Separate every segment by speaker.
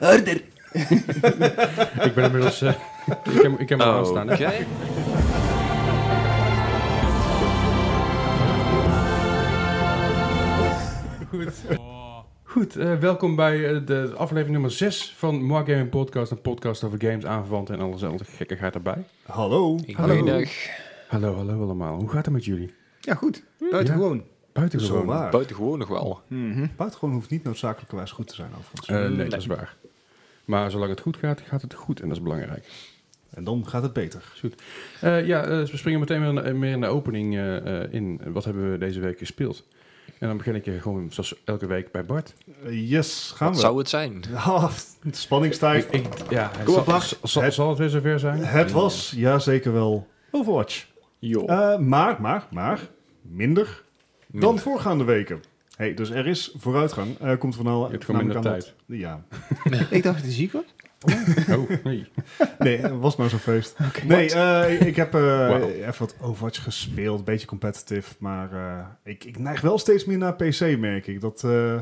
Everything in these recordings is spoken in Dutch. Speaker 1: Harder.
Speaker 2: Ik ben inmiddels... eh, ik heb, ik heb hem
Speaker 3: Oké.
Speaker 2: aanstaan. hè. Goed, eh, welkom bij eh, de aflevering nummer 6 van Mark Gaming Podcast. Een podcast over games, aanverwanten en alles andere gekkigheid erbij.
Speaker 4: Hallo.
Speaker 3: Goeiedag.
Speaker 2: Hallo, hallo allemaal. Hoe gaat het met jullie?
Speaker 1: Ja, goed. Buitengewoon.
Speaker 2: Buitengewoon.
Speaker 4: Zomaar.
Speaker 3: Buitengewoon nog wel.
Speaker 4: Buitengewoon hoeft niet noodzakelijkerwijs goed te zijn, overigens.
Speaker 2: Eh, nee, dat is waar. Maar zolang het goed gaat, gaat het goed en dat is belangrijk.
Speaker 4: En dan gaat het beter.
Speaker 2: Eh, ja, eh, dus we springen meteen weer, in- meer in de opening eh, eh, in. Wat hebben we deze week gespeeld? En dan begin ik eh, gewoon zoals elke week bij Bart.
Speaker 4: Eh, yes, gaan
Speaker 3: Wat
Speaker 4: we.
Speaker 3: zou het zijn?
Speaker 4: Ah, de spanning
Speaker 2: Ik,
Speaker 4: stijgt.
Speaker 2: ik- ja,
Speaker 4: Kom
Speaker 2: zal,
Speaker 4: op, Bart.
Speaker 2: zal- zal, zal het weer zover zijn?
Speaker 4: Het was, ja zeker wel, Overwatch.
Speaker 2: Oh.
Speaker 3: Joh.
Speaker 4: Eh, maar, maar, maar, minder dan voorgaande weken. Hey, dus er is vooruitgang. Eh, komt van al,
Speaker 2: hebt gewoon minder
Speaker 4: Ja.
Speaker 1: Ik dacht dat je ziek was.
Speaker 2: Oh, nee.
Speaker 4: Nee, het was nou zo'n feest. nee, eh, ik heb eh,
Speaker 2: Wauw.
Speaker 4: even wat Overwatch gespeeld. Beetje competitive. Maar eh, ik, ik neig wel steeds meer naar PC, merk ik. Dat, eh,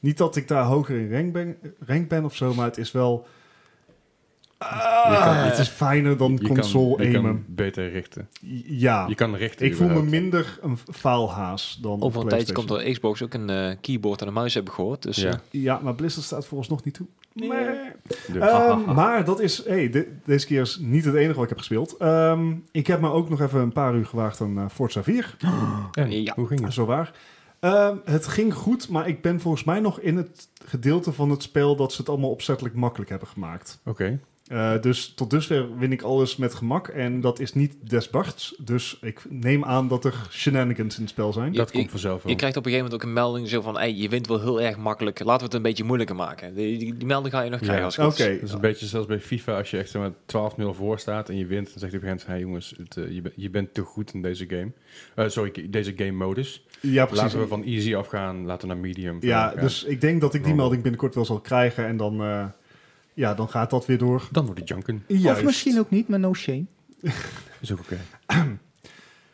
Speaker 4: niet dat ik daar hoger in rank ben, rank ben of zo, maar het is wel... Ah,
Speaker 2: Je kan-
Speaker 4: het is fijner dan
Speaker 2: Je
Speaker 4: console
Speaker 2: kan, je
Speaker 4: aimen.
Speaker 2: kan beter richten.
Speaker 4: ja,
Speaker 2: Je kan richten.
Speaker 4: ik voel me
Speaker 2: überhaupt.
Speaker 4: minder een faalhaas dan op
Speaker 3: Over een tijd komt
Speaker 4: PlayStation.
Speaker 3: er Xbox ook een eh, keyboard en een muis hebben gehoord. Dus,
Speaker 2: Ja.
Speaker 3: eh,
Speaker 4: Ja, maar Blizzard staat volgens nog niet toe. Maar-
Speaker 2: Dus.
Speaker 4: Ehm, maar dat is, hey, de- deze keer is niet het enige wat ik heb gespeeld. Ehm, ik heb me ook nog even een paar uur gewaagd aan eh, Forza 4.
Speaker 2: En,
Speaker 3: ja.
Speaker 2: Hoe ging het?
Speaker 4: Zo waar. Ehm, het ging goed, maar ik ben volgens mij nog in het gedeelte van het spel dat ze het allemaal opzettelijk makkelijk hebben gemaakt.
Speaker 2: Oké.
Speaker 4: Eh, dus tot dusver win ik alles met gemak en dat is niet des Barts. Dus ik neem aan dat er shenanigans in het spel zijn.
Speaker 2: Dat
Speaker 3: ik-
Speaker 2: komt vanzelf wel.
Speaker 3: Je krijgt op een gegeven moment ook een melding zo van, hey, je wint wel heel erg makkelijk. Laten we het een beetje moeilijker maken. Die, die, die melding ga je nog
Speaker 2: Ja.
Speaker 3: krijgen als het
Speaker 4: Oké,
Speaker 3: goed is.
Speaker 2: Dat is een beetje zoals bij FIFA, als je echt zeg maar, 12-0 voor staat en je wint, dan zegt hij op een gegeven moment, hey jongens, het, eh, je, ben- je bent te goed in deze game. Eh, sorry, deze game modus.
Speaker 4: ja precies.
Speaker 2: Laten we van easy afgaan, laten we naar medium.
Speaker 4: ja,
Speaker 2: gaan.
Speaker 4: dus ik denk dat ik die melding binnenkort wel zal krijgen en dan, eh, ja, dan gaat dat weer door.
Speaker 2: Dan wordt het junken.
Speaker 4: Juist.
Speaker 1: Of misschien ook niet, maar no shame.
Speaker 2: Is ook oké.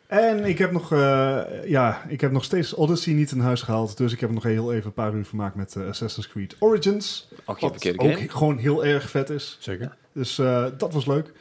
Speaker 4: En ik heb, nog, eh, ja, ik heb nog steeds Odyssey niet in huis gehaald. Dus ik heb nog heel even een paar uur vermaakt met eh, Assassin's Creed Origins.
Speaker 3: Ook een
Speaker 4: Wat
Speaker 3: verkeerde
Speaker 4: ook
Speaker 3: game.
Speaker 4: gewoon heel erg vet is.
Speaker 2: Zeker.
Speaker 4: Dus eh, dat was leuk.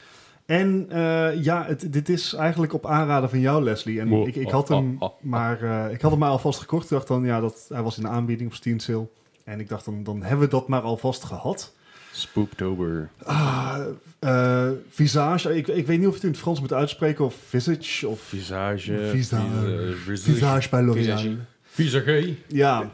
Speaker 4: En eh, ja, het, dit is eigenlijk op aanraden van jou, Leslie. En
Speaker 2: Wow.
Speaker 4: ik, ik had hem
Speaker 2: Oh, oh, oh.
Speaker 4: maar eh, ik had hem maar alvast gekocht. Ik dacht dan, ja, dat, hij was in de aanbieding op Steam Sale. En ik dacht dan, dan hebben we dat maar alvast gehad.
Speaker 2: Spooktober.
Speaker 4: Ah, eh, visage, ik, ik weet niet of je het in het Frans moet uitspreken. Of Visage, of
Speaker 2: Visage.
Speaker 4: Visage.
Speaker 2: Visage.
Speaker 4: Visage bij L'Oréal.
Speaker 3: Visage.
Speaker 2: Visage.
Speaker 4: Ja,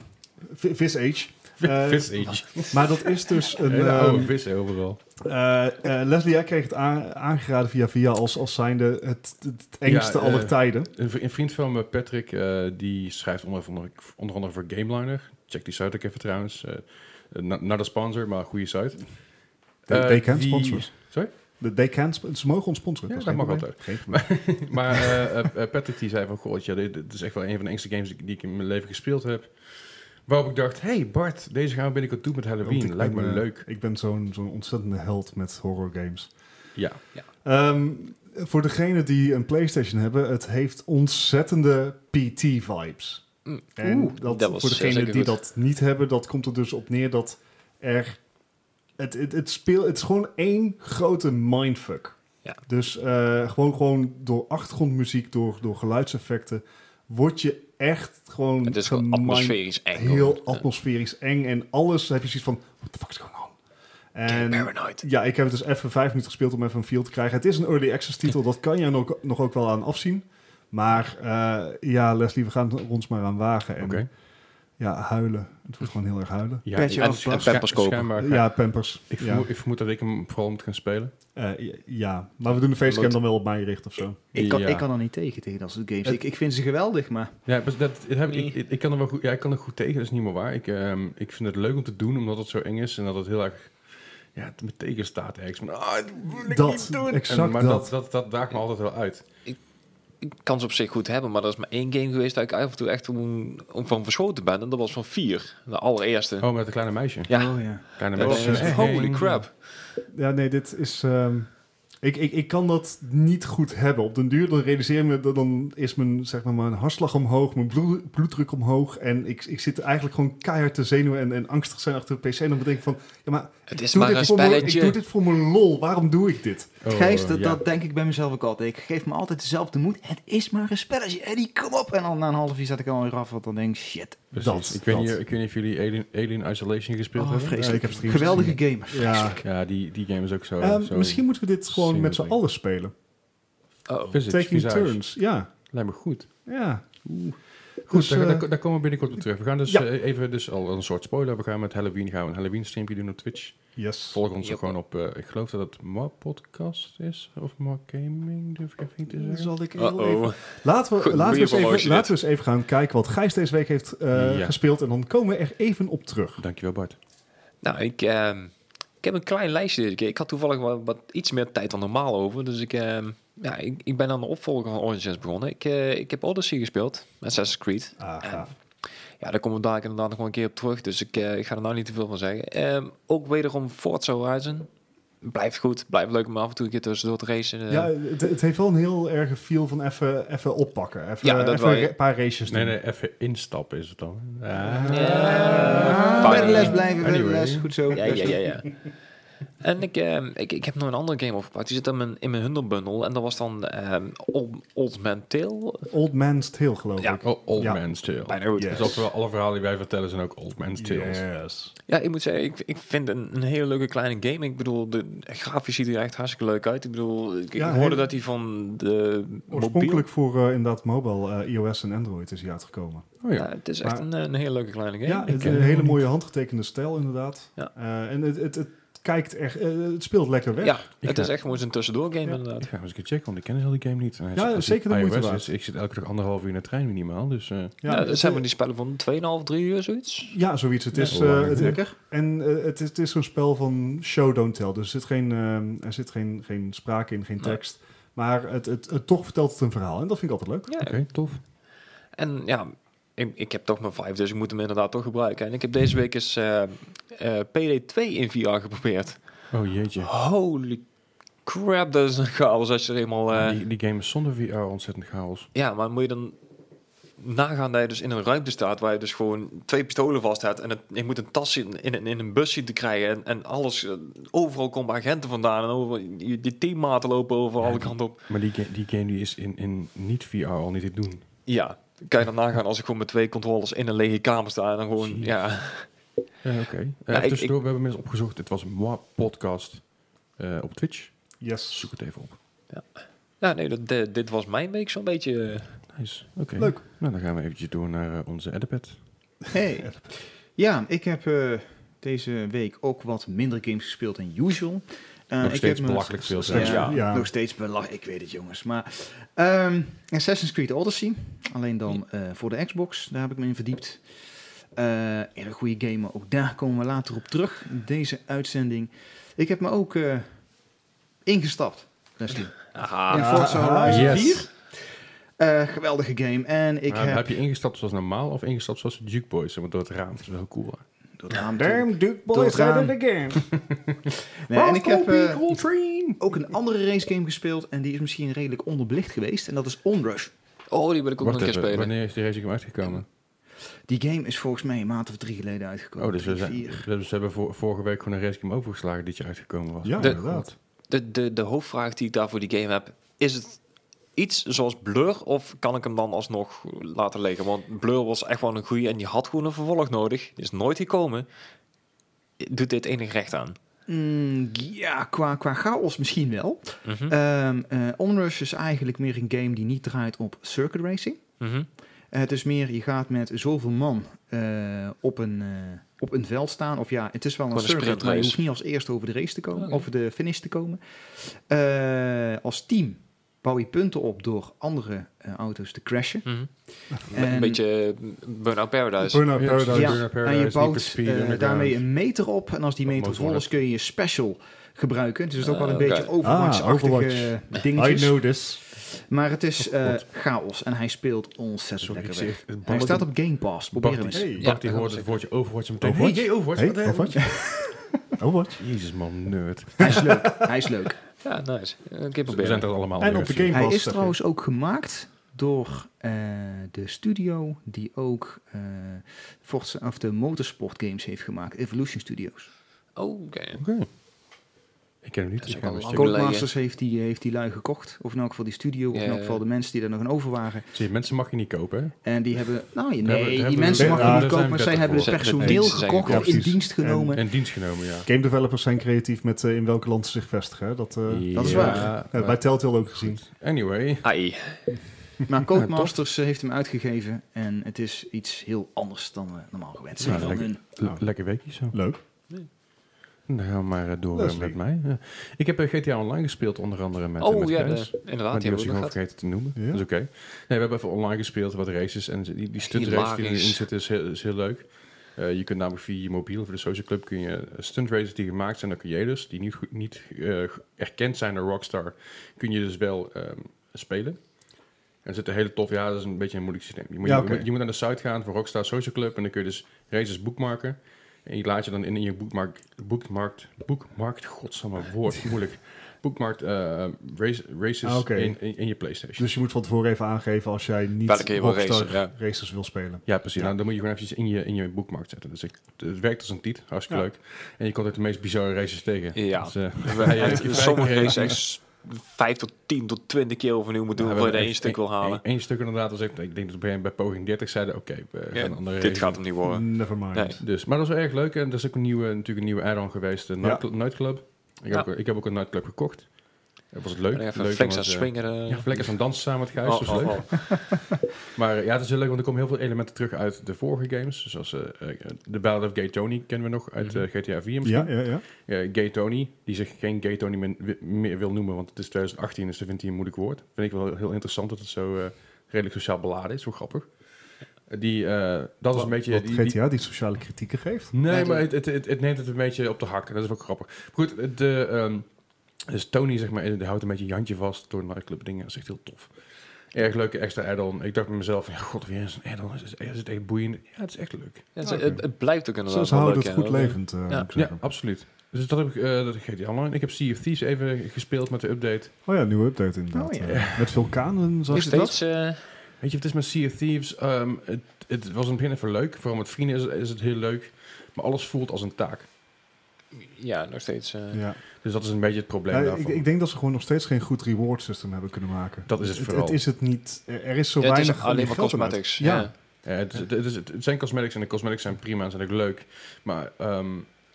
Speaker 4: vi- Vis Age. Eh,
Speaker 2: Visage.
Speaker 4: Maar dat is dus een...
Speaker 2: Hele
Speaker 4: ehm,
Speaker 2: eh, oude vissen overal.
Speaker 4: eh, eh, Leslie, jij kreeg het aan- aangeraden via via als, als zijnde het, het engste
Speaker 2: Ja, eh,
Speaker 4: aller tijden.
Speaker 2: Een, v- een vriend van me, Patrick, eh, die schrijft onder, onder, onder andere voor GameLiner. Check die site ook even trouwens. Eh na- not a sponsor, maar een goede site.
Speaker 4: They-
Speaker 2: Eh,
Speaker 4: they can
Speaker 2: die-
Speaker 4: sponsor.
Speaker 2: Sorry?
Speaker 4: De- They can sp- ze mogen ons sponsoren.
Speaker 2: Ja,
Speaker 4: is
Speaker 2: dat
Speaker 4: geen
Speaker 2: mag
Speaker 4: probleem. Geen probleem.
Speaker 2: maar eh, eh, Patrick die zei van, goh, ja, dit, dit is echt wel een van de engste games die, die ik in mijn leven gespeeld heb. Waarop ik dacht, hey Bart, deze gaan we binnenkort doen met
Speaker 4: Want ik
Speaker 2: Halloween. Lijkt me
Speaker 4: ben, eh,
Speaker 2: leuk.
Speaker 4: Ik ben zo'n zo'n ontzettende held met horror games.
Speaker 2: Ja.
Speaker 4: Ehm, voor degenen die een PlayStation hebben, het heeft ontzettende PT-vibes.
Speaker 3: Mm.
Speaker 4: En
Speaker 3: Oeh,
Speaker 4: dat,
Speaker 3: dat was
Speaker 4: voor degenen
Speaker 3: zeker goed.
Speaker 4: die dat niet hebben, dat komt er dus op neer dat er. Het, het, het, speel, het is gewoon één grote mindfuck.
Speaker 3: Ja.
Speaker 4: Dus eh, gewoon, gewoon door achtergrondmuziek, door, door geluidseffecten, word je echt gewoon.
Speaker 3: Het is gewoon
Speaker 4: gemind-
Speaker 3: atmosferisch eng.
Speaker 4: Heel
Speaker 3: hoor.
Speaker 4: atmosferisch eng. En alles heb je zoiets van: what the fuck is going on?
Speaker 3: Ja.
Speaker 4: En
Speaker 3: Eh, Paranoid.
Speaker 4: ja, ik heb het dus even vijf minuten gespeeld om even een feel te krijgen. Het is een early access titel, dat kan je nog, nog ook wel aan afzien. Maar eh, ja, Leslie, we gaan er ons maar aan wagen. En
Speaker 2: Oké.
Speaker 4: ja, huilen. Het wordt gewoon heel erg huilen.
Speaker 2: Ja,
Speaker 1: Petje
Speaker 2: ik-
Speaker 3: En,
Speaker 1: af,
Speaker 3: en
Speaker 1: Bas.
Speaker 3: peppers kopen.
Speaker 2: schijnbaar ga-
Speaker 4: Ja, pampers.
Speaker 2: ik,
Speaker 4: ja.
Speaker 2: vermoed, ik vermoed dat ik hem vooral moet gaan spelen.
Speaker 4: Eh, ja, maar we doen de facecam dan wel op mij richten of zo.
Speaker 1: Ik kan,
Speaker 2: Ja.
Speaker 1: ik kan er niet tegen, tegen dat soort games.
Speaker 4: Het-
Speaker 1: Ik, ik vind ze geweldig, maar...
Speaker 2: Ja, dus dat, dat heb ik, ik, ik kan er wel goed, ja, ik kan er goed tegen, dat is niet meer waar. Ik, ehm, ik vind het leuk om te doen, omdat het zo eng is en dat het heel erg ja, het me tegenstaat ergens. Van, ah, dat wil ik
Speaker 4: Dat,
Speaker 2: niet doen.
Speaker 4: exact
Speaker 2: En- maar dat. Dat,
Speaker 4: dat.
Speaker 2: dat, daagt me altijd wel uit.
Speaker 3: Ik kan ze op zich goed hebben, maar er is maar één game geweest dat ik af en toe echt om, om van verschoten ben. En dat was van vier. De allereerste.
Speaker 2: Oh, met een kleine meisje.
Speaker 3: Ja. Eh,
Speaker 1: Oh ja.
Speaker 2: Kleine
Speaker 3: Dat was,
Speaker 2: meisje.
Speaker 3: holy crap.
Speaker 4: Ja, nee, dit is... ehm, Ik, ik, ik kan dat niet goed hebben. Op den duur dan realiseer ik me, dat dan is mijn, zeg maar, mijn hartslag omhoog, mijn bloed- bloeddruk omhoog. En ik, ik zit eigenlijk gewoon keihard te zenuwen en, en angstig zijn achter de pc. En dan bedenk ik van, ja maar,
Speaker 3: Het
Speaker 4: ik
Speaker 3: is
Speaker 4: doe
Speaker 3: maar
Speaker 4: dit
Speaker 3: een
Speaker 4: voor mijn- Ik doe
Speaker 3: spelletje.
Speaker 4: dit voor mijn lol. Waarom doe ik dit?
Speaker 2: Oh,
Speaker 1: Gijs,
Speaker 2: eh,
Speaker 1: dat,
Speaker 2: ja.
Speaker 1: dat denk ik bij mezelf ook altijd. Ik geef me altijd dezelfde moed. Het is maar een spelletje. Eddie, kom op. En dan na een half uur zat ik alweer af. Want dan denk ik, shit.
Speaker 2: Precies.
Speaker 4: dat,
Speaker 2: ik, weet
Speaker 4: dat.
Speaker 2: Niet, ik weet niet of jullie Alien, Alien Isolation gespeeld
Speaker 1: Oh,
Speaker 2: hebben.
Speaker 4: Ja, ik
Speaker 1: vreselijk.
Speaker 4: heb streams
Speaker 1: Geweldige game.
Speaker 4: Ja.
Speaker 2: Ja, die, die game is ook zo.
Speaker 4: Ehm,
Speaker 2: zo
Speaker 4: misschien moeten we dit gewoon met z'n
Speaker 2: single
Speaker 4: allen spelen.
Speaker 3: Oh.
Speaker 2: physics,
Speaker 4: Taking
Speaker 2: visage.
Speaker 4: turns. Ja,
Speaker 2: Lijkt me goed.
Speaker 4: ja.
Speaker 2: Goed,
Speaker 4: Dus,
Speaker 2: daar,
Speaker 4: eh,
Speaker 2: daar, daar komen we binnenkort op terug. We gaan dus
Speaker 4: ja.
Speaker 2: eh, even dus al een soort spoiler. We gaan met Halloween gaan we een Halloween streampje doen op Twitch.
Speaker 4: Yes.
Speaker 2: Volg ons
Speaker 3: Yep.
Speaker 2: ook gewoon op. eh, ik geloof dat het Mar Podcast is of Mar Gaming. Durf ik even niet te
Speaker 4: Dan
Speaker 2: zeggen.
Speaker 4: Zal ik heel even
Speaker 3: Uh-oh.
Speaker 4: Laten we,
Speaker 3: Goed,
Speaker 4: laten, we eens
Speaker 3: goeie
Speaker 4: even,
Speaker 3: promotie
Speaker 4: laten we eens even gaan kijken wat Gijs deze week heeft eh,
Speaker 2: Ja.
Speaker 4: gespeeld. En dan komen we er even op terug.
Speaker 2: Dankjewel Bart.
Speaker 3: Nou, ik, ehm, ik heb een klein lijstje deze keer. Ik had toevallig wat, wat iets meer tijd dan normaal over. Dus ik, ehm, ja, ik, ik ben aan de opvolger van Origins begonnen. Ik, eh, ik heb Odyssey gespeeld, Assassin's Creed.
Speaker 4: Aha.
Speaker 3: Ja, daar komen we dadelijk inderdaad nog wel een keer op terug. Dus ik, eh, ik ga er nou niet te veel van zeggen. Ehm, ook wederom Forza Horizon. Blijft goed. Blijft leuk om af en toe een keer tussendoor te racen. eh.
Speaker 4: Ja, het, het heeft wel een heel erge feel van even, even oppakken. Even,
Speaker 3: Ja, dat
Speaker 4: even
Speaker 3: wou
Speaker 4: een
Speaker 3: je.
Speaker 4: ra- paar races doen.
Speaker 2: Nee, nee, even instappen is het dan. Ah.
Speaker 3: Ja.
Speaker 1: Ah, Bij de les blijven, bij de
Speaker 2: Anyway.
Speaker 1: les. Goed zo.
Speaker 3: Ja, ja, ja, ja. En ik, ehm, ik, ik heb nog een andere game opgepakt. Die zit in mijn, in mijn Humble Bundle. En dat was dan ehm, Old, Old Man Tale.
Speaker 4: Old Man's Tale, geloof
Speaker 3: Ja.
Speaker 4: ik.
Speaker 2: Oh, old
Speaker 4: Ja.
Speaker 2: Man's Tale.
Speaker 3: Bijna goed.
Speaker 4: Yes.
Speaker 2: Dus ook wel alle verhalen die wij vertellen zijn ook Old Man's Tales.
Speaker 4: Yes.
Speaker 3: Ja, ik moet zeggen, ik, ik vind een, een hele leuke kleine game. Ik bedoel, de grafisch ziet er echt hartstikke leuk uit. Ik bedoel, ik, ik
Speaker 4: Ja,
Speaker 3: hoorde
Speaker 4: hij-
Speaker 3: dat hij van de mobiel...
Speaker 4: Oorspronkelijk voor eh, inderdaad mobile, eh, iOS en Android is hij uitgekomen.
Speaker 2: Oh ja.
Speaker 3: Ja, het is echt
Speaker 4: Maar-
Speaker 3: een, eh, een hele leuke kleine game.
Speaker 4: Ja,
Speaker 3: Ik,
Speaker 4: het,
Speaker 3: eh,
Speaker 4: een hele mooie handgetekende stijl inderdaad.
Speaker 3: Ja.
Speaker 4: Eh, en het, het, het kijkt echt, eh, het speelt lekker weg.
Speaker 3: ja, het
Speaker 2: ga-
Speaker 3: is echt gewoon zo'n tussendoor game
Speaker 4: Ja.
Speaker 2: Ik
Speaker 3: inderdaad.
Speaker 2: ga hem eens een keer checken, want ik ken heel die game niet. En hij
Speaker 4: Ja,
Speaker 2: zegt, als
Speaker 4: zeker de
Speaker 2: die
Speaker 4: moeite
Speaker 2: iOS
Speaker 4: waard.
Speaker 2: is, Ik zit elke dag anderhalf uur in de trein minimaal, dus... eh,
Speaker 3: Ja, dat
Speaker 4: het-
Speaker 3: zijn we die spellen van 2,5, 3 uur, zoiets.
Speaker 4: Ja, zoiets. Het
Speaker 2: Ja.
Speaker 4: is,
Speaker 2: Oh,
Speaker 4: eh,
Speaker 2: lekker.
Speaker 4: het-
Speaker 1: Lekker.
Speaker 4: en eh, het is, het is zo'n spel van show, don't tell. Dus er zit geen, eh, er zit geen, geen sprake in, geen
Speaker 3: Nee.
Speaker 4: tekst. Maar het, het, het- toch vertelt het een verhaal. En dat vind ik altijd leuk.
Speaker 3: Ja,
Speaker 2: Oké, tof.
Speaker 3: En ja, ik, ik heb toch mijn 5, dus ik moet hem inderdaad toch gebruiken. En ik heb deze week eens eh, eh, PD2 in VR geprobeerd.
Speaker 2: Oh jeetje.
Speaker 3: Holy crap, dat is een chaos als je er eenmaal... eh,
Speaker 2: die, die game is zonder VR ontzettend chaos.
Speaker 3: Ja, maar moet je dan nagaan dat je dus in een ruimte staat waar je dus gewoon twee pistolen vast hebt en het, je moet een tas in, in, een- in een bus zien te krijgen en, en alles, eh, overal komen agenten vandaan en overal, je, je teammaten lopen over alle kanten op.
Speaker 2: Maar die, ga- die game die is in, in niet VR al niet te doen.
Speaker 3: Ja, kan je dan nagaan als ik gewoon met twee controllers in een lege kamer sta en dan gewoon,
Speaker 2: Jeez.
Speaker 3: ja.
Speaker 2: Eh, Oké. Eh,
Speaker 3: Ja, ik-
Speaker 2: tussendoor, we hebben mensen opgezocht. Het was een moi podcast eh, op Twitch.
Speaker 4: Yes.
Speaker 2: Zoek het even op.
Speaker 3: Ja, nee, dat, de- dit was mijn week zo'n beetje. eh.
Speaker 2: Nice. Oké.
Speaker 4: Leuk.
Speaker 2: Nou, dan gaan we eventjes door naar eh, onze Edipad.
Speaker 1: Hey. Ja, ik heb eh, deze week ook wat minder games gespeeld dan usual. Eh,
Speaker 2: Nog
Speaker 1: ik
Speaker 2: steeds
Speaker 1: heb me-
Speaker 2: belachelijk veel
Speaker 4: zelfs.
Speaker 1: Ja,
Speaker 4: Ja.
Speaker 1: nog steeds belachelijk. Ik weet het, jongens. Maar ehm, Assassin's Creed Odyssey, alleen dan eh, voor de Xbox, daar heb ik me in verdiept. Eh erg goede game, maar ook daar komen we later op terug. Deze uitzending. Ik heb me ook eh, ingestapt, Leslie.
Speaker 2: Ah.
Speaker 3: Aha.
Speaker 1: in Forza Horizon
Speaker 4: yes.
Speaker 1: 4. Eh, geweldige game. En ik
Speaker 2: Eh,
Speaker 1: heb...
Speaker 2: je ingestapt zoals normaal of ingestapt zoals de Duke Boys? Want door het raam. Dat is wel cool. hè?
Speaker 1: Door het raam natuurlijk.
Speaker 4: Damn, Duke
Speaker 1: Door het
Speaker 4: Boys
Speaker 1: raam.
Speaker 4: out of the game.
Speaker 1: Nee, en ik heb eh,
Speaker 2: Roll train!
Speaker 1: ook een andere race game gespeeld. En die is misschien redelijk onderbelicht geweest. En dat is Onrush.
Speaker 3: Oh, die wil ik ook
Speaker 2: Wacht
Speaker 3: nog een keer
Speaker 2: even,
Speaker 3: spelen.
Speaker 2: wanneer is die race game uitgekomen?
Speaker 1: Die game is volgens mij een maand of drie geleden uitgekomen.
Speaker 2: Oh, dus we,
Speaker 1: Drie,
Speaker 2: zijn,
Speaker 1: vier.
Speaker 2: dus we hebben vor- vorige week gewoon een race game overgeslagen die je uitgekomen was.
Speaker 4: Ja,
Speaker 2: Oh,
Speaker 4: inderdaad.
Speaker 2: God.
Speaker 3: De, de, de hoofdvraag die ik daar voor die game heb, is het iets zoals Blur of kan ik hem dan alsnog laten liggen? Want Blur was echt wel een goeie en die had gewoon een vervolg nodig. Die is nooit gekomen. Doet dit enig recht aan?
Speaker 1: Mm, ja, qua, qua chaos misschien wel.
Speaker 3: Mhm.
Speaker 1: Ehm eh, Onrush is eigenlijk meer een game die niet draait op circuit racing.
Speaker 3: Mhm.
Speaker 1: Eh, het is meer, je gaat met zoveel man eh, op, een, eh, op een veld staan. Of ja, het is wel een
Speaker 3: Gewoon een
Speaker 1: circuit, maar je
Speaker 3: sprintrace.
Speaker 1: hoeft niet als eerste over de race te komen.
Speaker 3: Oké.
Speaker 1: Over de finish te komen. Eh, als team bouw je punten op door andere eh, auto's te crashen.
Speaker 3: Mhm.
Speaker 1: En-
Speaker 3: Een beetje mm, Burnout Paradise.
Speaker 4: Burnout
Speaker 2: Ja,
Speaker 4: Paradise.
Speaker 2: precies.
Speaker 1: Ja, en
Speaker 2: Burnout
Speaker 1: je
Speaker 2: Paradise, Need for
Speaker 1: bouwt
Speaker 2: Speed,
Speaker 1: eh,
Speaker 2: Underground.
Speaker 1: daarmee een meter op. En als die
Speaker 2: Wat
Speaker 1: meter
Speaker 2: moet voor
Speaker 1: vol is,
Speaker 2: het?
Speaker 1: kun je je special gebruiken. Dus het is ook
Speaker 3: Ah,
Speaker 1: wel een
Speaker 3: oké.
Speaker 1: beetje Overwatch-achtige
Speaker 4: Ah,
Speaker 1: eh,
Speaker 4: Overwatch. I
Speaker 1: dingetjes.
Speaker 4: know this.
Speaker 1: Maar het is
Speaker 2: Oh,
Speaker 1: eh,
Speaker 2: God.
Speaker 1: chaos en hij speelt ontzettend
Speaker 2: Sorry, ik
Speaker 1: lekker
Speaker 2: zie
Speaker 1: weg.
Speaker 2: echt- het
Speaker 1: Hij
Speaker 2: balletje-
Speaker 1: staat op Game Pass. Probeer hem
Speaker 2: Bart,
Speaker 1: eens.
Speaker 2: die-
Speaker 4: Hey.
Speaker 2: Bart die
Speaker 3: Ja,
Speaker 2: hoort
Speaker 3: dat
Speaker 2: het woordje Overwatch en meteen...
Speaker 4: Overwatch?
Speaker 2: Oh, Hey, hey, Overwatch,
Speaker 4: Hey,
Speaker 2: wat, hè?
Speaker 4: Oh, Overwatch. Overwatch.
Speaker 2: Jezus man, nerd.
Speaker 1: Hij is leuk. Hij is leuk.
Speaker 3: Ja, nice. Eh, Een keer
Speaker 2: We zijn
Speaker 3: proberen.
Speaker 2: er allemaal
Speaker 4: En
Speaker 2: weer
Speaker 4: op de
Speaker 2: even-
Speaker 4: Game
Speaker 1: Hij
Speaker 4: Pass.
Speaker 1: is
Speaker 4: zeg je.
Speaker 1: trouwens ook gemaakt door eh, de studio die ook eh, Forza, of de motorsport games heeft gemaakt, Evolution Studios.
Speaker 3: Oh, oké.
Speaker 2: Oké. Ik ken hem niet. dus
Speaker 3: Dat is
Speaker 2: ik
Speaker 3: ook
Speaker 2: ga hem
Speaker 3: al lang.
Speaker 2: eens
Speaker 1: Codemasters heeft die, eh, heeft die lui gekocht, of in elk geval die studio, of
Speaker 3: Ja,
Speaker 1: in elk
Speaker 3: ja.
Speaker 1: geval de mensen die er nog aan over waren.
Speaker 2: checken. Zie je, mensen mag je niet kopen, hè?
Speaker 1: En die hebben, nou
Speaker 2: Daar
Speaker 1: nee,
Speaker 2: hebben- daar
Speaker 1: die
Speaker 2: hebben we-
Speaker 1: mensen
Speaker 4: Ja,
Speaker 1: mag je
Speaker 4: daar
Speaker 1: niet
Speaker 2: zijn
Speaker 1: kopen,
Speaker 2: we
Speaker 1: maar
Speaker 2: het
Speaker 1: zij hebben het
Speaker 3: over.
Speaker 1: personeel
Speaker 3: Zijn we het
Speaker 1: gekocht, of
Speaker 4: eens?
Speaker 1: in
Speaker 4: Ja,
Speaker 1: dienst
Speaker 4: precies.
Speaker 1: genomen.
Speaker 2: En dienst genomen, ja.
Speaker 4: Game developers zijn creatief met eh, in welk land ze zich vestigen. hè. Dat, eh
Speaker 1: dat is
Speaker 2: Ja,
Speaker 1: waar.
Speaker 2: maar-
Speaker 4: hebben wij Telltale ook gezien.
Speaker 2: Anyway.
Speaker 3: AI.
Speaker 1: Maar Codemasters eh, heeft hem uitgegeven en het is iets heel anders dan we normaal gewend zijn.
Speaker 2: Ja,
Speaker 1: van
Speaker 2: lekker.
Speaker 1: hun.
Speaker 4: Ja.
Speaker 2: Lekker weekje zo.
Speaker 4: Leuk.
Speaker 2: Nou, maar eh, door
Speaker 4: Dat is
Speaker 2: eh,
Speaker 4: leuk.
Speaker 2: met mij. Ja. Ik heb eh, GTA Online gespeeld, onder andere met, eh,
Speaker 3: Oh
Speaker 2: met
Speaker 3: ja,
Speaker 2: Gijs.
Speaker 3: de-
Speaker 2: Maar
Speaker 3: inderdaad.
Speaker 2: die
Speaker 3: Die
Speaker 2: was ik
Speaker 3: hebben we
Speaker 2: gewoon
Speaker 3: nog gehad.
Speaker 2: vergeten te noemen.
Speaker 4: Ja.
Speaker 2: Dat is oké. Nee, we hebben even online gespeeld wat races. En die, die stuntraces die erin
Speaker 3: Hilarisch.
Speaker 2: zitten is heel, is heel leuk. Eh, je kunt namelijk via je mobiel voor de social club kun je stuntraces die gemaakt zijn door creators. dus, Die niet, goed- niet eh, erkend zijn door Rockstar. Kun je dus wel ehm, spelen. En er zit een hele tof, ja, dat is een beetje een moeilijk systeem. Je moet,
Speaker 4: Ja,
Speaker 2: je,
Speaker 4: oké.
Speaker 2: moet- je moet naar de site gaan van Rockstar Social Club en dan kun je dus races boekmarken. En je laat je dan in, in je boekmark, boekmarkt, boekmarkt, godsamme woord, moeilijk. Boekmarkt eh, race, races
Speaker 4: Ah, oké.
Speaker 2: in, in, in je PlayStation.
Speaker 4: Dus je moet van tevoren even aangeven als jij niet
Speaker 3: Welke keer je wil
Speaker 4: Rockstar
Speaker 3: racen, ja.
Speaker 4: racers wil spelen.
Speaker 2: Ja, precies. Nou, dan moet je gewoon eventjes in je, in je boekmarkt zetten. Dus ik, het werkt als een tiet, hartstikke
Speaker 4: Ja.
Speaker 2: leuk. En je komt ook de meest bizarre races tegen.
Speaker 3: Ja.
Speaker 2: Dus, eh,
Speaker 3: We
Speaker 2: Ja, ja,
Speaker 3: echt
Speaker 2: ja.
Speaker 3: sommige
Speaker 2: Ja.
Speaker 3: races echt 5 tot 10 tot 20 keer overnieuw moet doen
Speaker 2: we
Speaker 3: voor je er
Speaker 2: hebben
Speaker 3: één
Speaker 2: echt
Speaker 3: stuk wil halen.
Speaker 2: Eén stuk inderdaad. Was echt, ik denk dat bij, bij poging 30 zeiden, oké, we gaan
Speaker 3: Ja,
Speaker 2: een andere
Speaker 3: Dit
Speaker 2: race
Speaker 3: gaat hem niet worden.
Speaker 4: Never mind.
Speaker 3: Nee.
Speaker 2: Dus, maar dat was wel erg leuk. En dat is ook een nieuwe, natuurlijk een nieuwe add-on geweest. De nightclub. nightclub. Ik,
Speaker 3: Ja.
Speaker 2: heb ook, ik heb ook een nightclub gekocht. Dat was het
Speaker 3: En
Speaker 2: leuk.
Speaker 3: even
Speaker 2: leuk
Speaker 3: flex aan
Speaker 2: omdat, eh,
Speaker 3: swingeren.
Speaker 2: Ja, lekker zo'n dansen samen met Gijs.
Speaker 3: Oh,
Speaker 4: dus
Speaker 2: dat is
Speaker 3: oh,
Speaker 2: leuk.
Speaker 3: oh.
Speaker 2: Maar eh, ja, het is heel leuk, want er komen heel veel elementen terug uit de vorige games. Zoals eh, eh, de Battle of Gay Tony kennen we nog uit eh,
Speaker 3: Mhm.
Speaker 2: GTA 4 misschien.
Speaker 4: Ja, ja, ja.
Speaker 2: Eh, Gay Tony, die zich geen Gay Tony men- wi- meer wil noemen, want het is 2018, dus dat vindt hij een moeilijk woord. Vind ik wel heel interessant dat het zo eh, redelijk sociaal beladen is. Hoe grappig. Die, eh, dat is een beetje...
Speaker 4: Dat
Speaker 2: die- die-
Speaker 4: GTA die sociale kritieken geeft.
Speaker 2: Nee,
Speaker 3: Ja,
Speaker 2: maar het, het, het, het neemt het een beetje op de hak. Dat is wel grappig. Maar goed, het, eh, ehm, dus Tony zeg maar, die houdt een beetje je handje vast door nightclub dingen. Dat is echt heel tof. Erg leuke extra add-on. Ik dacht bij mezelf, ja, god, weer eens een add-on. Is, het- is het echt boeiend? Ja, het is echt leuk.
Speaker 3: Ja, het,
Speaker 4: Oké.
Speaker 3: het, het blijft ook
Speaker 4: Ze
Speaker 3: inderdaad
Speaker 4: ze
Speaker 3: wel
Speaker 4: houden
Speaker 3: leuk,
Speaker 4: het
Speaker 3: ja.
Speaker 4: goed levend, eh,
Speaker 3: Ja.
Speaker 4: moet ik
Speaker 2: Ja,
Speaker 4: zeggen.
Speaker 2: absolup. Dus dat heb ik, eh dat GTA Online. Ik heb Sea of Thieves even gespeeld met de update.
Speaker 4: Oh ja, nieuwe update inderdaad.
Speaker 1: Oh ja.
Speaker 4: Eh, Met vulkanen, zag
Speaker 3: Nog
Speaker 4: je dat?
Speaker 3: steeds... eh,
Speaker 2: Weet je, het is met Sea of Thieves. ehm, het, het was in het begin even leuk. Vooral met vrienden is, het- is het heel leuk. Maar alles voelt als een taak.
Speaker 3: Ja, nog steeds. eh,
Speaker 4: Ja.
Speaker 2: Dus dat is een beetje het probleem
Speaker 4: Ja, Nou, ik,
Speaker 2: daarvan.
Speaker 4: ik denk dat ze gewoon nog steeds geen goed reward system hebben kunnen maken.
Speaker 2: Dat is het vooral.
Speaker 4: Het, is het niet. Er er is zo
Speaker 3: ja, het is
Speaker 4: weinig
Speaker 3: alleen maar
Speaker 4: geld aan uit.
Speaker 3: cosmetics.
Speaker 4: Ja.
Speaker 3: Ja.
Speaker 2: Ja, Eh, het, het, het is- het zijn cosmetics en de cosmetics zijn prima en zijn ook leuk. Maar ehm,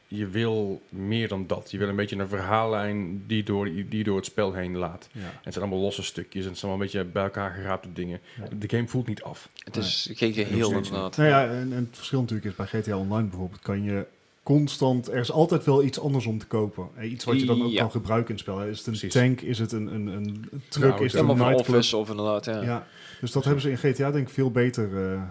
Speaker 2: je wil meer dan dat. Je wil een beetje een verhaallijn die door, die je door het spel heen laat.
Speaker 4: Ja.
Speaker 2: En het zijn allemaal losse stukjes en het zijn allemaal een beetje bij elkaar geraapte dingen.
Speaker 4: Ja.
Speaker 2: De game voelt niet af.
Speaker 3: Het is geen geheel inderdaad.
Speaker 4: Nou ja, en, en het verschil natuurlijk is bij GTA Online bijvoorbeeld kan je constant. Er is altijd wel iets anders om te kopen. Eh, Iets wat je dan ook
Speaker 3: Ja.
Speaker 4: kan gebruiken in het spel. Is het een
Speaker 2: Precies.
Speaker 4: tank? Is het een, een, een truck?
Speaker 2: Ja,
Speaker 4: is het
Speaker 3: Ja,
Speaker 4: een
Speaker 3: maar Nou, van
Speaker 4: nightclub?
Speaker 3: Office of inderdaad, ja.
Speaker 4: Ja. Dus dat hebben ze in GTA denk ik veel beter. eh,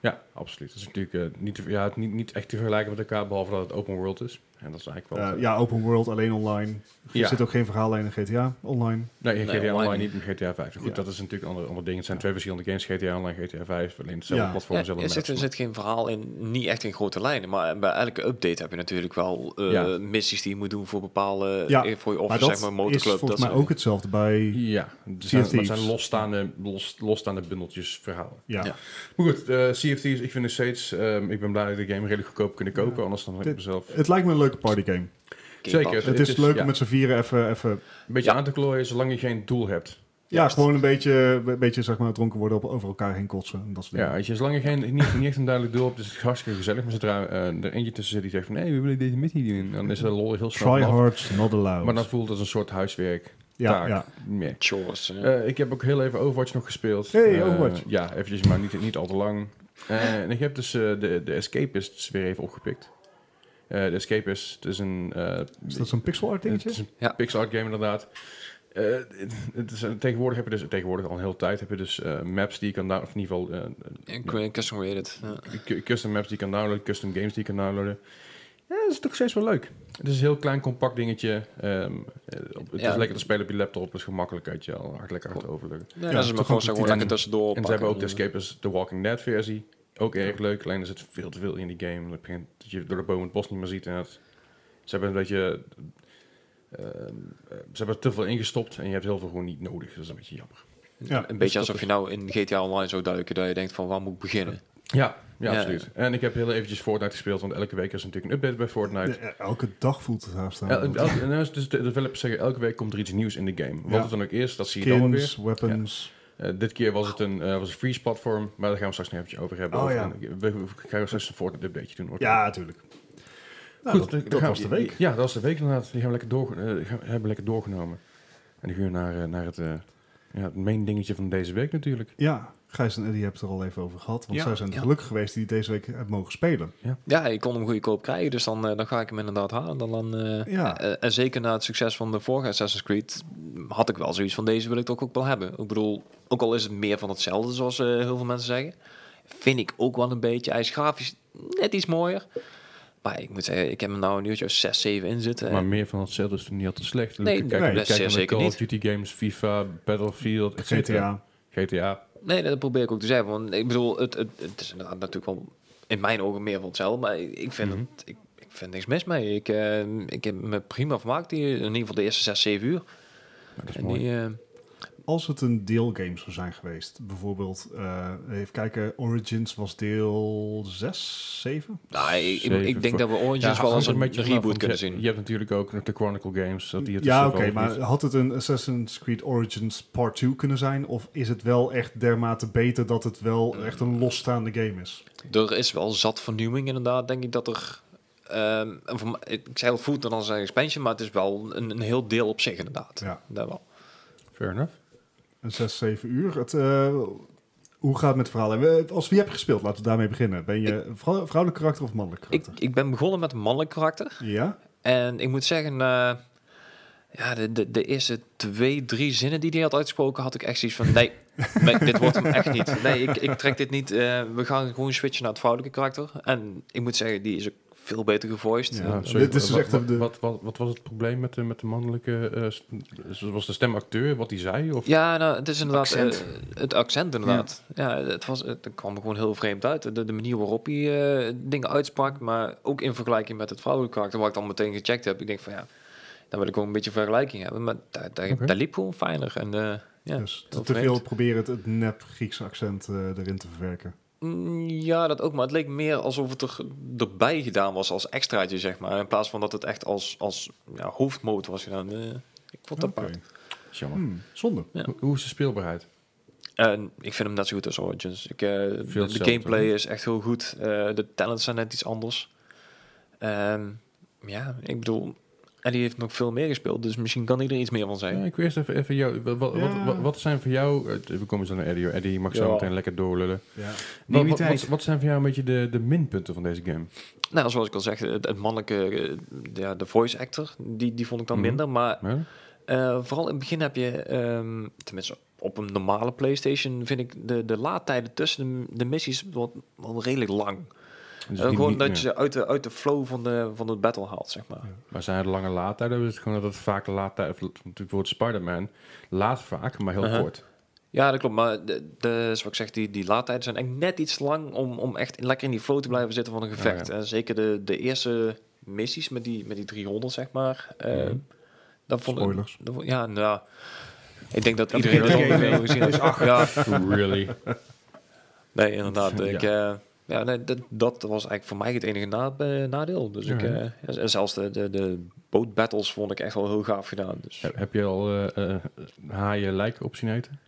Speaker 2: Ja, absoluut. Dat is natuurlijk eh, niet, te- ja, het niet, niet echt te vergelijken met elkaar, behalve dat het open world is. En dat is eigenlijk wel...
Speaker 4: eh, ja, open world, alleen online. Er
Speaker 2: Ja.
Speaker 4: zit ook geen verhaallijn in GTA online.
Speaker 2: Nee, GTA
Speaker 3: online
Speaker 2: Online
Speaker 3: niet.
Speaker 2: niet, maar GTA 5. Goed,
Speaker 4: Ja.
Speaker 2: dat is natuurlijk een ander, ander ding. Het zijn twee verschillende games, GTA Online en GTA 5. Alleen hetzelfde
Speaker 4: Ja.
Speaker 2: platform,
Speaker 3: Ja,
Speaker 2: dezelfde
Speaker 3: er, zit, er
Speaker 2: maps.
Speaker 3: zit geen verhaal in, niet echt in grote lijnen. Maar bij elke update heb je natuurlijk wel eh,
Speaker 2: Ja.
Speaker 3: missies die je moet doen voor bepaalde...
Speaker 4: Ja,
Speaker 3: eh, Voor je
Speaker 4: maar
Speaker 3: office,
Speaker 4: dat
Speaker 3: zeg maar,
Speaker 4: is
Speaker 3: motorclub.
Speaker 4: volgens mij
Speaker 3: soort
Speaker 4: ook hetzelfde bij...
Speaker 2: Ja, het zijn,
Speaker 4: Sea of
Speaker 2: maar het zijn
Speaker 4: Thieves.
Speaker 2: losstaande, los, losstaande bundeltjes verhalen.
Speaker 4: Ja.
Speaker 3: Ja.
Speaker 2: Maar goed, eh CFT's, ik vind nog steeds, ehm, ik ben blij dat ik de game redelijk goedkoop kunnen kopen,
Speaker 4: Ja.
Speaker 2: anders dan heb ik
Speaker 4: Dit-
Speaker 2: mezelf
Speaker 4: Het lijkt me een leuke partygame.
Speaker 3: Game
Speaker 2: Zeker.
Speaker 3: Pass.
Speaker 4: Het
Speaker 2: Het
Speaker 4: is
Speaker 2: is-
Speaker 4: leuk
Speaker 2: ja.
Speaker 4: om met z'n vieren even... even
Speaker 2: een beetje
Speaker 3: Ja.
Speaker 2: aan te klooien zolang je geen doel hebt.
Speaker 4: ja, gewoon een beetje, een beetje zeg maar, dronken worden op, over elkaar heen kotsen. En dat soort
Speaker 2: Ja,
Speaker 4: dingen.
Speaker 2: weet je, zolang je geen, niet, niet echt een duidelijk doel hebt, is het hartstikke gezellig. Maar zodra eh, er eentje tussen zit die zegt van, nee, we willen deze missie doen, dan is de lol heel snel
Speaker 4: Try
Speaker 2: vanaf.
Speaker 4: hard, not allowed.
Speaker 2: Maar dan voelt het als een soort huiswerk.
Speaker 4: ja,
Speaker 2: taak.
Speaker 4: ja.
Speaker 2: Nee.
Speaker 3: Chores. eh.
Speaker 2: Eh, ik heb ook heel even Overwatch nog gespeeld.
Speaker 4: Hey,
Speaker 2: Eh,
Speaker 4: Overwatch.
Speaker 2: Ja, eventjes, maar niet, niet al te lang. Eh, en ik heb dus eh, de, de Escapists weer even opgepikt. Eh, de Escapist, het is een... eh,
Speaker 4: Is dat zo'n pixel art
Speaker 2: het
Speaker 4: dingetje?
Speaker 2: is een
Speaker 3: Ja.
Speaker 2: pixel art game inderdaad. Eh, het- het is, tegenwoordig heb je dus, tegenwoordig al een hele tijd, heb je dus eh, maps die je kan downloaden, of in ieder geval eh,
Speaker 3: En cu- Custom created. Ja.
Speaker 2: cu- custom maps die je kan downloaden, custom games die je kan downloaden. Ja, dat is toch steeds wel leuk. Het is een heel klein, compact dingetje. Ehm, eh, op- het
Speaker 3: Ja.
Speaker 2: is lekker te spelen op je laptop, het is gemakkelijk uit je al, hard lekker hard overleggen.
Speaker 3: Nee,
Speaker 4: Ja,
Speaker 3: dat is maar gewoon,
Speaker 4: toegankelijk.
Speaker 3: zo gewoon lekker
Speaker 2: En
Speaker 3: tussendoor.
Speaker 2: ze
Speaker 3: pakken. eh.
Speaker 2: hebben
Speaker 4: dus
Speaker 2: ook de Escapers The Walking Dead versie. Ook erg leuk, alleen er zit veel te veel in die game. Dat begint dat je door de bomen het bos niet meer ziet. En dat, ze hebben een beetje eh, ehm, eh, ze hebben er te veel ingestopt en je hebt heel veel gewoon niet nodig. Dat is een beetje jammer.
Speaker 4: Ja, Dus
Speaker 3: een beetje alsof je nou in GTA Online zou duiken dat je denkt van waar moet ik beginnen?
Speaker 2: Ja, ja,
Speaker 3: Ja.
Speaker 2: absoluut. En ik heb heel eventjes Fortnite gespeeld, want elke week is er natuurlijk een update bij Fortnite.
Speaker 4: Ja, Elke dag voelt het haast aan.
Speaker 2: El- el- en nou is dus de developers zeggen, elke week komt er iets nieuws in de game. Wat
Speaker 4: Ja.
Speaker 2: het dan ook is, dat zie je dan weer.
Speaker 4: Skins, weapons.
Speaker 2: Eh, dit keer was het een, eh, was een freeze platform, maar daar gaan we straks nog eventjes over hebben.
Speaker 4: Oh,
Speaker 2: Of-
Speaker 4: ja.
Speaker 2: we, we- we gaan straks een Fortnite updateje doen. Hoor.
Speaker 4: Ja, natuurlijk. Nou,
Speaker 2: Goed,
Speaker 4: dat,
Speaker 2: dan
Speaker 4: dat
Speaker 2: gaan
Speaker 4: was
Speaker 2: we-
Speaker 4: de week.
Speaker 2: Ja, dat was de week inderdaad. Die gaan we lekker, door, eh, gaan, hebben we lekker doorgenomen. En dan gaan we naar, eh, naar het, eh, ja, het main dingetje van deze week natuurlijk.
Speaker 4: Ja, Gijs en Eddie hebben het er al even over gehad. Want
Speaker 1: Ja.
Speaker 4: zij zijn
Speaker 3: Ja.
Speaker 4: gelukkig geweest die deze week hebben mogen spelen.
Speaker 3: Ja, ik kon hem goedkoop krijgen, dus dan, eh, dan ga ik hem inderdaad halen. Dan, dan, eh,
Speaker 4: Ja.
Speaker 3: eh, en zeker na het succes van de vorige Assassin's Creed mm, had ik wel zoiets van deze wil ik toch ook wel hebben. Ik bedoel, ook al is het meer van hetzelfde zoals eh, heel veel mensen zeggen, vind ik ook wel een beetje. Hij is grafisch net iets mooier. Maar ik moet zeggen, ik heb hem nou een uurtje of 6, 7 in zitten.
Speaker 2: Maar meer van hetzelfde is er niet altijd slecht.
Speaker 3: Eh. Nee,
Speaker 2: kijk,
Speaker 4: nee,
Speaker 2: kijk
Speaker 3: zeer
Speaker 2: naar
Speaker 3: zeker
Speaker 2: Call of
Speaker 3: niet.
Speaker 2: Duty games, FIFA, Battlefield, et cetera.
Speaker 4: GTA.
Speaker 2: GTA.
Speaker 3: Nee, dat probeer ik ook te zeggen. Want ik bedoel, het, het, het is inderdaad natuurlijk wel in mijn ogen meer van hetzelfde. Maar ik ik vind,
Speaker 2: Mhm.
Speaker 3: het, ik, ik vind niks mis mee. Ik, eh, ik heb me prima vermaakt hier. In ieder geval de eerste 6, 7 uur.
Speaker 2: Nou, dat is
Speaker 3: En
Speaker 2: mooi.
Speaker 3: die, eh,
Speaker 4: Als het een deelgame zou zijn geweest, bijvoorbeeld, eh, even kijken, Origins was deel 6, 7?
Speaker 3: nou, ik, ik,
Speaker 2: Zeven
Speaker 3: ik denk
Speaker 2: voor-
Speaker 3: dat we
Speaker 2: Ja,
Speaker 3: Origins
Speaker 2: hangt
Speaker 3: wel als
Speaker 2: er
Speaker 3: een,
Speaker 2: beetje vanaf,
Speaker 3: reboot
Speaker 2: want
Speaker 3: kunnen
Speaker 2: je-
Speaker 3: zien.
Speaker 2: Je hebt natuurlijk ook nog de Chronicle games. Dat die het dus
Speaker 4: Ja,
Speaker 2: zelf
Speaker 4: oké,
Speaker 2: ook
Speaker 4: maar
Speaker 2: niet-
Speaker 4: had het een Assassin's Creed Origins Part 2 kunnen zijn? Of is het wel echt dermate beter dat het wel
Speaker 3: Eh.
Speaker 4: echt een losstaande game is?
Speaker 3: Er is wel zat vernieuwing inderdaad. Denk ik dat er... ehm, en voor mij- ik zei al voet dan als een expansion, maar het is wel een, een heel deel op zich inderdaad.
Speaker 4: Ja,
Speaker 3: Dat wel.
Speaker 2: Fair enough.
Speaker 4: een 6, 7 uur. Het, eh, hoe gaat het met het verhaal? En, eh, Als wie heb je gespeeld? Laten we daarmee beginnen. Ben je een vrou- vrouwelijk karakter of mannelijk
Speaker 3: Ik,
Speaker 4: karakter?
Speaker 3: ik ben begonnen met een mannelijk karakter.
Speaker 4: Ja?
Speaker 3: En ik moet zeggen, eh, ja, de, de, de eerste twee, drie zinnen die hij had uitgesproken, had ik echt zoiets van, nee, nee dit wordt hem echt niet. Nee, ik, ik trek dit niet. Eh, we gaan gewoon switchen naar het vrouwelijke karakter. En ik moet zeggen, die is ook veel beter gevoiced.
Speaker 4: Ja.
Speaker 3: Eh,
Speaker 4: sorry. dit is dus
Speaker 2: Wat-
Speaker 4: echt de-
Speaker 2: Wat, wat, wat was het probleem met de, met de mannelijke... eh, st- was de stemacteur wat hij zei? Of?
Speaker 3: Ja, nou, het is inderdaad eh,
Speaker 1: Accent.
Speaker 3: het accent inderdaad. Ja, het, was, het kwam er gewoon heel vreemd uit. De, de manier waarop hij eh, dingen uitsprak, maar ook in vergelijking met het vrouwelijke karakter, wat ik dan meteen gecheckt heb. Ik denk van ja, dan wil ik gewoon een beetje vergelijking hebben. Maar daar, daar,
Speaker 2: Oké.
Speaker 3: daar liep gewoon fijner. En, eh, ja.
Speaker 4: dus te,
Speaker 3: heel
Speaker 4: te veel
Speaker 3: vreemd.
Speaker 4: proberen het, het nep Griekse accent eh, erin te verwerken.
Speaker 3: Mm, Ja, dat ook. Maar het leek meer alsof het er, erbij gedaan was als extraatje, zeg maar. In plaats van dat het echt als, als ja, hoofdmoot was gedaan. Eh, ik vond dat apart.
Speaker 4: Oké.
Speaker 2: Jammer.
Speaker 4: Hmm, zonde.
Speaker 3: Ja.
Speaker 2: Hoe- Hoe is de speelbaarheid?
Speaker 3: En ik vind hem net zo goed als Origins. Ik, eh, de, de
Speaker 2: hetzelfde,
Speaker 3: gameplay
Speaker 2: hè?
Speaker 3: is echt heel goed. Eh, de talents zijn net iets anders. Ehm, ja, ik bedoel... En die heeft nog veel meer gespeeld, dus misschien kan hij er iets meer van
Speaker 2: Ja,
Speaker 3: zijn.
Speaker 2: ik wil eerst even, even jou... Wat, wat,
Speaker 4: Ja.
Speaker 2: wat, wat zijn voor jou... eh, We komen zo naar Eddie. hoor. Eddie, je mag zo
Speaker 3: Ja.
Speaker 2: meteen lekker doorlullen.
Speaker 4: Ja.
Speaker 1: Neem
Speaker 2: Wat,
Speaker 1: je
Speaker 2: wat,
Speaker 1: tijd.
Speaker 2: wat, wat zijn voor jou een beetje de, de minpunten van deze game?
Speaker 3: Nou, zoals ik al zeg, het, het mannelijke, eh, ja, de voice actor, die, die vond ik dan
Speaker 2: Mhm.
Speaker 3: minder. Maar
Speaker 2: Hè?
Speaker 3: Eh, vooral in het begin heb je, ehm, tenminste op een normale PlayStation, vind ik de, de laadtijden tussen de, de missies wel, wel redelijk lang.
Speaker 2: Dus
Speaker 3: Eh,
Speaker 2: niet-
Speaker 3: gewoon
Speaker 2: niet-
Speaker 3: dat
Speaker 2: ja.
Speaker 3: je ze uit de, uit de flow van de, van de battle haalt, zeg maar.
Speaker 2: Maar zijn er lange laadtijden? Is het gewoon dat het vaak de laadtijd... of Natuurlijk wordt Spider-Man laat vaak, maar heel
Speaker 3: Uh-huh.
Speaker 2: kort.
Speaker 3: Ja, dat klopt. Maar de, de, zoals ik zeg, die, die laadtijden zijn echt net iets te lang om, om echt lekker in die flow te blijven zitten van een gevecht.
Speaker 2: Oh, ja.
Speaker 3: En zeker de, de eerste missies met die, met die 300, zeg maar. eh,
Speaker 2: Mhm.
Speaker 3: dat vond ik-
Speaker 4: Spoilers.
Speaker 3: dat vond- ja, nou... Ik denk dat
Speaker 4: Dat
Speaker 3: iedereen dat
Speaker 4: begint
Speaker 3: ongeveer
Speaker 4: tegen.
Speaker 3: wel gezien heeft. Ja,
Speaker 2: really?
Speaker 3: Nee, inderdaad.
Speaker 2: Ja.
Speaker 3: Ik, eh, ja, nee, dat, dat was eigenlijk voor mij het enige na- eh, nadeel. Dus ik,
Speaker 2: Ja.
Speaker 3: eh, en- en zelfs de, de, de bootbattles vond ik echt wel heel gaaf gedaan. Dus. Ja,
Speaker 2: Heb, heb je al eh, eh, haaien lijken op zien eten?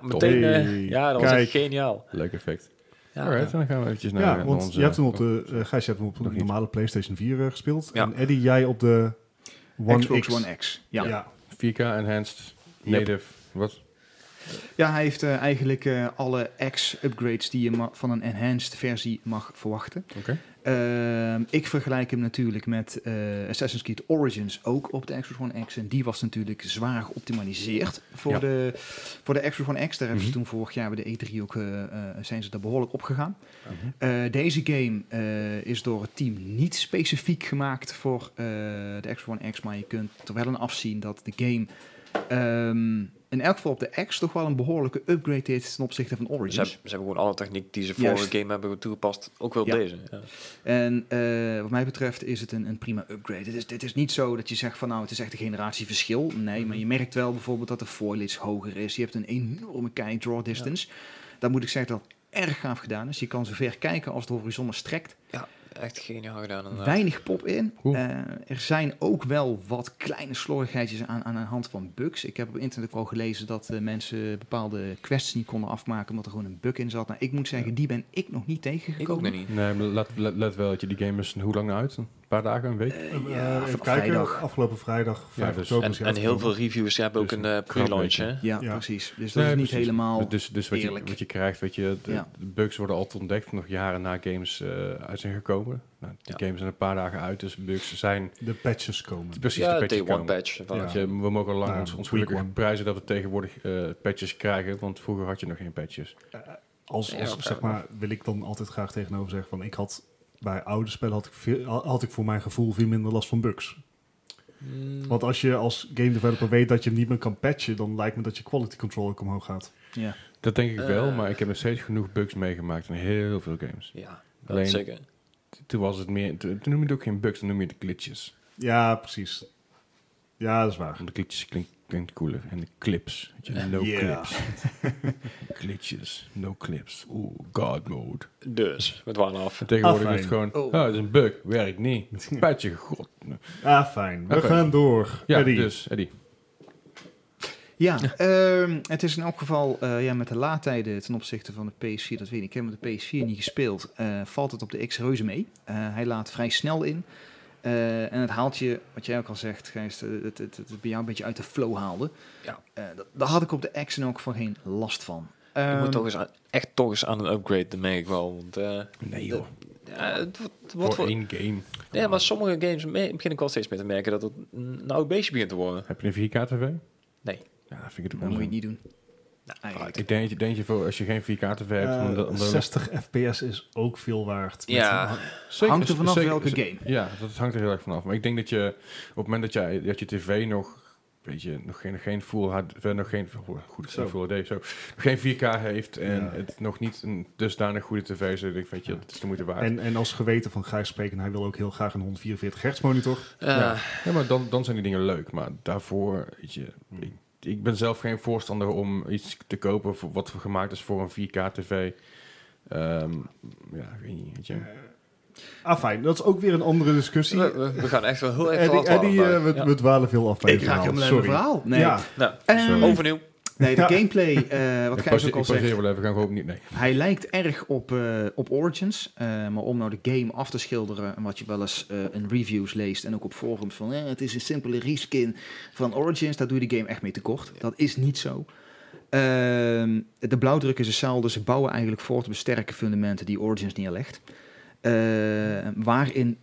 Speaker 3: meteen. eh,
Speaker 4: Hey,
Speaker 3: ja, dat was echt
Speaker 4: kijk.
Speaker 3: geniaal.
Speaker 2: Leuk effect.
Speaker 3: Ja,
Speaker 2: Alright, dan gaan we eventjes naar,
Speaker 4: Ja,
Speaker 2: naar
Speaker 4: want
Speaker 2: onze...
Speaker 4: je hebt hem op de, eh, Gijs, je hebt hem op
Speaker 2: Nog
Speaker 4: de
Speaker 2: niet.
Speaker 4: normale PlayStation 4 eh, gespeeld.
Speaker 3: Ja.
Speaker 4: En Eddie, jij op de One
Speaker 1: Xbox
Speaker 4: X.
Speaker 1: One X. Ja. Ja.
Speaker 2: 4K enhanced, native, wat?
Speaker 1: hij heeft eh, eigenlijk eh, alle X-upgrades die je ma- van een enhanced versie mag verwachten.
Speaker 2: Oké.
Speaker 1: Ehm, ik vergelijk hem natuurlijk met eh, Assassin's Creed Origins ook op de Xbox One X. En die was natuurlijk zwaar geoptimaliseerd voor,
Speaker 2: Ja.
Speaker 1: de, voor de Xbox One X. Daar hebben ze
Speaker 2: Mhm.
Speaker 1: toen vorig jaar bij de E3 ook, eh, eh, zijn ze daar behoorlijk op gegaan.
Speaker 2: Mhm.
Speaker 1: Eh, deze game eh, is door het team niet specifiek gemaakt voor eh, de Xbox One X. Maar je kunt er wel aan afzien dat de game ehm, in elk geval op de X toch wel een behoorlijke upgrade heeft ten opzichte van Origins.
Speaker 3: Ze, hebben, ze hebben gewoon alle techniek die ze voor
Speaker 1: Juist.
Speaker 3: een game hebben toegepast, ook wel op
Speaker 1: Ja.
Speaker 3: deze. Ja.
Speaker 1: En eh, wat mij betreft is het een, een prima upgrade. Het is, dit is niet zo dat je zegt van nou het is echt een generatieverschil. Nee, maar je merkt wel bijvoorbeeld dat de foilage hoger is. Je hebt een enorme kei draw distance. Dat moet ik zeggen dat dat erg gaaf gedaan is. Je kan zo ver kijken als de horizon maar strekt.
Speaker 3: Echt geniaal gedaan. inderdaad.
Speaker 1: Weinig pop in.
Speaker 2: Cool.
Speaker 1: Eh, er zijn ook wel wat kleine slordigheidjes aan, aan de hand van bugs. Ik heb op internet ook wel gelezen dat eh, mensen bepaalde quests niet konden afmaken omdat er gewoon een bug in zat. Nou, ik moet zeggen, die ben ik nog niet tegengekomen.
Speaker 3: Ik ook nog niet.
Speaker 2: Nee, maar let, let, let wel dat je die game is, hoe lang nou uit? Een paar dagen, een week?
Speaker 1: Eh,
Speaker 4: Eh,
Speaker 1: ja,
Speaker 4: even
Speaker 1: vanaf
Speaker 4: kijken,
Speaker 1: vrijdag.
Speaker 4: afgelopen vrijdag, 5
Speaker 2: dus-
Speaker 4: oktober.
Speaker 3: En,
Speaker 4: is hij
Speaker 3: en heel veel
Speaker 4: uitgekomen.
Speaker 3: reviews hebben ook
Speaker 2: Dus
Speaker 3: een eh, pre-launch.
Speaker 2: beetje.
Speaker 3: hè?
Speaker 1: Ja,
Speaker 4: Ja.
Speaker 1: precies. Dus dat
Speaker 2: Nee,
Speaker 1: is niet
Speaker 2: precies.
Speaker 1: helemaal.
Speaker 2: Dus, dus wat, je,
Speaker 1: eerlijk.
Speaker 2: wat je krijgt, weet je, de,
Speaker 1: Ja.
Speaker 2: de bugs worden altijd ontdekt, nog jaren na games eh, uit zijn gekomen. Nou, die
Speaker 3: Ja.
Speaker 2: games zijn een paar dagen uit, dus bugs zijn
Speaker 4: De patches komen.
Speaker 2: precies
Speaker 3: ja,
Speaker 2: de patch
Speaker 3: day one
Speaker 2: gekomen.
Speaker 3: patch.
Speaker 4: Ja.
Speaker 2: Weet je, we mogen lang
Speaker 4: Ja,
Speaker 2: ons, ons
Speaker 4: week
Speaker 2: gelukkig
Speaker 4: one.
Speaker 2: prijzen dat we tegenwoordig eh, patches krijgen, want vroeger had je nog geen patches.
Speaker 4: Als, als
Speaker 3: Ja,
Speaker 4: zeg maar, wil ik dan altijd graag tegenover zeggen van ik had bij oude spellen had ik, veel, had ik voor mijn gevoel veel minder last van bugs.
Speaker 2: Mm.
Speaker 3: Mm,
Speaker 4: Want als je als game developer weet dat je hem niet meer kan patchen, dan lijkt me dat je quality control ook omhoog gaat.
Speaker 1: Ja.
Speaker 2: Dat denk ik wel,
Speaker 3: Eh.
Speaker 2: maar ik heb nog steeds genoeg bugs meegemaakt in heel veel games.
Speaker 3: Ja, dat
Speaker 2: Alleen-
Speaker 3: zeker.
Speaker 2: Toen was het meer, toen, toen noem je het ook geen bugs, dan noem je het glitches.
Speaker 4: Ja, precies. Ja, dat is waar.
Speaker 2: Want de glitches klinkt, klinkt cooler. En de clips, weet je, no
Speaker 4: Ja.
Speaker 2: clips. glitches, no clips. Oeh, god mode.
Speaker 3: Dus, we dwalen af.
Speaker 2: En tegenwoordig
Speaker 4: Afijn.
Speaker 2: is het gewoon,
Speaker 1: Oh.
Speaker 2: oh, Hm. het is een bug, werkt niet. Patje, god.
Speaker 4: Ah, fijn. We
Speaker 2: Oké.
Speaker 4: gaan door.
Speaker 2: Ja,
Speaker 4: Eddie.
Speaker 2: dus, Eddie.
Speaker 1: Ja, ehm, het is in elk geval eh, ja, met de laadtijden ten opzichte van de PS4, dat weet ik. Ik heb met de PS4 niet gespeeld. eh, valt het op de X reuze mee. Eh, hij laat vrij snel in. Eh, en het haalt je, wat jij ook al zegt, Gijs, eh, het, het, het, het bij jou een beetje uit de flow haalde.
Speaker 3: Ja.
Speaker 1: Eh, dat, daar had ik op de X in elk geval geen last van.
Speaker 3: Je
Speaker 1: Ehm,
Speaker 3: moet toch eens aan, echt toch eens aan een upgrade, dat merk ik wel. Want, eh,
Speaker 2: Nee
Speaker 3: joh. ja, het wordt- het wordt
Speaker 2: Voor
Speaker 3: wel-
Speaker 2: één game.
Speaker 3: Nee, maar sommige games me- begin ik wel steeds meer te merken dat het een oud beestje begint te worden.
Speaker 2: Heb je een 4K tv?
Speaker 3: Nee.
Speaker 2: Ja, dat vind ik
Speaker 1: dat
Speaker 2: het
Speaker 1: moet je
Speaker 2: onzin.
Speaker 1: niet doen.
Speaker 3: Eigenlijk.
Speaker 2: Ik denk, dat je- denk je voor, als je geen 4K tv hebt,
Speaker 4: Eh,
Speaker 2: dan, dan, dan
Speaker 4: 60 fps is ook veel waard. Met-
Speaker 3: Ja.
Speaker 2: Zeker,
Speaker 1: Hangt er vanaf welke
Speaker 2: ze-
Speaker 1: game.
Speaker 2: Ja, dat hangt er heel erg vanaf. Maar ik denk dat je op het moment dat, jij, dat je tv nog, weet je, nog geen, nog geen full HD, eh, nog geen, oh, goed,
Speaker 4: Zo.
Speaker 2: zo. full HD, zo, nog geen 4K heeft en
Speaker 4: Ja.
Speaker 2: het nog niet een dusdanig goede tv is, dat ik denk, weet je, dat is de moeite waard.
Speaker 4: En, en als geweten van Gijs spreken, hij wil ook heel graag een 144 hertz monitor.
Speaker 3: Eh,
Speaker 2: Ja. Ja, maar dan, dan zijn die dingen leuk. Maar daarvoor, weet je,
Speaker 1: Hmm.
Speaker 2: ik, ik ben zelf geen voorstander om iets te kopen voor wat gemaakt is voor een 4K tv. Ehm, ja, ik weet niet, weet je.
Speaker 4: Ah, fijn. Dat is ook weer een andere discussie.
Speaker 3: we, we- we gaan echt wel heel erg
Speaker 4: Eddie,
Speaker 3: verhaal
Speaker 4: Eddie
Speaker 3: dwalen
Speaker 4: eh, we,
Speaker 3: vandaag.
Speaker 4: we dwalen veel af bij
Speaker 1: Ik
Speaker 4: je
Speaker 1: raak
Speaker 4: verhaal.
Speaker 1: helemaal uit mijn
Speaker 4: Sorry.
Speaker 1: verhaal. Nee,
Speaker 4: Ja.
Speaker 3: Ja.
Speaker 1: Ehm,
Speaker 3: Nou, overnieuw.
Speaker 1: nee de
Speaker 4: Ja.
Speaker 1: gameplay, eh, wat Gijs
Speaker 2: ik pauze-
Speaker 1: ook al zegt.
Speaker 2: ik pauzeer wel even, we gaan gewoon opnieuw. Nee.
Speaker 1: Hij lijkt erg op, eh, op Origins. eh, maar om nou de game af te schilderen. En wat je wel eens eh, in reviews leest. En ook op forums van. eh, het is een simpele reskin van Origins. Daar doe je de game echt mee tekort. Dat is niet zo. Ehm, de blauwdruk is hetzelfde. Ze bouwen eigenlijk voort op de sterke fundamenten die Origins neerlegt. Eh, waarin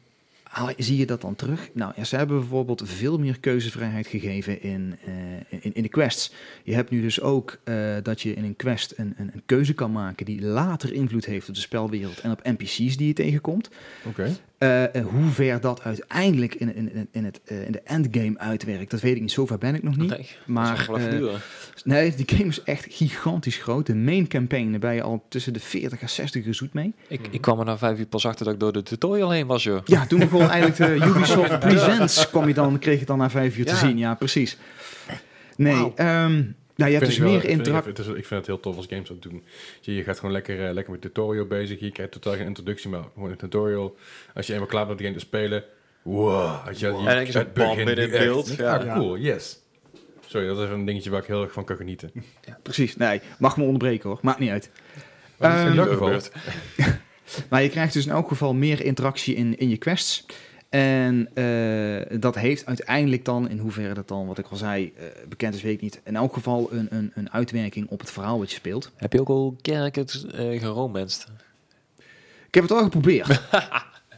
Speaker 1: haal- zie je dat dan terug? Nou, ja, ze hebben bijvoorbeeld veel meer keuzevrijheid gegeven in, eh, in, in de quests. Je hebt nu dus ook eh, dat je in een quest een, een, een keuze kan maken die later invloed heeft op de spelwereld en op NPC's die je tegenkomt.
Speaker 2: Oké.
Speaker 1: Eh, en hoe ver dat uiteindelijk in, in, in, in het, eh, in de endgame uitwerkt, dat weet ik niet. Zover ben ik nog niet.
Speaker 3: Nee,
Speaker 1: maar,
Speaker 3: dat is nog wel even
Speaker 1: eh,
Speaker 3: duren.
Speaker 1: Nee, die game is echt gigantisch groot. De main campaign, daar ben je al tussen de 40 en 60 gezoet mee.
Speaker 3: ik, ik kwam er na vijf uur pas achter dat ik door de tutorial heen was, joh.
Speaker 1: Ja, toen begon eigenlijk de Ubisoft Presents, kwam je dan, kreeg je dan na vijf uur te
Speaker 3: Ja.
Speaker 1: zien. Ja, precies. Nee,
Speaker 3: Wauw.
Speaker 1: ehm, nou, je hebt
Speaker 2: Vind
Speaker 1: dus
Speaker 2: ik wel-
Speaker 1: meer
Speaker 2: vind ik
Speaker 1: interactie.
Speaker 2: even- het is- Ik vind het heel tof als games dat doen. Je, je gaat gewoon lekker, eh, lekker met tutorial bezig. Je krijgt totaal geen introductie, maar gewoon een tutorial. Als je eenmaal klaar bent met de game te spelen. Wow. Had je,
Speaker 3: En dan is het bam, midden in beeld, ja.
Speaker 2: Ja, Ah, cool. Yes. Sorry, dat is even een dingetje waar ik heel erg van kan genieten.
Speaker 1: Precies, nee, mag me onderbreken hoor, maakt niet uit.
Speaker 2: Maar
Speaker 1: Ehm,
Speaker 2: in dat geval,
Speaker 3: Gebeurt.
Speaker 1: Maar je krijgt dus in elk geval meer interactie in, in je quests. En eh, dat heeft uiteindelijk dan, in hoeverre dat dan, wat ik al zei, eh, bekend is, weet ik niet. In elk geval een, een, een uitwerking op het verhaal wat je speelt.
Speaker 3: Heb je ook al kerk het uh, geromanst?
Speaker 1: Ik heb het al geprobeerd,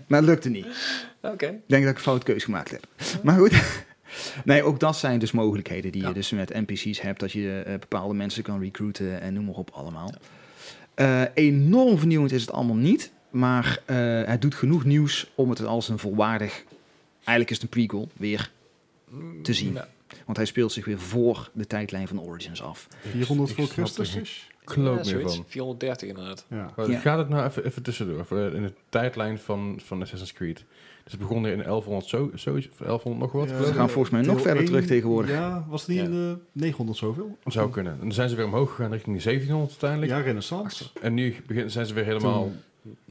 Speaker 1: maar het lukte niet.
Speaker 3: Oké.
Speaker 1: Ik denk dat ik een fout keus gemaakt heb. Maar goed. Nee, ook dat zijn dus mogelijkheden die
Speaker 3: Ja.
Speaker 1: je dus met NPC's hebt. Dat je eh, bepaalde mensen kan recruiten en noem maar op allemaal. Eh, enorm vernieuwend is het allemaal niet. Maar eh, het doet genoeg nieuws om het als een volwaardig... Eigenlijk is het een prequel weer te zien.
Speaker 3: Ja.
Speaker 1: Want hij speelt zich weer voor de tijdlijn van Origins af.
Speaker 4: 400 voor
Speaker 2: Ik snap
Speaker 4: Christus
Speaker 2: er
Speaker 4: is?
Speaker 2: Kloot meer
Speaker 3: zoiets.
Speaker 2: van.
Speaker 3: 430 inderdaad.
Speaker 4: Ja.
Speaker 2: Maar
Speaker 1: Ja.
Speaker 2: Gaat het nou even, even tussendoor, voor, eh, in de tijdlijn van, van Assassin's Creed. Dus het begon in 1100, zo, zo, of 1100 nog wat,
Speaker 4: Ja,
Speaker 2: geloof
Speaker 1: Ze
Speaker 2: ik.
Speaker 1: gaan volgens mij nog
Speaker 4: deel
Speaker 1: verder
Speaker 4: één,
Speaker 1: terug tegenwoordig.
Speaker 4: Ja, was het niet
Speaker 3: Ja.
Speaker 4: in de 900 zoveel?
Speaker 2: Zou kunnen. En dan zijn ze weer omhoog gegaan richting de 1700 uiteindelijk.
Speaker 4: Ja, renaissance.
Speaker 2: En nu begin, zijn ze weer helemaal...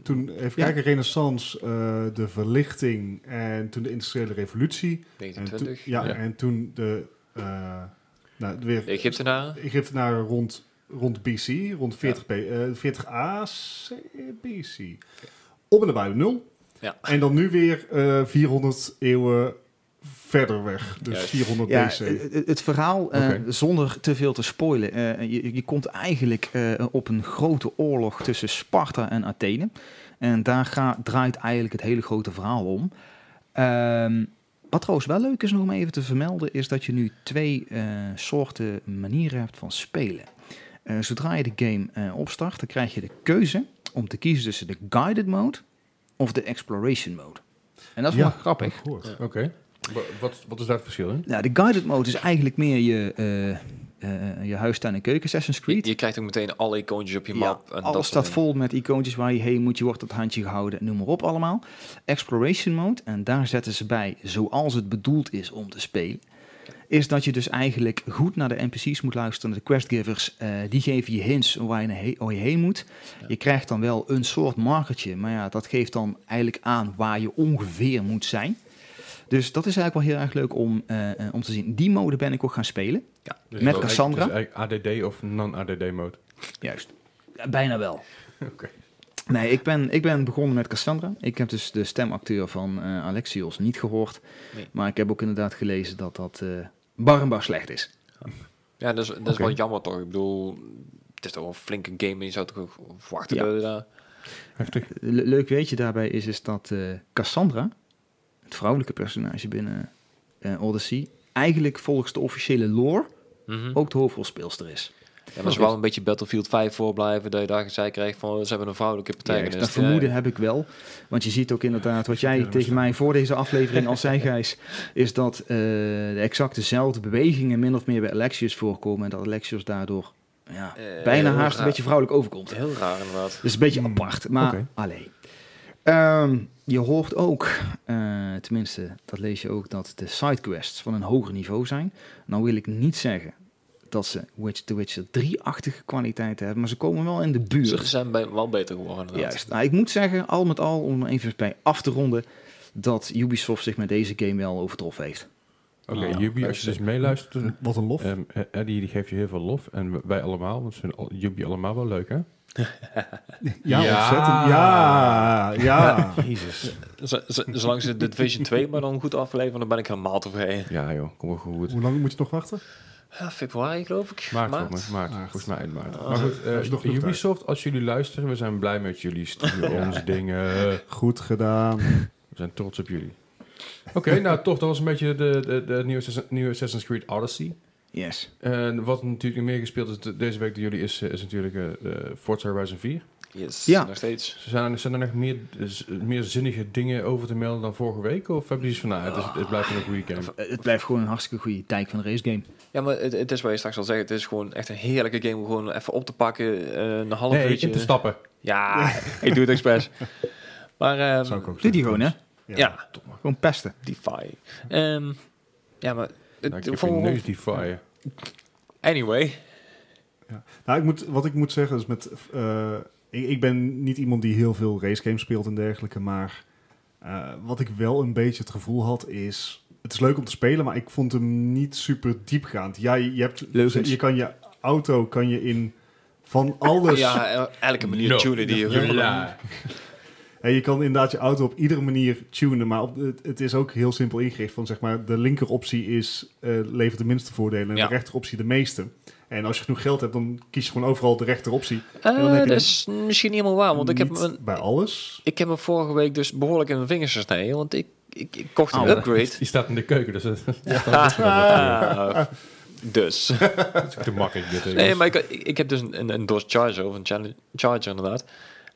Speaker 4: Toen, even
Speaker 1: Ja.
Speaker 4: kijken, renaissance, eh, de verlichting en toen de industriële revolutie. En toen,
Speaker 3: 1920.
Speaker 4: ja,
Speaker 2: Ja.
Speaker 4: en toen de, eh nou,
Speaker 3: De
Speaker 4: weer
Speaker 3: Egyptenaren.
Speaker 4: Egyptenaren rond, rond BC, rond 40, p, eh, 40a BC. Op en nabij de nul.
Speaker 3: Ja.
Speaker 4: En dan nu weer eh, 400 eeuwen verder weg. Dus
Speaker 3: Juist.
Speaker 4: 400
Speaker 1: Ja,
Speaker 4: BC.
Speaker 1: het- het, het verhaal, eh,
Speaker 2: Oké.
Speaker 1: zonder te veel te spoilen, eh, je, je komt eigenlijk eh, op een grote oorlog tussen Sparta en Athene. En daar ga- draait eigenlijk het hele grote verhaal om. Ehm, wat trouwens wel leuk is nog om even te vermelden, is dat je nu twee eh, soorten manieren hebt van spelen. Eh, zodra je de game eh, opstart, dan krijg je de keuze om te kiezen tussen de guided mode of de exploration mode. En dat is wel grappig.
Speaker 4: Gehoord.
Speaker 2: Oké. Wa- Wat, wat is daar het verschil in?
Speaker 1: Nou, de guided mode is eigenlijk meer je, eh, eh, je huis, tuin en keuken, Assassin's
Speaker 3: Je,
Speaker 1: Creed.
Speaker 3: je krijgt ook meteen alle icoontjes op je
Speaker 1: Ja,
Speaker 3: map. en dat
Speaker 1: alles
Speaker 3: soort
Speaker 1: staat
Speaker 3: dingen.
Speaker 1: vol met icoontjes waar je heen moet, je wordt op het handje gehouden, noem maar op allemaal. Exploration mode, en daar zetten ze bij, zoals het bedoeld is om te spelen, is dat je dus eigenlijk goed naar de NPC's moet luisteren, de questgivers. eh, die geven je hints waar je, naar he- waar je heen moet. Je krijgt dan wel een soort markertje, maar ja, dat geeft dan eigenlijk aan waar je ongeveer moet zijn. Dus dat is eigenlijk wel heel erg leuk om, eh, eh, om te zien. Die mode ben ik ook gaan spelen.
Speaker 3: Ja.
Speaker 2: Dus
Speaker 1: Met
Speaker 2: dat-
Speaker 1: Cassandra?
Speaker 2: het is eigenlijk ADD of non-ADD mode.
Speaker 1: Juist. Ja, bijna wel.
Speaker 2: Oké.
Speaker 1: Nee, ik ben, ik ben begonnen met Cassandra. Ik heb dus de stemacteur van eh, Alexios niet gehoord.
Speaker 3: Nee.
Speaker 1: Maar ik heb ook inderdaad gelezen dat dat eh barmbaar slecht is.
Speaker 3: Ja, dat is, dat is
Speaker 2: Oké.
Speaker 3: wel jammer toch. Ik bedoel, het is toch wel een flinke game en je zou toch ook verwachten
Speaker 1: Ja.
Speaker 3: dat je daar...
Speaker 2: Heftig.
Speaker 1: Le- leuk weetje daarbij is, is dat eh, Cassandra, het vrouwelijke personage binnen eh, Odyssey, eigenlijk volgens de officiële lore
Speaker 3: Mhm.
Speaker 1: ook de hoofdrolspeelster is.
Speaker 3: Ja, maar ze wel een beetje Battlefield 5 voorblijven, dat je daar gezegd krijgt van oh, ze hebben een vrouwelijke protagonist.
Speaker 1: dat vermoeden heb ik wel. Want je ziet ook inderdaad, wat jij
Speaker 2: Ja, dat
Speaker 1: tegen mij voor deze aflevering al zei, Gijs, is dat eh, de exact dezelfde bewegingen min of meer bij Alexius voorkomen. En dat Alexius daardoor ja,
Speaker 3: Eh,
Speaker 1: bijna
Speaker 3: heel
Speaker 1: haast een
Speaker 3: raar.
Speaker 1: beetje vrouwelijk overkomt.
Speaker 3: Heel raar inderdaad.
Speaker 1: Dus een beetje
Speaker 4: Hmm,
Speaker 1: apart, maar
Speaker 2: oké.
Speaker 1: allee. Ehm, je hoort ook, eh, tenminste, dat lees je ook, dat de sidequests van een hoger niveau zijn. Nou wil ik niet zeggen dat ze Witch, The Witcher 3-achtige kwaliteiten hebben, maar ze komen wel in de buurt.
Speaker 3: Ze zijn bij- wel beter geworden inderdaad.
Speaker 1: Juist. Nou, ik moet zeggen, al met al, om er even bij af te ronden, dat Ubisoft zich met deze game wel overtroffen heeft.
Speaker 2: Oké,
Speaker 4: Ah,
Speaker 2: Yubi, als je dus meeluistert,
Speaker 4: Wat een lof.
Speaker 2: Ehm, eh, Eddie die geeft je heel veel lof. En wij allemaal, want ze vinden al- jullie allemaal wel leuk, hè?
Speaker 4: ja,
Speaker 2: ja.
Speaker 4: ontzettend. Ja, ja.
Speaker 2: Jezus.
Speaker 3: Z- z- Zolang ze de Division 2 maar dan goed afleveren, dan ben ik helemaal tevreden.
Speaker 2: Ja joh, kom wel goed.
Speaker 4: Hoe lang moet je nog wachten?
Speaker 3: Ja, februari geloof ik.
Speaker 2: Maart,
Speaker 3: Maart.
Speaker 2: volgens mij. Maart.
Speaker 4: Maart.
Speaker 2: Volgens mij eind maart. maar goed, eh,
Speaker 4: er is nog genoeg
Speaker 2: Ubisoft, als jullie luisteren, we zijn blij met jullie. Stuur ons dingen.
Speaker 4: Goed gedaan.
Speaker 2: We zijn trots op jullie. Oké, nou tof. Dat was een beetje de, de, de nieuwe, Assassin- nieuwe Assassin's Creed Odyssey.
Speaker 1: Yes.
Speaker 2: En wat natuurlijk nog meer gespeeld is de- deze week door jullie is, eh, is natuurlijk eh, eh, Forza Horizon 4.
Speaker 3: Yes,
Speaker 1: Ja.
Speaker 3: nog steeds.
Speaker 2: Zijn er, zijn er nog meer, z- meer zinnige dingen over te melden dan vorige week? Of hebben jullie iets van, nou, het, is- het blijft een goede game?
Speaker 1: Eh, Het blijft gewoon een hartstikke goede tijd van de race game.
Speaker 3: Ja, maar het, het is wat je straks al zei. Het is gewoon echt een heerlijke game om gewoon even op te pakken. eh, een half
Speaker 2: Nee,
Speaker 3: uurtje.
Speaker 2: in te stappen.
Speaker 3: Ja, ik doe het expres. Maar ehm,
Speaker 4: Zou ik ook
Speaker 1: Doe
Speaker 4: zeggen.
Speaker 1: die gewoon, hè?
Speaker 3: ja.
Speaker 1: Gewoon pesten.
Speaker 3: Defy. Ehm, ja, maar... Het,
Speaker 2: Nou, ik heb
Speaker 3: voor-
Speaker 2: een neus die fire.
Speaker 3: Anyway.
Speaker 4: Nou, ik moet, wat ik moet zeggen is met... eh, ik, ik ben niet iemand die heel veel racegames speelt en dergelijke, maar eh, wat ik wel een beetje het gevoel had is... Het is leuk om te spelen, maar ik vond hem niet super diepgaand. Ja, je, je hebt,
Speaker 1: Leugens.
Speaker 4: je kan je auto kan je in van alles...
Speaker 3: Ja, eh, elke manier
Speaker 2: No.
Speaker 3: tunen die je wil.
Speaker 2: Ja.
Speaker 4: Hè, je kan inderdaad je auto op iedere manier tunen, maar op, het, het is ook heel simpel ingericht. Van zeg maar, de linker optie is, eh, levert de minste voordelen en
Speaker 3: Ja.
Speaker 4: de rechter optie de meeste. En als je genoeg geld hebt, dan kies je gewoon overal de rechter optie.
Speaker 3: Eh,
Speaker 4: En dan heb je
Speaker 3: dat is misschien niet helemaal waar, want ik heb,
Speaker 4: Niet
Speaker 3: me,
Speaker 4: bij alles.
Speaker 3: ik heb me vorige week dus behoorlijk in mijn vingers gesneden, want ik, ik, ik kocht een
Speaker 1: Au.
Speaker 3: upgrade.
Speaker 2: Die staat in de keuken, dus dat dat is
Speaker 3: Ah, dus.
Speaker 2: ook te makkelijk. Dit,
Speaker 3: Nee, maar ik, ik heb dus een, een, een DOS Charger, of een Challenge- Charger inderdaad.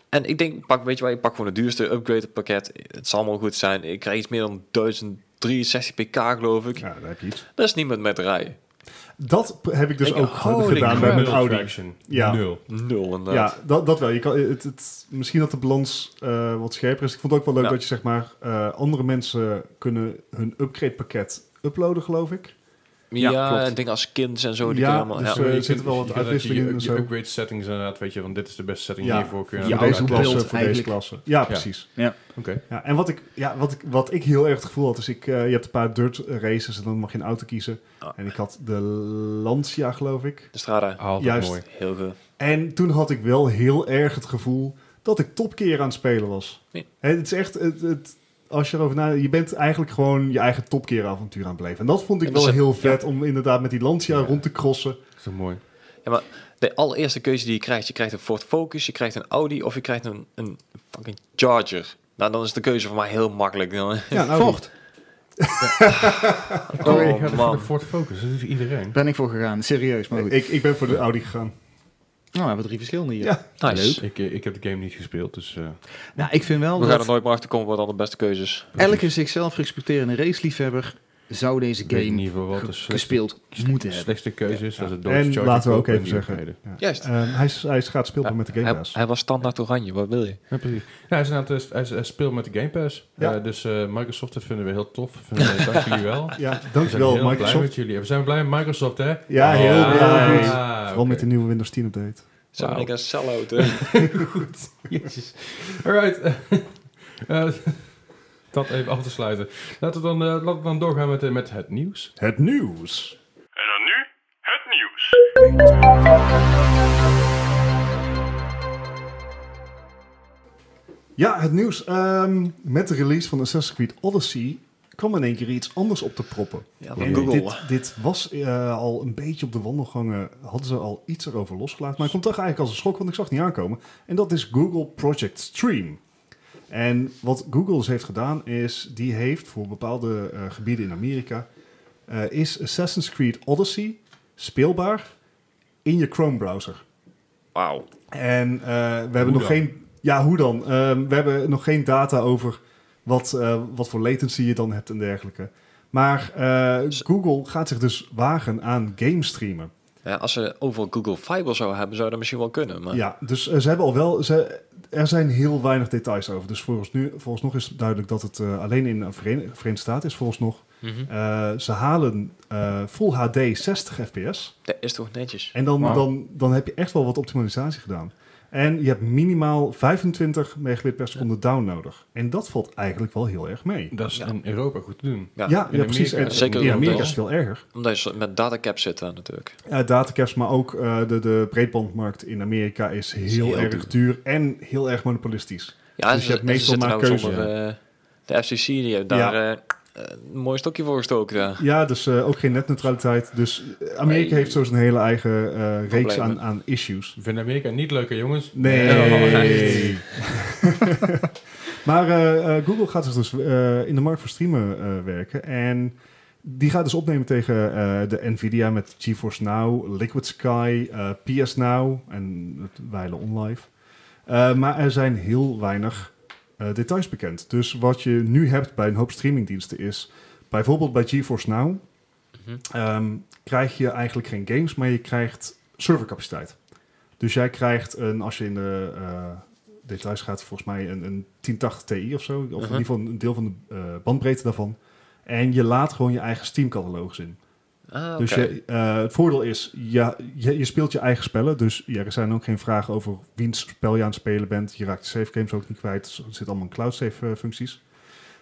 Speaker 3: En ik denk, pak, weet je waar, ik pak gewoon het duurste upgrade pakket. Het zal wel goed zijn. Ik krijg iets meer dan 1000 63 pk geloof ik.
Speaker 4: Ja, daar heb je iets.
Speaker 3: Dat is niet met met rijden.
Speaker 4: Dat heb ik dus
Speaker 3: Ik-
Speaker 4: ook
Speaker 2: Holy
Speaker 4: gedaan bij
Speaker 2: crap.
Speaker 4: mijn
Speaker 2: Nul
Speaker 4: Audi.
Speaker 2: traction.
Speaker 4: Ja.
Speaker 2: Nul.
Speaker 3: Nul inderdaad.
Speaker 4: Ja, dat, dat wel. Je kan, het, het, misschien dat de balans eh, wat scherper is. Ik vond het ook wel leuk
Speaker 3: Ja.
Speaker 4: dat je zeg maar eh, andere mensen kunnen hun upgrade pakket uploaden, geloof ik.
Speaker 3: Ja,
Speaker 4: Ja, klopt.
Speaker 3: en dingen als skins en zo. Die
Speaker 4: Ja,
Speaker 3: kunnen allemaal,
Speaker 4: dus,
Speaker 3: ja.
Speaker 4: eh,
Speaker 2: Je
Speaker 4: er zitten
Speaker 2: kunt-
Speaker 4: wel wat
Speaker 2: je kunt ook
Speaker 4: uitwisselingen
Speaker 2: je-
Speaker 4: en
Speaker 2: Je
Speaker 4: zo.
Speaker 2: upgrade settings inderdaad, weet je, van dit is de beste setting
Speaker 4: Ja.
Speaker 2: hiervoor. Kun je
Speaker 1: Ja,
Speaker 4: voor
Speaker 2: aan
Speaker 4: deze
Speaker 2: elkaar
Speaker 4: klasse,
Speaker 1: beeld
Speaker 4: voor deze
Speaker 1: eigenlijk.
Speaker 4: klasse. Ja,
Speaker 2: Ja.
Speaker 4: precies.
Speaker 2: klikken. Oké.
Speaker 4: Ja, en wat ik, ja, wat, ik, wat ik heel erg het gevoel had, is ik, eh, je hebt een paar dirt races en dan mag je een auto kiezen.
Speaker 3: Ah.
Speaker 4: En ik had de Lancia, geloof ik.
Speaker 3: De Strada.
Speaker 2: Altijd
Speaker 4: Juist.
Speaker 2: mooi.
Speaker 3: Heel goed.
Speaker 4: En toen had ik wel heel erg het gevoel dat ik topkeer aan het spelen was.
Speaker 3: Ja.
Speaker 4: Hè, Het is echt, het, het, als je erover nadenkt, je bent eigenlijk gewoon je eigen topkeeravontuur aan het beleven. En dat vond ik
Speaker 3: En dat
Speaker 4: wel
Speaker 3: is-
Speaker 4: heel vet, om inderdaad met die Lancia
Speaker 2: Ja.
Speaker 4: rond te crossen.
Speaker 2: Zo mooi.
Speaker 3: De allereerste keuze die je krijgt, je krijgt een Ford Focus, je krijgt een Audi of je krijgt een, een fucking Charger. Nou, dan is de keuze voor mij heel makkelijk. Dan.
Speaker 4: Ja, nou,
Speaker 1: Vocht,
Speaker 2: Oh, ik
Speaker 3: Oh,
Speaker 2: had voor de
Speaker 3: man.
Speaker 2: Ford Focus, dat is iedereen.
Speaker 1: ben ik voor gegaan. Serieus,
Speaker 2: Oh,
Speaker 1: maar goed.
Speaker 4: Ik, ik ben voor de Audi gegaan.
Speaker 1: Nou, we hebben drie verschillende hier.
Speaker 4: Ja.
Speaker 3: Nice.
Speaker 1: Leuk.
Speaker 2: Ik, eh, ik heb de game niet gespeeld, dus... eh,
Speaker 1: Nou, ik vind wel
Speaker 3: We gaan er
Speaker 1: dat
Speaker 3: nooit meer achter komen wat dan de beste keuze is.
Speaker 1: elke zichzelf respecterende raceliefhebber zou deze
Speaker 2: Ik weet in
Speaker 1: game
Speaker 2: ieder geval wat
Speaker 1: ge-
Speaker 2: de slechtste,
Speaker 1: gespeeld moeten hebben.
Speaker 2: slechtste keuze is. Dat is
Speaker 4: En laten we ook even zeggen. Ja.
Speaker 3: Juist.
Speaker 4: Ehm, hij, is, hij is gaat speelbaar met de Game
Speaker 3: hij,
Speaker 4: Pass.
Speaker 3: hij was standaard oranje, wat wil je?
Speaker 2: Ja, precies. Nou, hij, is inderdaad, eh, hij, is- hij speelt met de Game Pass.
Speaker 4: Ja.
Speaker 2: Eh, dus eh, Microsoft, dat vinden we heel tof. Vinden we, dank jullie wel. We
Speaker 4: Ja,
Speaker 2: zijn
Speaker 4: dankjewel
Speaker 2: heel blij
Speaker 4: Microsoft.
Speaker 2: met jullie. We zijn blij met Microsoft, hè?
Speaker 4: Ja, heel
Speaker 2: Ah,
Speaker 4: blij.
Speaker 2: ah,
Speaker 4: Vooral met de nieuwe Windows 10 update.
Speaker 3: Zo
Speaker 2: Wauw.
Speaker 3: ben ik een sell-out. hè.
Speaker 2: Jezus. Alright. Eh, dat even af te sluiten. Laten we dan, eh, laten we dan doorgaan met, eh, met het nieuws.
Speaker 4: Het nieuws.
Speaker 5: En dan nu het nieuws.
Speaker 4: Ja, het nieuws. Ehm, met de release van Assassin's Creed Odyssey kwam in één keer iets anders op te proppen.
Speaker 3: Ja,
Speaker 2: En
Speaker 3: van
Speaker 4: En
Speaker 3: Google.
Speaker 4: Dit, dit was eh, al een beetje op de wandelgangen, hadden ze al iets erover losgelaten. Maar het komt toch eigenlijk als een schok, want ik zag het niet aankomen. En dat is Google Project Stream. En wat Google dus heeft gedaan is, die heeft voor bepaalde eh, gebieden in Amerika, eh, is Assassin's Creed Odyssey speelbaar in je Chrome browser.
Speaker 3: Wauw.
Speaker 4: En eh, we hebben nog
Speaker 2: dan?
Speaker 4: geen. Ja, hoe dan? Ehm, we hebben nog geen data over wat, eh, wat voor latency je dan hebt en dergelijke. Maar eh, Google gaat zich dus wagen aan game streamen.
Speaker 3: Ja, als ze overal Google Fiber zouden hebben, zou dat misschien wel kunnen. Maar
Speaker 4: Ja, dus eh, ze hebben al wel. Ze, er zijn heel weinig details over. Dus volgens, nu, volgens nog is het duidelijk dat het eh, alleen in de Veren- Verenigde Staten is. Volgens nog.
Speaker 3: Mhm.
Speaker 4: Eh, ze halen eh, Full HD 60 FPS.
Speaker 3: dat is toch netjes.
Speaker 4: En dan,
Speaker 1: Wauw.
Speaker 4: dan, dan heb je echt wel wat optimalisatie gedaan. En je hebt minimaal 25 megabit per seconde down nodig. En dat valt eigenlijk wel heel erg mee.
Speaker 2: Dat is
Speaker 3: Ja.
Speaker 2: in Europa goed te doen.
Speaker 4: Ja,
Speaker 3: Ja,
Speaker 4: ja,
Speaker 2: in
Speaker 4: precies.
Speaker 2: Amerika
Speaker 4: En
Speaker 3: zeker
Speaker 4: in
Speaker 3: wel.
Speaker 4: Amerika is het veel erger.
Speaker 3: Omdat ze met datacap zitten natuurlijk.
Speaker 4: Ja, datacaps, maar ook eh, de, de breedbandmarkt in Amerika is heel,
Speaker 3: heel
Speaker 4: erg duur. en heel erg monopolistisch.
Speaker 3: Ja,
Speaker 4: Dus
Speaker 3: ze-
Speaker 4: je hebt
Speaker 3: ze
Speaker 4: meestal
Speaker 3: zitten
Speaker 4: maar
Speaker 3: nou
Speaker 4: keuze.
Speaker 3: zonder, eh, de FCC die heeft daar eh, een mooi stokje voor gestoken. daar.
Speaker 4: Ja, dus eh, ook geen netneutraliteit. Dus eh, Amerika
Speaker 3: Nee.
Speaker 4: heeft zo zijn hele eigen eh, reeks
Speaker 3: Problemen.
Speaker 4: aan, aan issues.
Speaker 2: Ik vind Amerika niet leuk, hè, jongens?
Speaker 4: Nee.
Speaker 2: Alright.
Speaker 4: maar eh, eh, Google gaat dus eh, in de markt voor streamen eh, werken. En die gaat dus opnemen tegen eh, de Nvidia met GeForce Now, Liquid Sky, eh, PS Now en het wijle OnLive. Eh, maar er zijn heel weinig eh, details bekend. Dus wat je nu hebt bij een hoop streamingdiensten is... bijvoorbeeld bij GeForce Now... ehm, krijg je eigenlijk geen games, maar je krijgt servercapaciteit. Dus jij krijgt een, als je in de eh, details gaat, volgens mij een, een 1080 Ti of zo. Of in
Speaker 3: Mhm.
Speaker 4: ieder geval een deel van de eh, bandbreedte daarvan. En je laat gewoon je eigen Steam-catalogus in.
Speaker 3: Ah,
Speaker 4: Dus
Speaker 3: oké.
Speaker 4: je, eh, het voordeel is, ja, je, je speelt je eigen spellen. Dus ja, er zijn ook geen vragen over wiens spel je aan het spelen bent. Je raakt je save games ook niet kwijt. Dus Er zitten allemaal in cloud save eh, functies.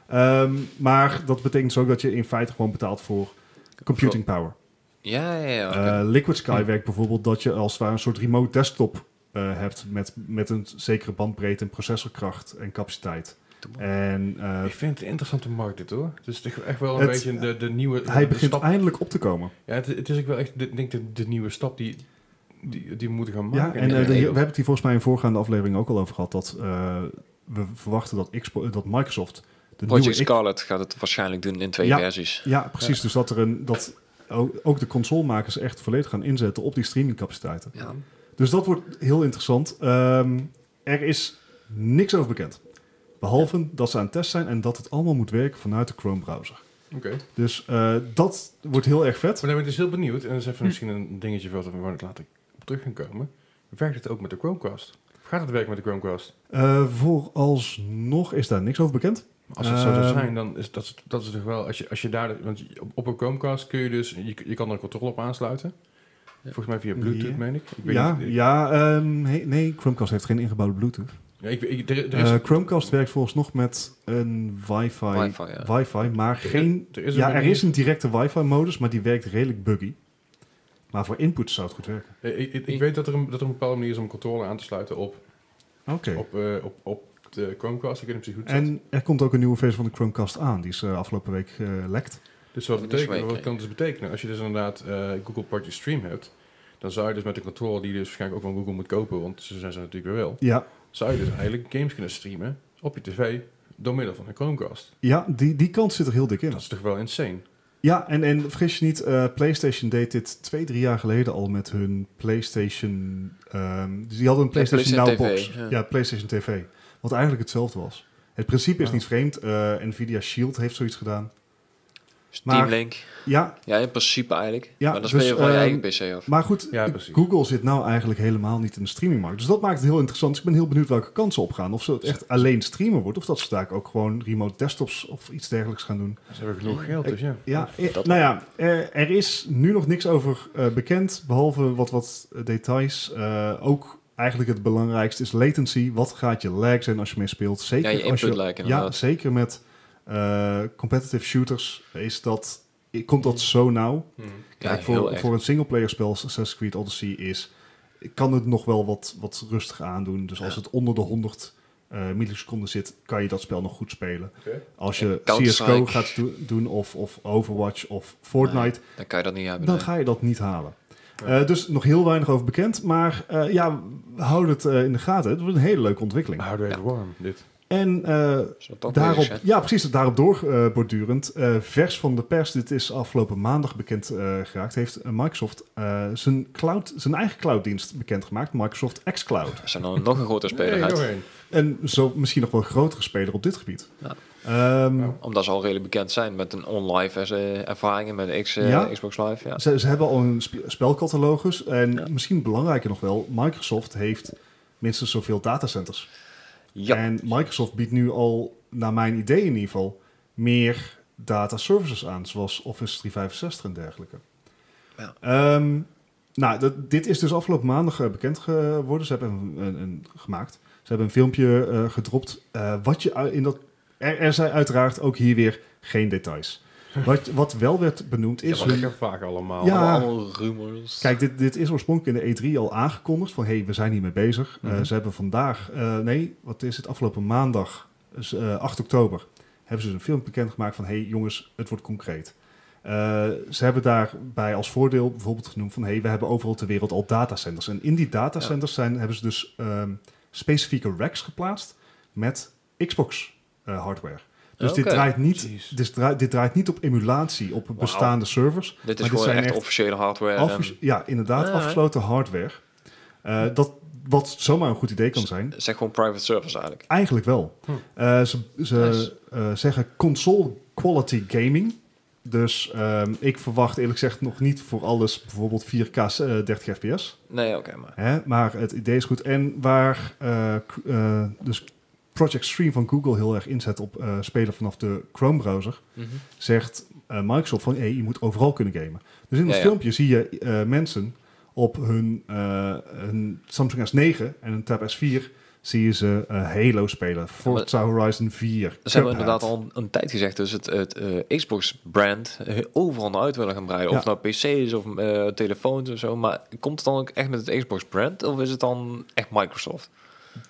Speaker 4: Ehm, maar dat betekent dus ook dat je in feite gewoon betaalt voor computing power.
Speaker 3: Ja, ja, ja. oké.
Speaker 4: Eh, Liquid Sky werkt bijvoorbeeld dat je als het ware een soort remote desktop eh, hebt met, met een zekere bandbreedte en processorkracht en capaciteit.
Speaker 3: Doe maar.
Speaker 4: En eh,
Speaker 2: Ik vind het een interessante markt dit hoor. Het is toch echt wel een
Speaker 4: Het-
Speaker 2: beetje de, de nieuwe
Speaker 4: hij
Speaker 2: de
Speaker 4: begint
Speaker 2: stap.
Speaker 4: eindelijk op te komen.
Speaker 2: Ja, het, het is ook wel echt, ik denk de, de nieuwe stap die, die, die we moeten gaan
Speaker 4: Ja,
Speaker 2: maken.
Speaker 4: en eh, de- we
Speaker 2: Ja.
Speaker 4: hebben het hier volgens mij in voorgaande aflevering ook al over gehad dat eh, we verwachten dat, Xbox, dat Microsoft de
Speaker 3: Project
Speaker 4: nieuwe X-
Speaker 3: Scarlet gaat het waarschijnlijk doen in twee
Speaker 4: Ja.
Speaker 3: versies.
Speaker 4: ja, precies. Dus dat er een dat ook, ook de consolemakers echt volledig gaan inzetten op die streamingcapaciteiten.
Speaker 3: Ja.
Speaker 4: Dus dat wordt heel interessant. Ehm, er is niks over bekend, behalve dat ze aan het testen zijn en dat het allemaal moet werken vanuit de Chrome browser.
Speaker 2: Oké.
Speaker 4: Dus eh, dat wordt heel erg vet.
Speaker 2: Maar dan ben ik dus heel benieuwd. En dat is
Speaker 4: Hm.
Speaker 2: even misschien een dingetje wat we ik later op terug gaan komen. Werkt het ook met de Chromecast? Of gaat het werken met de Chromecast?
Speaker 4: Eh, vooralsnog is daar niks over bekend.
Speaker 2: Als het zo zou
Speaker 4: Ehm.
Speaker 2: zijn, dan is dat, dat is toch wel... Als je, als je daar... Want je- op, op een Chromecast kun je dus... Je, je kan er een controle op aansluiten. Volgens mij via Bluetooth,
Speaker 4: Ja.
Speaker 2: meen ik. ik weet
Speaker 4: Ja,
Speaker 2: niet- eh,
Speaker 4: ja ehm, he- nee, Chromecast heeft geen ingebouwde Bluetooth.
Speaker 2: Ja, ik, ik, er, er is,
Speaker 4: Eh, Chromecast werkt vooralsnog met een wifi, wifi,
Speaker 3: Wi-Fi, ja.
Speaker 4: maar
Speaker 2: is-
Speaker 4: geen...
Speaker 2: er is een
Speaker 4: ja, er
Speaker 2: manier-
Speaker 4: is een directe wifi-modus, maar die werkt redelijk buggy. Maar voor input zou het goed werken.
Speaker 2: eh, ik, ik, ik weet dat er, een, dat er een bepaalde manier is om controle aan te sluiten op,
Speaker 4: Oké.
Speaker 2: op, eh, op, op de Chromecast. Ik weet niet precies hoe het zit.
Speaker 4: En er komt ook een nieuwe versie van de Chromecast aan. Die is eh, afgelopen week eh, lekt.
Speaker 2: Dus wat,
Speaker 3: Dat is
Speaker 2: betekent,
Speaker 3: waar,
Speaker 2: wat kan het dus betekenen? Als je dus inderdaad eh, Google Project Stream hebt... Dan zou je dus met de controle die je dus waarschijnlijk ook van Google moet kopen... Want ze zijn ze natuurlijk weer wel.
Speaker 4: Ja,
Speaker 2: zou je dus eigenlijk games kunnen streamen op je tv door middel van een Chromecast.
Speaker 4: ja die, die kant zit er heel dik in.
Speaker 2: Dat is toch wel insane?
Speaker 4: Ja, en, en vergis je niet, eh, PlayStation deed dit twee, drie jaar geleden al met hun PlayStation. ehm, dus die hadden een PlayStation,
Speaker 3: PlayStation
Speaker 4: Now box.
Speaker 3: TV,
Speaker 4: Ja.
Speaker 3: ja.
Speaker 4: PlayStation TV. Wat eigenlijk hetzelfde was. Het principe is
Speaker 2: Ja.
Speaker 4: niet vreemd. Eh, Nvidia Shield heeft zoiets gedaan.
Speaker 3: Steam
Speaker 4: Maar-
Speaker 3: Link.
Speaker 4: Ja,
Speaker 3: Dus Ja, in principe eigenlijk.
Speaker 4: Ja,
Speaker 3: maar dan
Speaker 4: dus,
Speaker 3: speel je van je eigen
Speaker 4: ehm,
Speaker 3: PC af.
Speaker 4: maar goed,
Speaker 2: Ja, precies.
Speaker 4: Google zit nou eigenlijk helemaal niet in de streamingmarkt. Dus dat maakt het heel interessant. Dus ik ben heel benieuwd welke kansen opgaan. Of ze het echt alleen streamen wordt, of dat ze daar ook gewoon remote desktops of iets dergelijks gaan doen.
Speaker 2: Ze hebben genoeg geld, dus ja.
Speaker 4: Ja, eh, nou ja, eh, er is nu nog niks over eh, bekend, behalve wat, wat details. Eh, ook eigenlijk het belangrijkste is latency. Wat gaat je lag zijn als je mee speelt? Zeker
Speaker 3: Ja, je
Speaker 4: als
Speaker 3: input lag
Speaker 4: Ja,
Speaker 3: inderdaad.
Speaker 4: zeker met eh, competitive shooters is dat, komt dat zo nauw.
Speaker 2: Hmm,
Speaker 3: Ja,
Speaker 4: Kijk,
Speaker 3: heel
Speaker 4: voor,
Speaker 3: erg.
Speaker 4: voor een singleplayer spel als Assassin's Creed Odyssey is... Ik kan het nog wel wat, wat rustig aandoen. Dus als het onder de 100 eh, milliseconden zit, kan je dat spel nog goed spelen.
Speaker 2: Oké.
Speaker 4: Als je
Speaker 3: Ja,
Speaker 4: CSGO
Speaker 3: Counter-Strike.
Speaker 4: gaat do- doen of, of Overwatch of Fortnite,
Speaker 3: Dan kan je dat niet hebben.
Speaker 4: dan
Speaker 3: nee.
Speaker 4: ga je dat niet halen. Eh, dus nog heel weinig over bekend. Maar eh, ja, houd het eh, in de gaten. Het wordt een hele leuke ontwikkeling.
Speaker 2: Houden we even warm, dit.
Speaker 4: En eh,
Speaker 3: Zou dat
Speaker 4: daarop,
Speaker 3: bezig zijn?
Speaker 4: ja, precies, daarop doorbordurend. vers van de pers, dit is afgelopen maandag bekend eh, geraakt, heeft eh, Microsoft eh, zijn, cloud, zijn eigen clouddienst bekendgemaakt, Microsoft xCloud.
Speaker 3: Er zijn dan nog een grotere speler
Speaker 2: Nee,
Speaker 3: uit.
Speaker 2: nog één.
Speaker 4: En zo misschien nog wel een grotere speler op dit gebied.
Speaker 3: Ja.
Speaker 4: Ehm,
Speaker 2: Nou.
Speaker 3: Omdat ze al redelijk bekend zijn met een online eh, ervaringen met X, eh,
Speaker 4: Ja.
Speaker 3: Xbox Live. Ja.
Speaker 4: ze, ze hebben al een spe- spelcatalogus en
Speaker 3: Ja.
Speaker 4: misschien belangrijker nog wel, Microsoft heeft minstens zoveel datacenters.
Speaker 3: ja.
Speaker 4: En Microsoft biedt nu al, naar mijn idee in ieder geval, meer data services aan, zoals Office 365 en dergelijke.
Speaker 3: Ja.
Speaker 4: Ehm, nou, dat, dit is dus afgelopen maandag eh, bekend geworden. Ze hebben een, een, een- gemaakt. Ze hebben een filmpje eh, gedropt. eh, wat je u- in dat. Er, er zijn uiteraard ook hier weer geen details. Wat, wat wel werd benoemd is.
Speaker 2: Ja, maar
Speaker 4: hun-
Speaker 2: lekker vaag allemaal.
Speaker 4: Ja.
Speaker 3: Allemaal rumors.
Speaker 4: Kijk, dit, dit is oorspronkelijk in de E3 al aangekondigd van hé, hey, we zijn hiermee bezig. Eh,
Speaker 2: Mhm.
Speaker 4: ze hebben vandaag, eh, nee, wat is het, afgelopen maandag, dus, eh, 8 oktober, hebben ze dus een film bekendgemaakt van hé hey, jongens, het wordt concreet. Eh, ze hebben daarbij als voordeel bijvoorbeeld genoemd van hé, hey, we hebben overal ter wereld al datacenters. En in die datacenters zijn, hebben ze dus ehm, specifieke racks geplaatst met Xbox eh, hardware. Dus dit,
Speaker 3: Oké.
Speaker 4: draait niet,
Speaker 2: Jeez.
Speaker 4: dit, draait, dit draait niet op emulatie op bestaande servers.
Speaker 3: dit is
Speaker 4: maar dit
Speaker 3: gewoon
Speaker 4: zijn
Speaker 3: echt,
Speaker 4: echt
Speaker 3: officiële hardware. en-
Speaker 4: Afges- ja, inderdaad,
Speaker 3: Ehm, Ja, hè?
Speaker 4: afgesloten hardware. Eh, dat, wat zomaar een goed idee kan zijn.
Speaker 3: het zijn gewoon private servers eigenlijk.
Speaker 4: Eigenlijk wel. Eh, ze ze
Speaker 3: Hm. Nice.
Speaker 4: eh, zeggen console quality gaming. Dus ehm, ik verwacht eerlijk gezegd nog niet voor alles bijvoorbeeld 4K eh, 30 fps.
Speaker 3: Nee, oké, maar.
Speaker 4: Hè? Maar het idee is goed. En waar eh, k- eh, dus Project Stream van Google heel erg inzet op eh, spelen vanaf de Chrome browser zegt eh, Microsoft van hey, je moet overal kunnen gamen. Dus
Speaker 3: Ja,
Speaker 4: in dat
Speaker 3: ja.
Speaker 4: filmpje zie je eh, mensen op hun, eh, hun Samsung S9 en een Tab S4 zie je ze eh, Halo spelen, Forza Horizon 4.
Speaker 3: Ze hebben
Speaker 4: Cuphead.
Speaker 3: inderdaad al een, een tijd gezegd, dus het, het eh, Xbox-brand eh, overal naar uit willen gaan breiden. Of
Speaker 4: Ja.
Speaker 3: nou PC's of eh, telefoons of zo. Maar komt het dan ook echt met het Xbox-brand of is het dan echt Microsoft?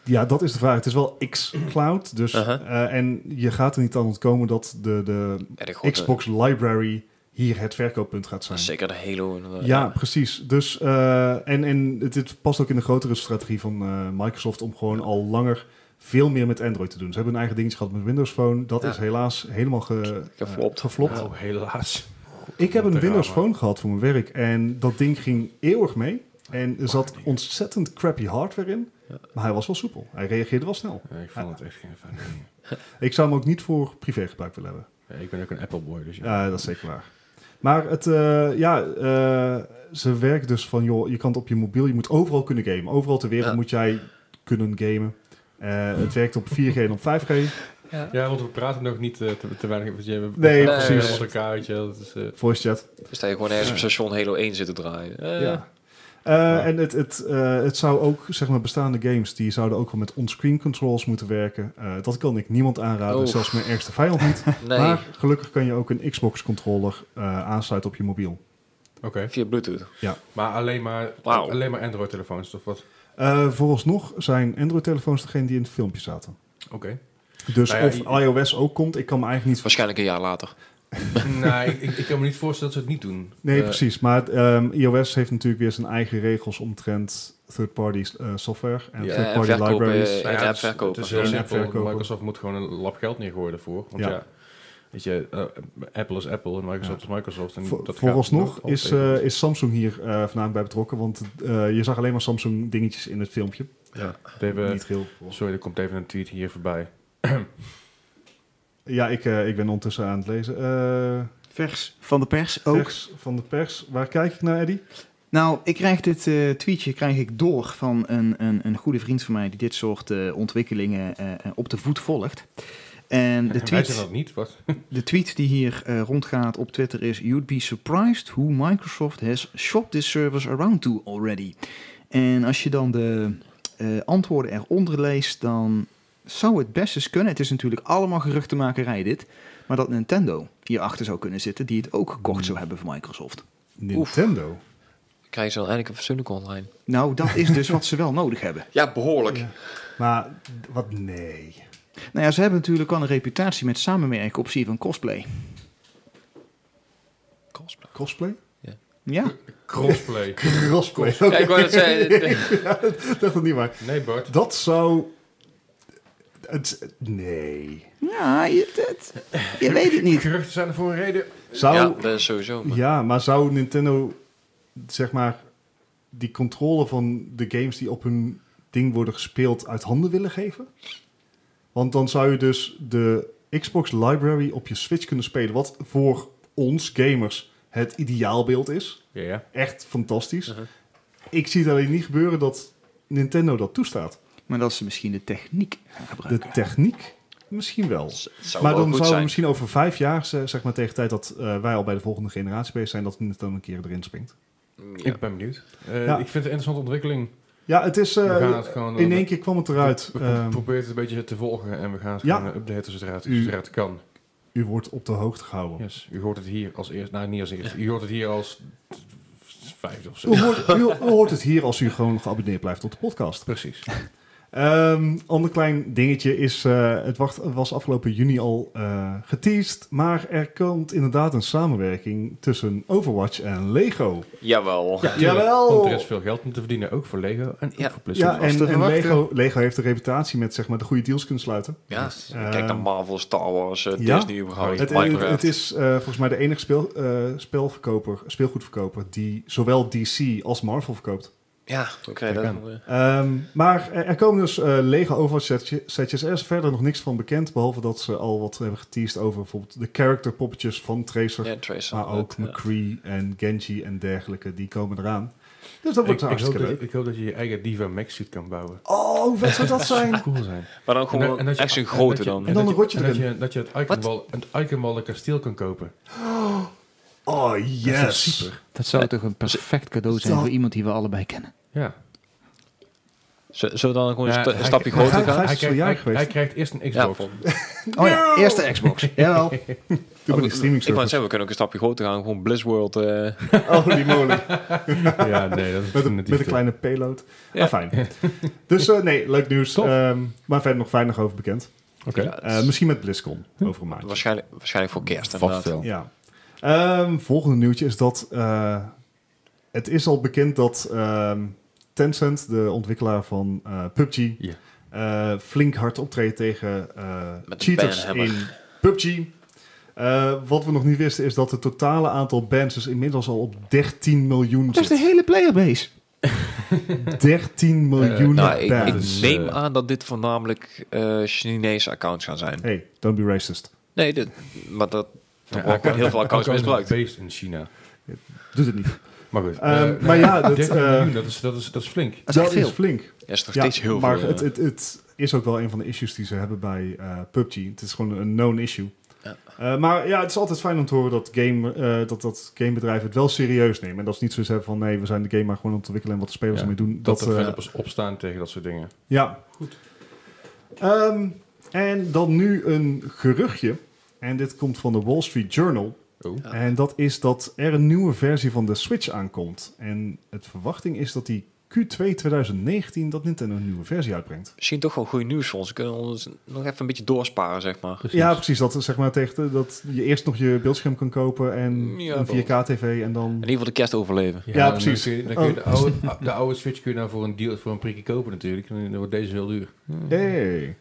Speaker 4: Ja, dat is de vraag. Het is wel X-Cloud, dus
Speaker 3: Uh-huh.
Speaker 4: eh, en je gaat er niet aan ontkomen dat de, de
Speaker 3: Ja, de grote-
Speaker 4: Xbox Library hier het verkooppunt gaat zijn.
Speaker 3: Zeker de Halo. eh, inderdaad.
Speaker 4: Ja, precies. Dus, eh, en, en het, het past ook in de grotere strategie van eh, Microsoft om gewoon al langer veel meer met Android te doen. Ze hebben hun eigen dingetje gehad met Windows Phone. Dat
Speaker 3: Ja.
Speaker 4: is helaas helemaal ge,
Speaker 3: Geflopt.
Speaker 4: eh, geflopt.
Speaker 2: Oh, helaas.
Speaker 4: Ik heb een
Speaker 2: Te
Speaker 4: Windows
Speaker 2: raar,
Speaker 4: Phone gehad voor mijn werk en dat ding ging eeuwig mee. En er zat ontzettend crappy hardware in, maar hij was wel soepel. Hij reageerde wel snel.
Speaker 2: Nee, ik vond het echt geen fijn.
Speaker 4: Ik zou hem ook niet voor privégebruik willen hebben.
Speaker 2: Ja, ik ben ook een Apple boy, dus ja.
Speaker 4: Ja, dat is zeker waar. Maar het, eh, ja, eh, ze werkt dus van, joh, je kan het op je mobiel, je moet overal kunnen gamen. Overal ter wereld
Speaker 3: Ja.
Speaker 4: moet jij kunnen gamen. Eh, het werkt op 4G en op 5G.
Speaker 2: Ja, want we praten nog niet eh, te, te weinig. want je hebt- we
Speaker 4: Nee,
Speaker 2: praten
Speaker 3: precies.
Speaker 2: Met elkaar, weet je wel, dat is, eh,
Speaker 4: Voice chat.
Speaker 3: Dus dat je gewoon ergens op station Halo 1 zit te draaien. Eh,
Speaker 4: Ja. Eh, En het, het, eh, het zou ook, zeg maar, bestaande games, die zouden ook wel met onscreen controls moeten werken. Eh, dat kan ik niemand aanraden,
Speaker 3: Oh.
Speaker 4: zelfs mijn ergste vijand niet.
Speaker 3: Nee,
Speaker 4: Maar gelukkig kan je ook een Xbox-controller eh, aansluiten op je mobiel.
Speaker 2: Oké.
Speaker 3: via Bluetooth.
Speaker 2: Maar alleen maar,
Speaker 3: Wauw.
Speaker 2: alleen maar Android-telefoons, of wat?
Speaker 4: Eh vooralsnog zijn Android-telefoons degene die in het filmpje zaten.
Speaker 2: Oké.
Speaker 4: Dus
Speaker 2: Nou ja,
Speaker 4: of
Speaker 2: i-
Speaker 4: iOS ook komt, ik kan me eigenlijk niet...
Speaker 3: Waarschijnlijk een jaar later.
Speaker 2: nee, ik, ik- ik kan me niet voorstellen dat ze het niet doen.
Speaker 4: Nee,
Speaker 2: Eh,
Speaker 4: precies. Maar ehm, iOS heeft natuurlijk weer zijn eigen regels omtrent third-party eh, software en
Speaker 2: Ja,
Speaker 3: en
Speaker 4: third-party
Speaker 3: verkopen,
Speaker 4: libraries.
Speaker 3: eh,
Speaker 2: nou ja,
Speaker 3: In-app
Speaker 2: het is-
Speaker 3: verkopen.
Speaker 2: Het is heel
Speaker 4: In-app
Speaker 2: simpel.
Speaker 4: verkopen.
Speaker 2: Microsoft moet gewoon een lap geld neergooien ervoor. Want
Speaker 4: Ja.
Speaker 2: ja, weet je, eh, Apple is Apple en Microsoft is Microsoft. En
Speaker 4: Vo-
Speaker 2: dat gaat
Speaker 4: vooralsnog
Speaker 2: nooit altijd
Speaker 4: is,
Speaker 2: even.
Speaker 4: eh, is Samsung hier eh vanavond bij betrokken, want eh, je zag alleen maar Samsung dingetjes in het filmpje.
Speaker 2: We hebben-
Speaker 4: Niet heel veel.
Speaker 2: sorry, er komt even een tweet hier voorbij.
Speaker 4: Ja, ik, eh, ik ben ondertussen aan het lezen. Eh
Speaker 1: Vers van de pers ook.
Speaker 4: vers van de pers. Waar kijk ik naar, Eddy?
Speaker 1: Nou, ik krijg dit eh, tweetje krijg ik door van een, een, een goede vriend van mij die dit soort eh, ontwikkelingen eh, eh, op de voet volgt. En de
Speaker 2: Wij
Speaker 1: tweet...
Speaker 2: zijn dat niet, wat?
Speaker 1: De tweet die hier eh, rondgaat op Twitter is: You'd be surprised who Microsoft has shopped this service around to already. En als je dan de eh, antwoorden eronder leest, dan zou het best eens kunnen. Het is natuurlijk allemaal geruchtenmakerij dit, maar dat Nintendo hierachter zou kunnen zitten, die het ook gekocht zou hebben van Microsoft.
Speaker 4: Nintendo.
Speaker 3: Krijgen ze dan eindelijk een fatsoenlijke online.
Speaker 1: Nou, dat is dus wat ze wel nodig hebben.
Speaker 3: Ja, behoorlijk.
Speaker 4: Ja. Maar wat nee.
Speaker 1: Nou ja, ze hebben natuurlijk wel een reputatie met samenwerken op het van cosplay.
Speaker 3: Cosplay.
Speaker 4: Cosplay?
Speaker 1: Ja,
Speaker 2: Crossplay.
Speaker 4: Cosplay.
Speaker 3: Ja, ik wou dat zeggen.
Speaker 4: dat dacht het niet waar.
Speaker 2: Nee, Bart.
Speaker 4: Dat zou... Het, nee.
Speaker 1: ja je, het- je weet het niet.
Speaker 2: Geruchten zijn er voor een reden.
Speaker 4: Zou,
Speaker 3: Ja,
Speaker 4: Nou, ja,
Speaker 3: dat is sowieso. maar-
Speaker 4: maar zou Nintendo, zeg maar, die controle van de games die op hun ding worden gespeeld uit handen willen geven? Want dan zou je dus de Xbox library op je Switch kunnen spelen, wat voor ons gamers het ideaalbeeld is.
Speaker 2: Ja, ja.
Speaker 4: Echt fantastisch.
Speaker 3: Uh-huh.
Speaker 4: Ik zie het alleen niet gebeuren dat Nintendo dat toestaat.
Speaker 1: Maar dat ze misschien de techniek gaan
Speaker 4: De
Speaker 1: gebruiken.
Speaker 4: techniek misschien wel.
Speaker 3: Z- zou
Speaker 4: maar
Speaker 3: wel
Speaker 4: dan
Speaker 3: goed
Speaker 4: zou
Speaker 3: zijn.
Speaker 4: misschien over vijf jaar, ze- zeg maar tegen de tijd dat eh, wij al bij de volgende generatie bezig zijn, dat Nintendo een keer erin springt.
Speaker 3: Ja.
Speaker 2: Ik ben benieuwd. Eh, Ik
Speaker 4: Ja.
Speaker 2: vind het een interessante ontwikkeling.
Speaker 4: Ja, het is. eh,
Speaker 2: We gaan het gewoon-
Speaker 4: in één keer kwam het eruit.
Speaker 2: We, we
Speaker 4: Ehm,
Speaker 2: proberen het een beetje te volgen en we gaan het
Speaker 4: Ja.
Speaker 2: gewoon eh, updaten zodra het,
Speaker 4: U-
Speaker 2: zodra het kan.
Speaker 4: u wordt op de hoogte gehouden.
Speaker 2: Yes. U hoort het hier als eerst. Nou, niet als eerst. U hoort het hier als vijfde of zo.
Speaker 4: U, hoort, u, u hoort het hier als u gewoon geabonneerd blijft op de podcast.
Speaker 2: Precies.
Speaker 4: Ehm ander klein dingetje is, eh, het wacht, was afgelopen juni al eh geteased, maar er komt inderdaad een samenwerking tussen Overwatch en Lego.
Speaker 3: Jawel.
Speaker 4: jawel!
Speaker 2: Want er is veel geld om te verdienen, ook voor Lego en ook
Speaker 3: Ja.
Speaker 2: voor PlayStation.
Speaker 4: Ja,
Speaker 1: was te
Speaker 4: en, en
Speaker 1: verwachten.
Speaker 4: Lego, Lego heeft een reputatie met zeg maar, de goede deals kunnen sluiten.
Speaker 3: Ja,
Speaker 4: Eh,
Speaker 3: kijk naar Marvel, Star Wars, eh,
Speaker 4: ja.
Speaker 3: Disney überhaupt,
Speaker 4: Het, het,
Speaker 3: Minecraft.
Speaker 4: het is eh, volgens mij de enige speel, eh, spelverkoper, speelgoedverkoper die zowel DC als Marvel verkoopt.
Speaker 3: ja, oké. dat,
Speaker 2: aan.
Speaker 3: eh,
Speaker 4: Ehm, maar er, er komen dus eh lege Overwatch setje- setjes. Er is verder nog niks van bekend, behalve dat ze al wat hebben geteased over bijvoorbeeld de character poppetjes van Tracer.
Speaker 3: eh, ja, Tracer.
Speaker 4: Maar ook
Speaker 3: Dat, ja.
Speaker 4: McCree en Genji en dergelijke, die komen eraan. Dus dat
Speaker 2: Ik,
Speaker 4: wordt
Speaker 2: ik, hoop
Speaker 4: hartstikke
Speaker 2: dat, je-
Speaker 4: leuk.
Speaker 2: ik hoop dat je je eigen Diva Max suit kan bouwen.
Speaker 4: Oh, wat zou dat zijn?
Speaker 2: Cool zijn.
Speaker 3: Maar dan
Speaker 2: En dat-
Speaker 3: gewoon
Speaker 2: en dat je-
Speaker 3: echt zo'n
Speaker 2: en
Speaker 3: grote
Speaker 2: dat je-
Speaker 3: dan.
Speaker 4: En dan
Speaker 2: dat
Speaker 4: een rotje
Speaker 2: je- en
Speaker 4: erin.
Speaker 2: Dat je, dat je het Iconwall, het Iconwall kasteel kan kopen.
Speaker 4: Oh,
Speaker 2: Dat is toch
Speaker 4: yes.
Speaker 2: super.
Speaker 1: Dat zou toch een perfect cadeau zijn
Speaker 4: Dat-
Speaker 1: voor iemand die we allebei kennen.
Speaker 2: Ja.
Speaker 3: Z- Zullen we dan gewoon
Speaker 2: Ja,
Speaker 3: een sta-
Speaker 2: hij-
Speaker 3: een stapje
Speaker 4: hij-
Speaker 3: groter
Speaker 4: hij-
Speaker 2: Hij
Speaker 3: gaan?
Speaker 4: is wel
Speaker 2: krijgt,
Speaker 4: jaar
Speaker 2: hij,
Speaker 4: geweest.
Speaker 2: hij krijgt eerst een
Speaker 3: Ja,
Speaker 2: Xbox.
Speaker 3: vol-
Speaker 1: Oh ja, eerste Xbox. Jawel.
Speaker 4: Doe
Speaker 2: Oh,
Speaker 4: maar die streaming
Speaker 3: ik wou
Speaker 4: service. Oh,
Speaker 3: zeggen, we kunnen ook een stapje groter gaan. Gewoon Blizzworld. eh
Speaker 4: Ah, Holy moly.
Speaker 2: Ja, nee, dat is
Speaker 4: Met een,
Speaker 2: definitief
Speaker 4: met een
Speaker 2: te-
Speaker 4: kleine payload.
Speaker 3: Ja.
Speaker 4: Maar fijn. Dus eh, nee, leuk nieuws.
Speaker 2: Tof.
Speaker 4: Ehm, maar verder nog weinig over bekend.
Speaker 2: Oké.
Speaker 3: ja,
Speaker 4: Eh, misschien met BlizzCon over een maand.
Speaker 3: waarschijnlijk, waarschijnlijk voor kerst
Speaker 2: Vast
Speaker 3: inderdaad.
Speaker 2: wel.
Speaker 4: Ja. Ehm, volgende nieuwtje is dat eh, het is al bekend dat ehm, Tencent, de ontwikkelaar van eh, PUBG,
Speaker 2: Ja.
Speaker 4: eh, flink hard optreedt tegen eh,
Speaker 3: Met een
Speaker 4: cheaters
Speaker 3: banhammer.
Speaker 4: in PUBG. Eh, wat we nog niet wisten is dat het totale aantal bans dus inmiddels al op 13 miljoen
Speaker 1: Dat is de
Speaker 4: zit.
Speaker 1: hele playerbase.
Speaker 4: 13 miljoen
Speaker 3: Nou, ik,
Speaker 4: bans.
Speaker 3: ik
Speaker 2: Dat is,
Speaker 3: neem
Speaker 2: eh,
Speaker 3: aan dat dit voornamelijk eh, Chinese accounts gaan zijn.
Speaker 4: Hey, don't be racist.
Speaker 3: Nee, dit, maar dat, dan
Speaker 2: Ja,
Speaker 3: wordt
Speaker 2: Arkham-
Speaker 3: heel veel accounts
Speaker 2: Arkham is
Speaker 3: misbruikt.
Speaker 2: based in China.
Speaker 4: Doet het niet.
Speaker 2: Maar goed.
Speaker 4: Ehm,
Speaker 2: eh,
Speaker 4: maar ja, dat,
Speaker 2: 30
Speaker 4: eh,
Speaker 2: miljoen, dat, is, dat, is, dat is flink.
Speaker 1: Dat is echt
Speaker 4: is
Speaker 1: veel.
Speaker 4: flink.
Speaker 3: Er is nog steeds heel
Speaker 4: maar
Speaker 3: veel.
Speaker 4: het,
Speaker 3: eh,
Speaker 4: het, het is ook wel een van de issues die ze hebben bij eh, PUBG. Het is gewoon een known issue.
Speaker 3: Ja.
Speaker 4: Eh, maar ja, het is altijd fijn om te horen dat, game, eh, dat, dat gamebedrijven het wel serieus nemen. En dat ze niet zo hebben van nee, we zijn de game maar gewoon aan het ontwikkelen en wat de spelers
Speaker 2: Ja,
Speaker 4: ermee doen.
Speaker 2: Dat, de
Speaker 4: eh,
Speaker 2: developers opstaan tegen dat soort dingen.
Speaker 4: Ja. Goed. en dan nu een geruchtje. En dit komt van de Wall Street Journal.
Speaker 2: Oh.
Speaker 3: Ja.
Speaker 4: En dat is dat er een nieuwe versie van de Switch aankomt. En het verwachting is dat die Q2 2019 dat Nintendo een nieuwe versie uitbrengt.
Speaker 3: Misschien toch wel goed nieuws voor ons. We kunnen ons nog even een beetje doorsparen, zeg maar.
Speaker 2: Precies.
Speaker 4: Ja, precies. Dat, zeg maar, tegen de- dat je eerst nog je beeldscherm kan kopen en
Speaker 3: Ja,
Speaker 4: een 4K-tv en dan...
Speaker 3: In ieder geval de kerst overleven.
Speaker 4: Ja,
Speaker 2: dan
Speaker 4: precies. Oh.
Speaker 2: kun je- dan kun je de, oude, de oude Switch kun je nou voor een, deal, voor een prikje kopen natuurlijk. En dan wordt deze heel duur.
Speaker 4: Hey.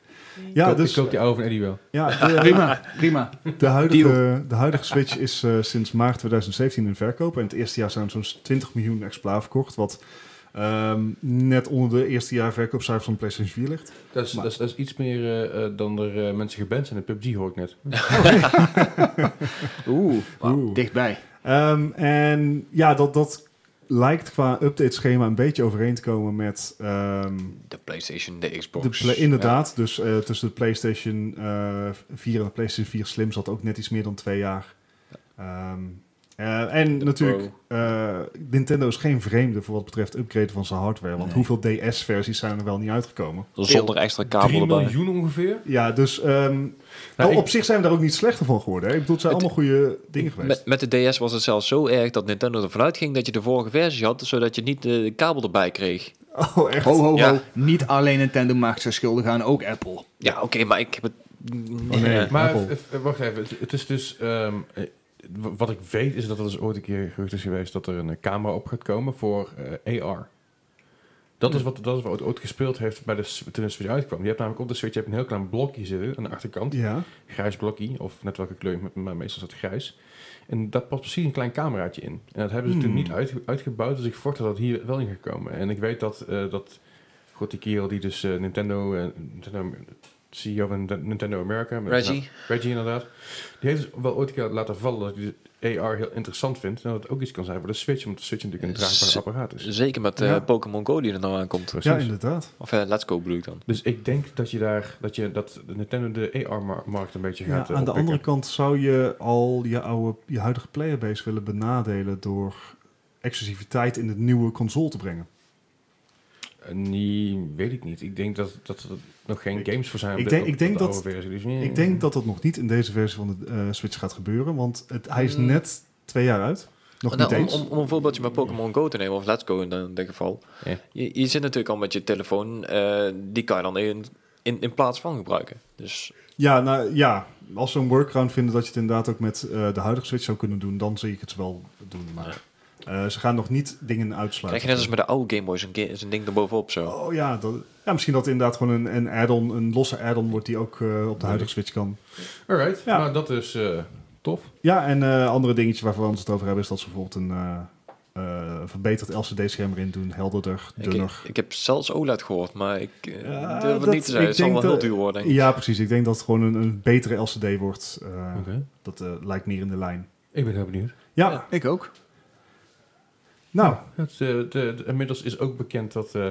Speaker 4: Ja,
Speaker 2: Koop- ik
Speaker 4: dus
Speaker 2: koop die oude van Eddie wel.
Speaker 4: ja, de,
Speaker 1: Prima, prima.
Speaker 4: de, huidige, de huidige Switch is eh, sinds maart 2017 in verkoop. En het eerste jaar zijn zo'n 20 miljoen exemplaar verkocht. Wat ehm, net onder de eerste jaar verkoopcijfers van PlayStation 4 ligt.
Speaker 2: Dat is,
Speaker 4: Maar-
Speaker 2: dat is, dat is iets meer eh, eh, dan er eh, mensen geband zijn in PUBG, hoor ik net.
Speaker 1: Oeh,
Speaker 4: Oeh.
Speaker 1: dichtbij.
Speaker 4: Ehm, en ja, dat, dat lijkt qua update-schema een beetje overeen te komen met ehm,
Speaker 3: De PlayStation, de
Speaker 4: de
Speaker 3: Xbox.
Speaker 4: pla- inderdaad. Dus eh, tussen de PlayStation eh, 4 en de PlayStation 4 Slim zat ook net iets meer dan twee jaar. Ehm, eh, en
Speaker 3: De
Speaker 4: natuurlijk, eh, Nintendo is geen vreemde voor wat betreft upgraden van zijn hardware. Want
Speaker 1: Nee.
Speaker 4: hoeveel DS-versies zijn er wel niet uitgekomen?
Speaker 3: Ja. Zonder extra kabel
Speaker 2: 3
Speaker 3: erbij.
Speaker 2: miljoen ongeveer?
Speaker 4: Ja, dus ehm,
Speaker 2: Nou,
Speaker 4: op
Speaker 2: ik-
Speaker 4: zich zijn we daar ook niet slechter van geworden. Hè? Ik bedoel, het zijn
Speaker 3: Het-
Speaker 4: allemaal goede dingen geweest.
Speaker 3: Met, met de DS was het zelfs zo erg dat Nintendo ervan uitging dat je de vorige versie had, zodat je niet eh, de kabel erbij kreeg.
Speaker 4: Oh, echt?
Speaker 1: Ho, ho, ho.
Speaker 3: Ja.
Speaker 1: Niet alleen Nintendo maakt zich schuldig aan, ook Apple.
Speaker 3: Ja, oké, maar ik heb het...
Speaker 4: Oh, nee.
Speaker 3: Ja.
Speaker 2: Maar
Speaker 4: Apple.
Speaker 2: eh, eh, wacht even, het, het is dus... ehm, eh, w- wat ik weet is dat er dus ooit een keer gerucht is geweest dat er een eh, camera op gaat komen voor eh, AR. Dat is wat, dat is wat ooit gespeeld heeft bij de, s- toen de Switch uitkwam. Je hebt namelijk op de Switch je hebt een heel klein blokje zitten aan de achterkant.
Speaker 4: Ja.
Speaker 2: Grijs blokje, of net welke kleur, maar- maar meestal is het grijs. En daar past precies een klein cameraatje in. En dat hebben ze toen
Speaker 4: Hmm.
Speaker 2: niet uitge- uitgebouwd, dus ik verwacht dat dat hier wel in gaat komen. En ik weet dat, eh, dat god, die kerel die dus eh, Nintendo, eh, Nintendo, CEO van Nint- Nintendo America... met-
Speaker 3: Reggie.
Speaker 2: nou, Reggie, inderdaad. Die heeft dus wel ooit een keer laten vallen dat hij de AR heel interessant vindt. En dat het ook iets kan zijn voor de Switch, omdat de Switch natuurlijk een draagbaar
Speaker 3: Z-
Speaker 2: apparaat is.
Speaker 3: Zeker met eh,
Speaker 4: Ja.
Speaker 3: Pokémon Go die er nou aankomt.
Speaker 4: ja, inderdaad.
Speaker 3: Of eh, Let's Go bedoel ik dan.
Speaker 2: Dus ik denk dat je daar, dat je, dat Nintendo de AR-markt een beetje
Speaker 4: Ja,
Speaker 2: gaat eh,
Speaker 4: aan de
Speaker 2: oppikken.
Speaker 4: andere kant zou je al je, oude, je huidige playerbase willen benadelen door exclusiviteit in het nieuwe console te brengen.
Speaker 2: Eh, Nee, weet ik niet. Ik denk dat, dat er nog geen
Speaker 4: Ik-
Speaker 2: games voor zijn. op
Speaker 4: ik
Speaker 2: de-
Speaker 4: denk-
Speaker 2: op
Speaker 4: ik denk
Speaker 2: de oude
Speaker 4: dat-
Speaker 2: versie, dus nee.
Speaker 4: Ik denk dat dat nog niet in deze versie van de eh, Switch gaat gebeuren, want het, hij is
Speaker 3: Hmm.
Speaker 4: net twee jaar uit. Nog
Speaker 3: Nou,
Speaker 4: niet
Speaker 3: om,
Speaker 4: eens.
Speaker 3: om, om een voorbeeldje met Pokémon Go te nemen, of Let's Go in, dat- in dit geval.
Speaker 2: Ja.
Speaker 3: Je, je zit natuurlijk al met je telefoon, eh, die kan je dan in, in, in plaats van gebruiken. Dus
Speaker 4: Ja, nou ja, als ze een workaround vinden dat je het inderdaad ook met eh, de huidige Switch zou kunnen doen, dan zie ik het wel doen. Maar eh, ze gaan nog niet dingen uitsluiten.
Speaker 3: krijg je net als met de oude Game Boy zo'n ga- zo'n ding erbovenop zo.
Speaker 4: Oh ja, dat, ja, misschien dat inderdaad gewoon een, een add-on, een losse add-on wordt die ook eh, op de huidige Switch kan.
Speaker 2: Alright,
Speaker 4: Ja.
Speaker 2: nou dat is eh, tof.
Speaker 4: Ja, en eh andere dingetje waar we anders het over hebben is dat ze bijvoorbeeld een eh, eh, verbeterd LCD-scherm erin doen, helderder,
Speaker 3: Ik,
Speaker 4: dunner.
Speaker 3: ik heb zelfs OLED gehoord, maar ik eh,
Speaker 4: Ja,
Speaker 3: durf het
Speaker 4: dat-
Speaker 3: niet te zeggen.
Speaker 4: ik
Speaker 3: Het zal
Speaker 4: denk
Speaker 3: wel heel
Speaker 4: dat-
Speaker 3: duur worden. denk ik.
Speaker 4: Ja, precies. Ik denk dat het gewoon een, een betere LCD wordt. Eh,
Speaker 2: Oké.
Speaker 4: Dat eh, lijkt meer in de lijn.
Speaker 2: Ik ben heel benieuwd.
Speaker 4: Ja,
Speaker 3: Ja.
Speaker 1: Ik ook.
Speaker 4: nou,
Speaker 2: Het, eh, de, de- inmiddels is ook bekend dat eh,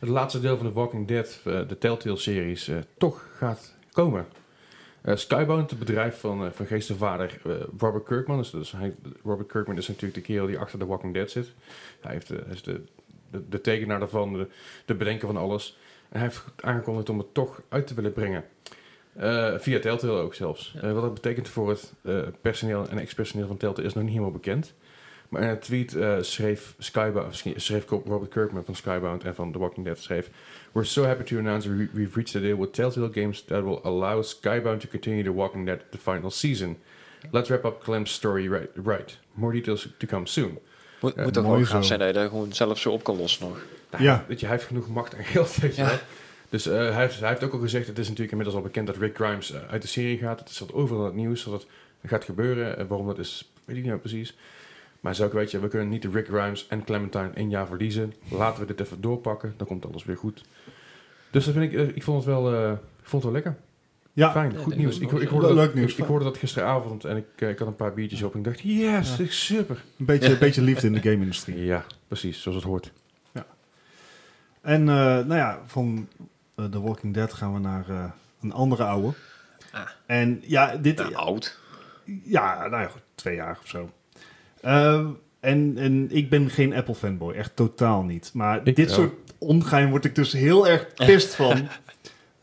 Speaker 2: het laatste deel van de Walking Dead, eh, de Telltale-series, eh, toch gaat komen. Eh, Skybound, het bedrijf van, eh, van geestenvader eh, Robert Kirkman. Dus, dus hij, Robert Kirkman is natuurlijk de kerel die achter The Walking Dead zit. Hij, heeft, eh, hij is de, de, de tekenaar daarvan, de, de bedenker van alles. En hij heeft aangekondigd om het toch uit te willen brengen. Eh, via Telltale ook zelfs. Eh, wat dat betekent voor het eh, personeel en ex-personeel van Telltale is nog niet helemaal bekend. Maar in een tweet eh, schreef, Skybound, schreef Robert Kirkman van Skybound en van The Walking Dead schreef... We're so happy to announce we- we've reached a deal with Telltale Games that will allow Skybound to continue The Walking Dead the final season. Let's wrap up Clem's story right. right. More details to come soon.
Speaker 3: Moet,
Speaker 2: Ja,
Speaker 3: moet toch
Speaker 4: mooi
Speaker 3: wel gaaf
Speaker 4: zo.
Speaker 3: zijn dat je dat gewoon zelf zo op kan lossen nog.
Speaker 2: Nou,
Speaker 4: Ja.
Speaker 2: Weet je, hij heeft genoeg macht en geld. Weet je
Speaker 3: Ja.
Speaker 2: wel. Dus eh, hij, heeft, hij heeft ook al gezegd, het is natuurlijk inmiddels al bekend dat Rick Grimes eh, uit de serie gaat. Het staat overal in het nieuws dat het gaat gebeuren. Eh, waarom dat is, weet ik niet nou precies. Maar zo ook, weet je, we kunnen niet de Rick Grimes en Clementine één jaar verliezen. Laten we dit even doorpakken, dan komt alles weer goed. Dus dat vind ik, eh, ik vond het wel, eh, ik vond het wel lekker.
Speaker 4: Ja,
Speaker 2: Fijn,
Speaker 3: Ja,
Speaker 2: goed
Speaker 3: denk
Speaker 2: nieuws.
Speaker 3: ik
Speaker 2: Ik,
Speaker 3: ook.
Speaker 2: ik hoorde
Speaker 4: Leuk
Speaker 2: dat,
Speaker 4: nieuws.
Speaker 2: Ik, ik hoorde dat gisteravond en ik, eh, ik had een paar biertjes op en ik dacht, yes,
Speaker 4: Ja.
Speaker 2: dit is super.
Speaker 4: een beetje, een beetje liefde in de game-industrie.
Speaker 2: Ja, precies, zoals het hoort.
Speaker 4: En eh, nou ja, van eh, The Walking Dead gaan we naar eh, een andere oude.
Speaker 3: Ah.
Speaker 4: En ja, dit,
Speaker 3: Nou, oud.
Speaker 4: Ja, nou ja, goed, twee jaar of zo. Ehm, en, en ik ben geen Apple fanboy, echt totaal niet. Maar
Speaker 2: Ik
Speaker 4: dit
Speaker 2: wel.
Speaker 4: soort ongein word ik dus heel erg pist van.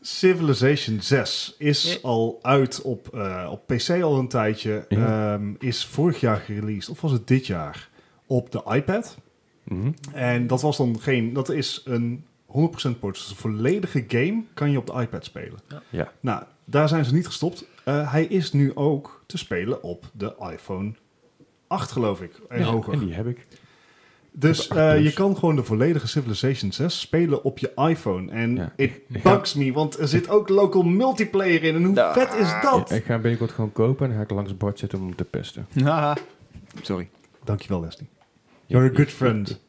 Speaker 4: Civilization 6 is
Speaker 3: Ja.
Speaker 4: al uit op, eh, op PC al een tijdje.
Speaker 2: Ja.
Speaker 4: Ehm, is vorig jaar gereleased, of was het dit jaar? Op de iPad.
Speaker 2: Mhm.
Speaker 4: En dat was dan geen. Dat is een 100% port. Dus een volledige game kan je op de iPad spelen.
Speaker 2: Ja.
Speaker 4: Nou, daar zijn ze niet gestopt. Eh, hij is nu ook te spelen op de iPhone 8, geloof ik. En
Speaker 2: Ja,
Speaker 4: hoger.
Speaker 2: En die heb ik.
Speaker 4: Dus
Speaker 2: Op de 8
Speaker 4: eh, je
Speaker 2: plus.
Speaker 4: kan gewoon de volledige Civilization 6 spelen op je iPhone. En
Speaker 2: Ja.
Speaker 4: it bugs me, want er zit ook local multiplayer in. En hoe
Speaker 3: Ja.
Speaker 4: vet is dat?
Speaker 2: Ja, ik ga hem binnenkort gewoon kopen en dan ga ik langs het bord zetten om hem te pesten.
Speaker 1: Haha. Sorry.
Speaker 4: Dankjewel, Leslie. You're a good friend.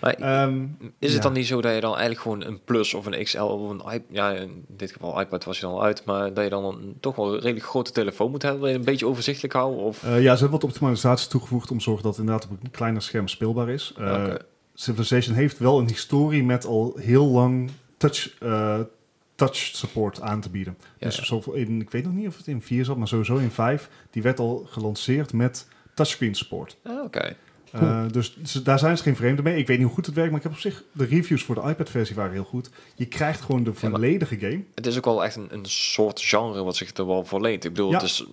Speaker 3: Maar
Speaker 4: Ehm,
Speaker 3: is het
Speaker 4: ja.
Speaker 3: dan niet zo dat je dan eigenlijk gewoon een Plus of een XL of een iPad... Ja, in dit geval iPad was je dan al uit. Maar dat je dan een, toch wel een redelijk grote telefoon moet hebben... wil je een beetje overzichtelijk houden? Of,
Speaker 4: Eh, ja, ze hebben wat optimalisaties toegevoegd om te zorgen dat het inderdaad op een kleiner scherm speelbaar is. Eh,
Speaker 3: Oké.
Speaker 4: Civilization heeft wel een historie met al heel lang touch, eh, touch support aan te bieden.
Speaker 3: Ja,
Speaker 4: dus
Speaker 3: ja.
Speaker 4: zoveel in, ik weet nog niet of het in 4 zat, maar sowieso in 5. Die werd al gelanceerd met touchscreen support.
Speaker 3: Ah, Oké.
Speaker 4: Eh, dus ze- daar zijn ze geen vreemden mee. Ik weet niet hoe goed het werkt, maar ik heb op zich... De reviews voor de iPad-versie waren heel goed. Je krijgt gewoon de
Speaker 3: Ja, maar-
Speaker 4: volledige game.
Speaker 3: Het is ook wel echt een, een soort genre wat zich er wel voor leent. Ik bedoel,
Speaker 4: Ja.
Speaker 3: het is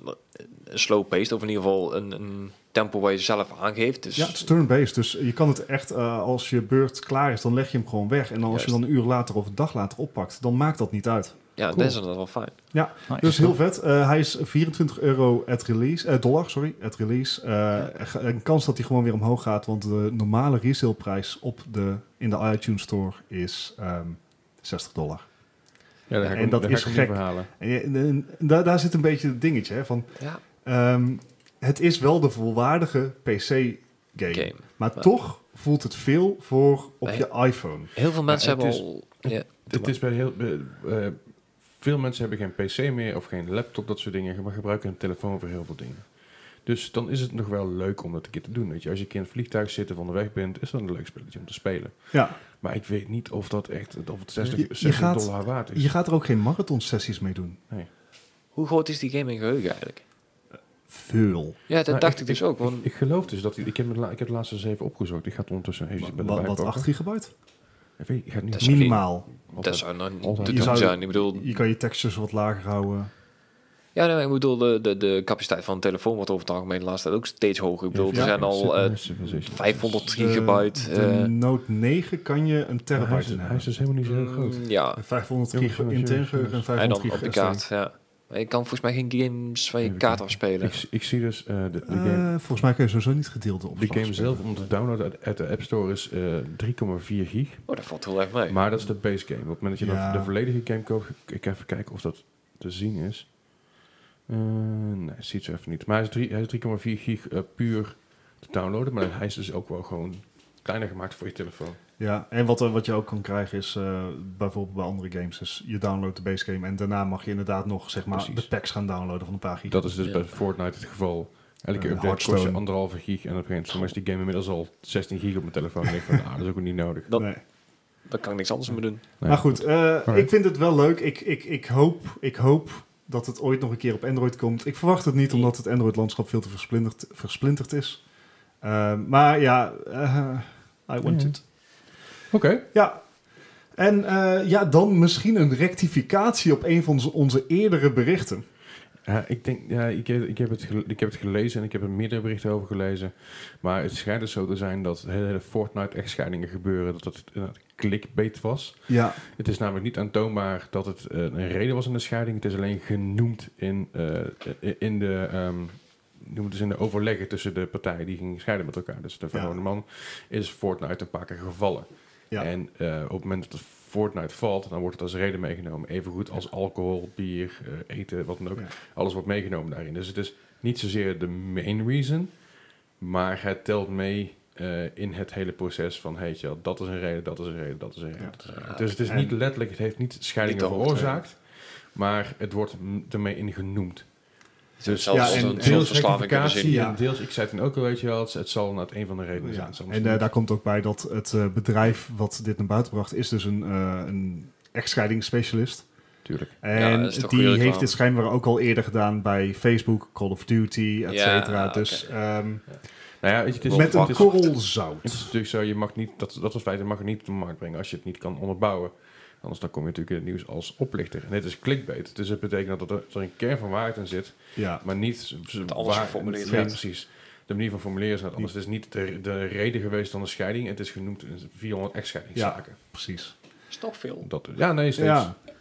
Speaker 3: een slow-paced of in ieder geval een, een tempo waar je zelf aangeeft. Dus
Speaker 4: Ja, het is turn-based. Dus je kan het echt, eh, als je beurt klaar is, dan leg je hem gewoon weg. En dan als je
Speaker 3: Juist.
Speaker 4: dan een uur later of een dag later oppakt, dan maakt dat niet uit.
Speaker 3: ja,
Speaker 4: cool.
Speaker 3: dat is inderdaad wel fijn.
Speaker 4: Ja,
Speaker 1: Nice.
Speaker 4: dus heel vet. Eh, hij is 24 euro at release, eh, dollar, sorry, at release. Eh, ge- Een kans dat hij gewoon weer omhoog gaat, want de normale resaleprijs op de, in de iTunes Store is ehm, 60 dollar.
Speaker 2: Ja, dan ga ik
Speaker 4: En
Speaker 2: hem-
Speaker 4: dat
Speaker 2: dan
Speaker 4: is
Speaker 2: ga ik hem niet
Speaker 4: gek.
Speaker 2: verhalen.
Speaker 4: En, je- en- en daar, daar zit een beetje het dingetje hè, van,
Speaker 3: Ja,
Speaker 4: ehm, het is wel de volwaardige PC-game.
Speaker 3: game.
Speaker 4: Maar
Speaker 3: Ja.
Speaker 4: toch voelt het veel voor op
Speaker 3: Nee.
Speaker 4: je iPhone.
Speaker 3: Heel veel mensen
Speaker 2: het
Speaker 3: hebben
Speaker 2: is-
Speaker 3: al... Ja,
Speaker 2: Het is bij heel... eh, eh, veel mensen hebben geen pc meer of geen laptop, dat soort dingen. Maar gebruiken hun telefoon voor heel veel dingen. Dus dan is het nog wel leuk om dat een keer te doen. Weet je. Als je een keer in het vliegtuig zit of onderweg bent, is dat een leuk spelletje om te spelen.
Speaker 4: Ja,
Speaker 2: Maar ik weet niet of dat echt of het 60,
Speaker 4: Je- je
Speaker 2: 60
Speaker 4: gaat-
Speaker 2: dollar waard is.
Speaker 4: je gaat er ook geen marathon-sessies mee doen.
Speaker 3: Hoe groot is die game in geheugen eigenlijk?
Speaker 4: Veel.
Speaker 3: Ja, dat
Speaker 2: Nou,
Speaker 3: dacht
Speaker 2: ik-
Speaker 3: ik dus ook. Want
Speaker 2: Ik geloof dus dat... Ik heb, het la- ik heb de laatste zeven opgezocht. Ik ga het ondertussen even bij de
Speaker 4: Wat, wat 8 gigabyte?
Speaker 2: Ik ga het
Speaker 3: Dat
Speaker 2: niet
Speaker 3: is- Sorry.
Speaker 4: Minimaal.
Speaker 2: altijd-
Speaker 3: dat zou nou niet
Speaker 2: Altijd.
Speaker 3: te
Speaker 4: Je
Speaker 3: doen
Speaker 4: zou-
Speaker 3: zijn. Ik bedoel,
Speaker 4: Je kan je textures wat lager houden.
Speaker 3: ja, nee, ik bedoel de, de, de capaciteit van een telefoon wordt over het algemeen de laatste tijd ook steeds hoger. Ik bedoel,
Speaker 4: Ja,
Speaker 3: er zijn al eh,
Speaker 2: Civilization.
Speaker 3: 500
Speaker 4: De-
Speaker 3: gigabyte.
Speaker 4: De,
Speaker 3: eh,
Speaker 4: Note 9 kan je een
Speaker 2: Maar hij, is,
Speaker 4: terabyte in
Speaker 2: hij is
Speaker 4: hebben.
Speaker 2: dus helemaal niet zo heel groot.
Speaker 3: mm, ja,
Speaker 4: 500
Speaker 2: Jongens,
Speaker 4: gig
Speaker 2: jongens,
Speaker 4: intern
Speaker 2: jongens,
Speaker 4: geheugen en
Speaker 3: en
Speaker 4: 500
Speaker 3: dan op
Speaker 4: gig
Speaker 3: de
Speaker 4: extern.
Speaker 3: kaart. Ja. Maar Je kan volgens mij geen games van je
Speaker 2: Even
Speaker 3: kaart
Speaker 2: kijken.
Speaker 3: afspelen.
Speaker 2: Ik, ik zie dus eh, de, de
Speaker 4: Eh,
Speaker 2: game,
Speaker 4: volgens mij kun je sowieso niet gedeeld op.
Speaker 2: die game zelf om te downloaden uit, uit de App Store is eh, 3,4 gig.
Speaker 3: Oh, dat valt heel erg mee.
Speaker 2: Maar dat is de base game. Op het moment dat je
Speaker 4: Ja.
Speaker 2: de, de volledige game koopt, ik ga even kijken of dat te zien is. Eh, nee, ziet ze even niet. Maar hij is drie- hij is 3,4 gig eh, puur te downloaden. Maar hij is dus ook wel gewoon kleiner gemaakt voor je telefoon.
Speaker 4: Ja, en wat, eh, wat je ook kan krijgen is eh, bijvoorbeeld bij andere games. Dus je downloadt de base game en daarna mag je inderdaad nog zeg maar,
Speaker 2: Precies.
Speaker 4: de packs gaan downloaden van een paar gig.
Speaker 2: Dat is dus
Speaker 3: Ja.
Speaker 2: bij Fortnite het geval. Elke
Speaker 4: Eh,
Speaker 2: keer update kost je
Speaker 4: Hearthstone.
Speaker 2: anderhalve gig. En op een gegeven moment voor mij is die game inmiddels al 16 gig op mijn telefoon. En ik denk van, ah, dat is ook niet nodig.
Speaker 3: dat-
Speaker 4: Nee.
Speaker 3: Daar kan ik niks anders mee doen.
Speaker 2: Nee.
Speaker 4: maar goed, eh,
Speaker 2: Alright.
Speaker 4: ik vind het wel leuk. Ik, ik, ik, hoop, ik hoop dat het ooit nog een keer op Android komt. Ik verwacht het niet, omdat het Android-landschap veel te versplinterd, versplinterd is. Eh, maar ja, eh, I want
Speaker 2: Ja.
Speaker 4: it.
Speaker 2: Oké.
Speaker 4: Ja. En eh, ja, dan misschien een rectificatie op een van onze, onze eerdere berichten.
Speaker 2: Ja, ik denk, ja, ik, heb- ik, heb het gele- ik heb het gelezen en ik heb er meerdere berichten over gelezen. Maar het schijnt dus zo te zijn dat hele, hele Fortnite-echtscheidingen gebeuren, dat dat inderdaad clickbait was.
Speaker 4: Ja,
Speaker 2: Het is namelijk niet aantoonbaar dat het eh, een reden was in de scheiding. Het is alleen genoemd in, eh, eh, in, de, ehm, noem het eens in de overleggen tussen de partijen die gingen scheiden met elkaar. Dus de verhoorde man is Fortnite een paar keer gevallen.
Speaker 4: Ja.
Speaker 2: En eh, op het moment dat Fortnite valt, dan wordt het als reden meegenomen. Evengoed als alcohol, bier, eh, eten, wat dan ook.
Speaker 4: Ja.
Speaker 2: Alles wordt meegenomen daarin. Dus het is niet zozeer de main reason, maar het telt mee eh, in het hele proces van, hey, tja, dat is een reden, dat is een reden, dat is een reden.
Speaker 4: Ja.
Speaker 2: dat is een reden. Dus het is
Speaker 4: En-
Speaker 2: niet letterlijk, het heeft niet scheidingen
Speaker 3: Niet de hoofdreden.
Speaker 2: veroorzaakt. Maar het wordt m- ermee ingenoemd.
Speaker 3: Dus
Speaker 4: Ja,
Speaker 3: zelfs
Speaker 4: en
Speaker 3: een
Speaker 4: deels
Speaker 3: soort verslaving kunnen zien.
Speaker 2: rectificatie
Speaker 4: ja.
Speaker 2: en deels, ik zei het dan ook al, weet je wel, het, het zal inderdaad een van de redenen
Speaker 4: Ja.
Speaker 2: zijn. soms
Speaker 4: En
Speaker 2: niet.
Speaker 4: eh, daar komt ook bij dat het eh, bedrijf wat dit naar buiten bracht, is dus een, eh een echtscheidingsspecialist.
Speaker 2: Tuurlijk.
Speaker 4: En
Speaker 3: dat is toch
Speaker 4: die
Speaker 3: goede
Speaker 4: heeft
Speaker 3: reclame.
Speaker 4: dit schijnbaar ook al eerder gedaan bij Facebook, Call of Duty, et
Speaker 3: Ja,
Speaker 4: cetera.
Speaker 3: oké.
Speaker 4: Dus ehm,
Speaker 2: Nou ja, weet je, het is,
Speaker 4: met een
Speaker 2: het is-
Speaker 4: korrel zout.
Speaker 2: Het is natuurlijk zo, je mag niet, dat, dat was feit, je mag het niet op de markt brengen als je het niet kan onderbouwen. Anders dan kom je natuurlijk in het nieuws als oplichter. En dit is clickbait. Dus het betekent dat er, dat er een kern van waarheid in zit,
Speaker 4: Ja.
Speaker 2: maar niet z-
Speaker 3: alles
Speaker 2: waar-
Speaker 3: geformuleerd
Speaker 2: ja,
Speaker 3: werd.
Speaker 2: precies. De manier van formuleren is net anders. Het is niet de, de reden geweest van de scheiding. Het is genoemd in 400 echtscheidingszaken.
Speaker 4: Precies.
Speaker 3: is toch veel.
Speaker 2: Dat, ja, nee, steeds.
Speaker 4: Ja,
Speaker 2: Maar aan de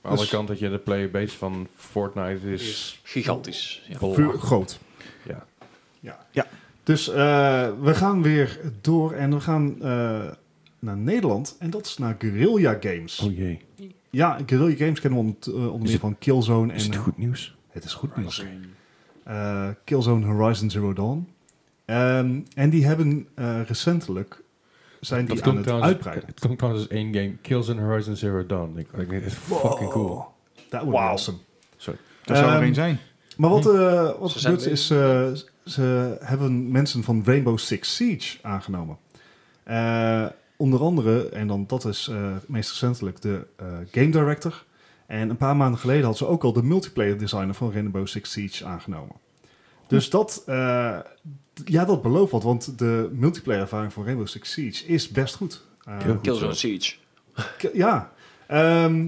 Speaker 4: Dus-
Speaker 2: andere kant dat je de playerbase van Fortnite is...
Speaker 3: Gigantisch. Ja.
Speaker 4: vuur,
Speaker 2: belachelijk.
Speaker 4: groot.
Speaker 2: Ja.
Speaker 4: Ja.
Speaker 1: Ja.
Speaker 4: Dus eh, we gaan weer door en we gaan eh, naar Nederland. En dat is naar Guerrilla Games.
Speaker 2: Oh jee.
Speaker 4: Ja, Guerrilla Games kennen we onder, eh, onder
Speaker 2: Is
Speaker 4: meer
Speaker 2: het-
Speaker 4: van Killzone. En,
Speaker 2: Is het
Speaker 4: eh,
Speaker 2: goed nieuws?
Speaker 4: Het is goed nieuws. Eh, Killzone Horizon Zero Dawn. Ehm, en die hebben eh, recentelijk... Zijn die aan
Speaker 2: klonk
Speaker 4: het
Speaker 2: trouwens-
Speaker 4: uitbreiden.
Speaker 2: Het klonk trouwens als één game. Kills in Horizon Zero Dawn. Ik ik denk, dit is fucking cool.
Speaker 4: Dat would be
Speaker 3: Wauw.
Speaker 4: awesome.
Speaker 1: Dat zou er
Speaker 4: Ehm,
Speaker 1: één zijn.
Speaker 4: Maar wat, eh wat
Speaker 3: Hm. Ze zijn
Speaker 4: gebeurt is, eh, ze hebben mensen van Rainbow Six Siege aangenomen. Eh, onder andere, en dan dat is eh, meest recentelijk, de eh, game director. En een paar maanden geleden had ze ook al de multiplayer designer van Rainbow Six Siege aangenomen. Dus dat, eh, d- ja, dat belooft wat, want de multiplayer ervaring van Rainbow Six Siege is best goed. Eh,
Speaker 2: Heel goed
Speaker 3: Killzone
Speaker 2: zo.
Speaker 3: Siege.
Speaker 4: K- Ja. Ehm,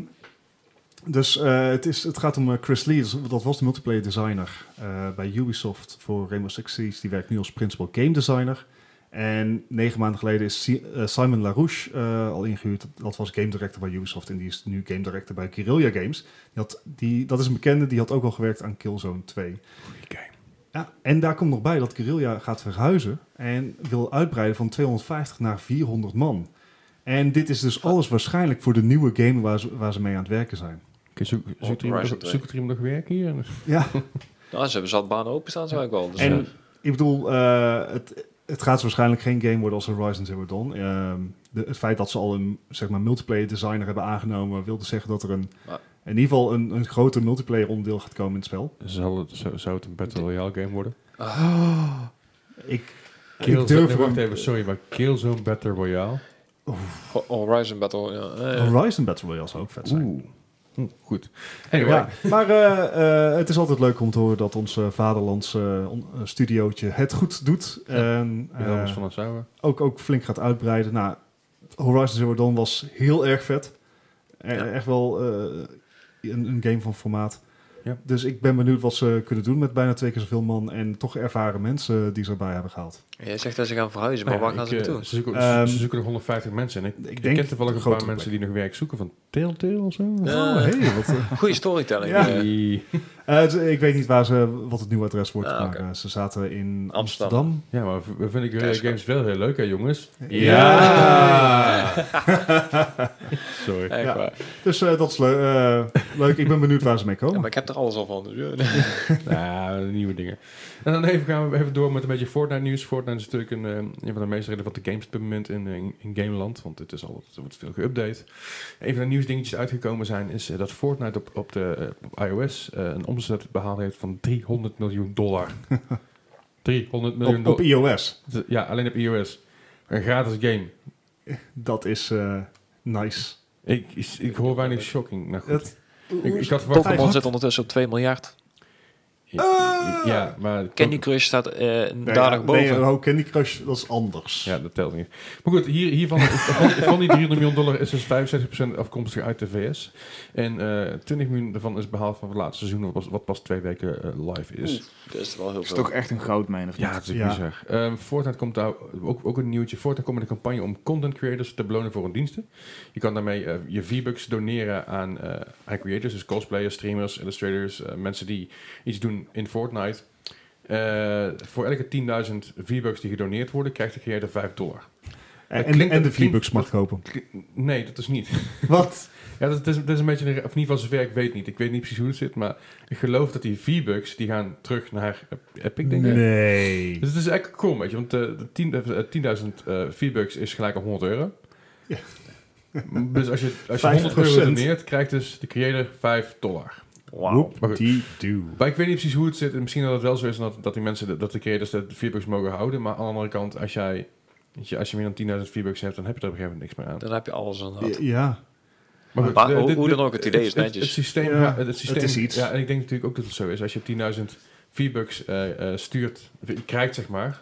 Speaker 4: dus eh, het, is, het gaat om eh, Chris Lee, dus dat was de multiplayer designer eh, bij Ubisoft voor Rainbow Six Siege. Die werkt nu als principal game designer. En negen maanden geleden is Si- eh, Simon LaRouche eh, al ingehuurd. Dat was game director bij Ubisoft en die is nu game director bij Guerrilla Games. Die had, die, dat is een bekende, die had ook al gewerkt aan Killzone 2.
Speaker 2: Goeie game.
Speaker 4: Ja, en daar komt nog bij dat Guerrilla gaat verhuizen en wil uitbreiden van 250 naar 400 man. En dit is dus alles waarschijnlijk voor de nieuwe game waar ze, waar ze mee aan het werken zijn.
Speaker 2: Oké, zoek, zoekt er iemand
Speaker 3: Horizon
Speaker 2: nog-
Speaker 3: twee.
Speaker 2: zoekt er iemand nog werk hier?
Speaker 4: Ja,
Speaker 3: Nou, ze hebben zat banen openstaan, zou ik wel. Dus
Speaker 4: en
Speaker 3: eh,
Speaker 4: ik bedoel, eh, het, het gaat waarschijnlijk geen game worden als Horizon Zero Dawn. Ehm, de, het feit dat ze al een zeg maar, multiplayer designer hebben aangenomen, wil dus zeggen dat er een,
Speaker 3: Maar-
Speaker 4: in ieder geval een, een groter multiplayer onderdeel gaat komen in het spel.
Speaker 2: Zou het, zou, zou het een Battle Royale game worden?
Speaker 4: Ik,
Speaker 2: Killzone-
Speaker 4: ik durf
Speaker 2: nee,
Speaker 4: er
Speaker 2: wacht even, sorry, maar Killzone Battle Royale?
Speaker 3: eh, Ho- Horizon Battle. Ja. eh,
Speaker 4: Horizon Battle Royale zou ook vet zijn.
Speaker 2: Oeh. Hm, goed. Anyway.
Speaker 4: Ja, maar eh, eh, het is altijd leuk om te horen dat ons eh, vaderlandse eh, on- eh, studiootje het goed doet. En, eh,
Speaker 2: Johannes van het Zouwen.
Speaker 4: ook, ook flink gaat uitbreiden. Nou, Horizon Zero Dawn was heel erg vet. Eh,
Speaker 3: Ja.
Speaker 4: Echt wel eh, een, een game van formaat.
Speaker 2: Ja.
Speaker 4: Dus ik ben benieuwd wat ze kunnen doen met bijna twee keer zoveel man en toch ervaren mensen die ze erbij hebben gehaald.
Speaker 3: Jij zegt dat ze gaan verhuizen, maar
Speaker 2: Nou ja,
Speaker 3: waar gaan ze
Speaker 2: ik, eh,
Speaker 3: naartoe?
Speaker 2: Ze zoeken,
Speaker 4: Ehm,
Speaker 2: ze zoeken er 150 mensen. En ik, ik,
Speaker 4: denk
Speaker 2: ken toevallig een
Speaker 4: grote
Speaker 2: paar mensen
Speaker 4: plek.
Speaker 2: die nog werk zoeken van Telltale of zo.
Speaker 3: Ja.
Speaker 4: Oh, hey, wat, eh.
Speaker 3: Goede storytelling.
Speaker 4: Ja.
Speaker 3: eh.
Speaker 2: Die-
Speaker 4: Eh, dus ik weet niet waar ze, wat het nieuwe adres wordt,
Speaker 3: Ah,
Speaker 4: maar
Speaker 3: oké.
Speaker 4: eh, ze zaten in
Speaker 3: Amsterdam.
Speaker 4: Amsterdam.
Speaker 2: Ja, maar v- we vinden
Speaker 3: Cash
Speaker 2: Guerrilla
Speaker 3: cow.
Speaker 2: Games wel heel leuk, hè jongens? Sorry.
Speaker 3: Echt
Speaker 4: Ja.
Speaker 3: waar.
Speaker 4: Dus eh, dat is leu- eh, leuk. Ik ben benieuwd waar ze mee
Speaker 3: Ja,
Speaker 4: komen.
Speaker 3: maar ik heb er alles al van. Dus, ja.
Speaker 2: Nou, nieuwe dingen. En dan even gaan we even door met een beetje Fortnite nieuws. Fortnite is natuurlijk een, eh, een van de meest relevante games op dit moment in, eh, in, in Gameland. Want het is al, er wordt veel geüpdate. Een van de nieuwsdingetjes uitgekomen zijn is eh, dat Fortnite op, op, de, eh, op iOS eh, een omzet behaald heeft van 300 miljoen dollar. 300 miljoen
Speaker 4: Op, op
Speaker 2: dollar.
Speaker 4: iOS.
Speaker 2: Ja, alleen op iOS. Een gratis game.
Speaker 4: Dat is eh, nice.
Speaker 2: Ik, ik, ik hoor weinig shocking. Nou goed.
Speaker 4: Het-
Speaker 2: ik, ik had verwacht...
Speaker 4: Hij
Speaker 3: Pokémon
Speaker 4: had-
Speaker 3: zit ondertussen op 2 miljard.
Speaker 2: Ja, ja, maar...
Speaker 3: Candy Crush staat eh
Speaker 4: Nee,
Speaker 3: daar nog
Speaker 4: ja,
Speaker 3: boven.
Speaker 4: Nee, oh, Candy Crush, dat is anders.
Speaker 2: Ja, dat telt niet. Maar goed, hier, hiervan, van, van die 300 miljoen dollar is dus 65% afkomstig uit de VS. En eh 20 miljoen daarvan is behaald van het laatste seizoen, wat pas, wat pas twee weken eh, live is.
Speaker 3: Dat is wel heel
Speaker 1: Dat is
Speaker 3: veel.
Speaker 1: toch echt een goudmijn of niet?
Speaker 2: Ja, dat is
Speaker 4: Ja.
Speaker 2: bizar. Ehm, Fortnite komt daar ook, ook een nieuwtje. Fortnite komt met een campagne om content creators te belonen voor hun diensten. Je kan daarmee eh, je V-Bucks doneren aan, eh, aan creators, dus cosplayers, streamers, illustrators, eh, mensen die iets doen in Fortnite. Eh, voor elke 10.000 V-Bucks die gedoneerd worden, krijgt de creator 5 dollar.
Speaker 4: En,
Speaker 2: Dat klinkt-
Speaker 4: en de
Speaker 2: dat klinkt-
Speaker 4: V-Bucks mag kopen.
Speaker 2: Nee, dat is niet.
Speaker 4: Wat?
Speaker 2: Ja, dat, dat is, dat is een beetje, een- of in ieder geval zover ik weet niet. Ik weet niet precies hoe het zit, maar ik geloof dat die V-Bucks, die gaan terug naar eh, Epic, denk ik.
Speaker 4: Nee.
Speaker 2: Dus het is eigenlijk cool, weet je, want eh, de 10 eh, 10.000 eh, V-Bucks is gelijk aan 100 euro.
Speaker 4: Ja.
Speaker 2: dus als je, als je 100 euro
Speaker 4: 5%.
Speaker 2: doneert, krijgt dus de creator 5 dollar.
Speaker 3: Wauw.
Speaker 2: Maar goed.
Speaker 4: Die do.
Speaker 2: Maar ik weet niet precies hoe het zit. En misschien dat het wel zo is dat, dat die mensen, de- dat de creators de V-Bucks mogen houden. Maar aan de andere kant, als jij, weet je, als je meer dan 10.000 V-Bucks hebt, dan heb je er op een gegeven moment niks meer aan.
Speaker 3: Dan heb je alles aan de hand.
Speaker 4: Ja,
Speaker 2: Maar,
Speaker 3: Maar
Speaker 2: eh,
Speaker 3: hoe-
Speaker 2: dit-
Speaker 3: hoe dan
Speaker 2: dit-
Speaker 3: ook, het idee is netjes.
Speaker 2: Het, systeem,
Speaker 4: Ja,
Speaker 2: ja, het, systeem
Speaker 4: het is iets.
Speaker 2: Ja, en ik denk natuurlijk ook dat het zo is. Als je 10.000 V-Bucks eh, eh, stuurt, of je krijgt zeg maar,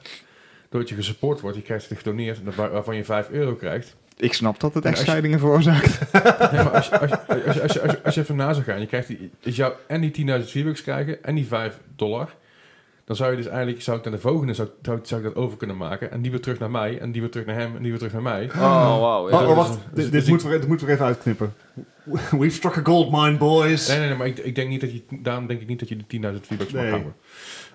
Speaker 2: doordat je gesupport wordt, je krijgt het gedoneerd, en waar- waarvan je 5 euro krijgt.
Speaker 1: Ik snap dat het
Speaker 2: Ja,
Speaker 1: echt
Speaker 2: als je-
Speaker 1: scheidingen veroorzaakt.
Speaker 2: Nee, maar als je, als, je, als, je, als, je, als, je, als je- als je even na zou gaan, je krijgt die, is jou en die 10.000 V-Bucks krijgen en die 5 dollar. Dan zou je dus eigenlijk, zou ik naar de volgende, zou, zou, zou ik dat over kunnen maken. En die weer terug naar mij, en die weer terug naar hem, en die weer terug naar mij.
Speaker 3: Oh, wauw.
Speaker 4: Oh,
Speaker 3: Ja.
Speaker 4: oh, wacht.
Speaker 2: dus-
Speaker 4: Dit-
Speaker 2: dus
Speaker 4: dit,
Speaker 2: ik-
Speaker 4: moeten we, dit moeten we even uitknippen. We've struck a gold mine, boys.
Speaker 2: Nee, nee, nee, maar ik, ik denk niet dat je, daarom denk ik niet dat je de 10.000 V-Bucks mag
Speaker 4: Nee.
Speaker 2: houden.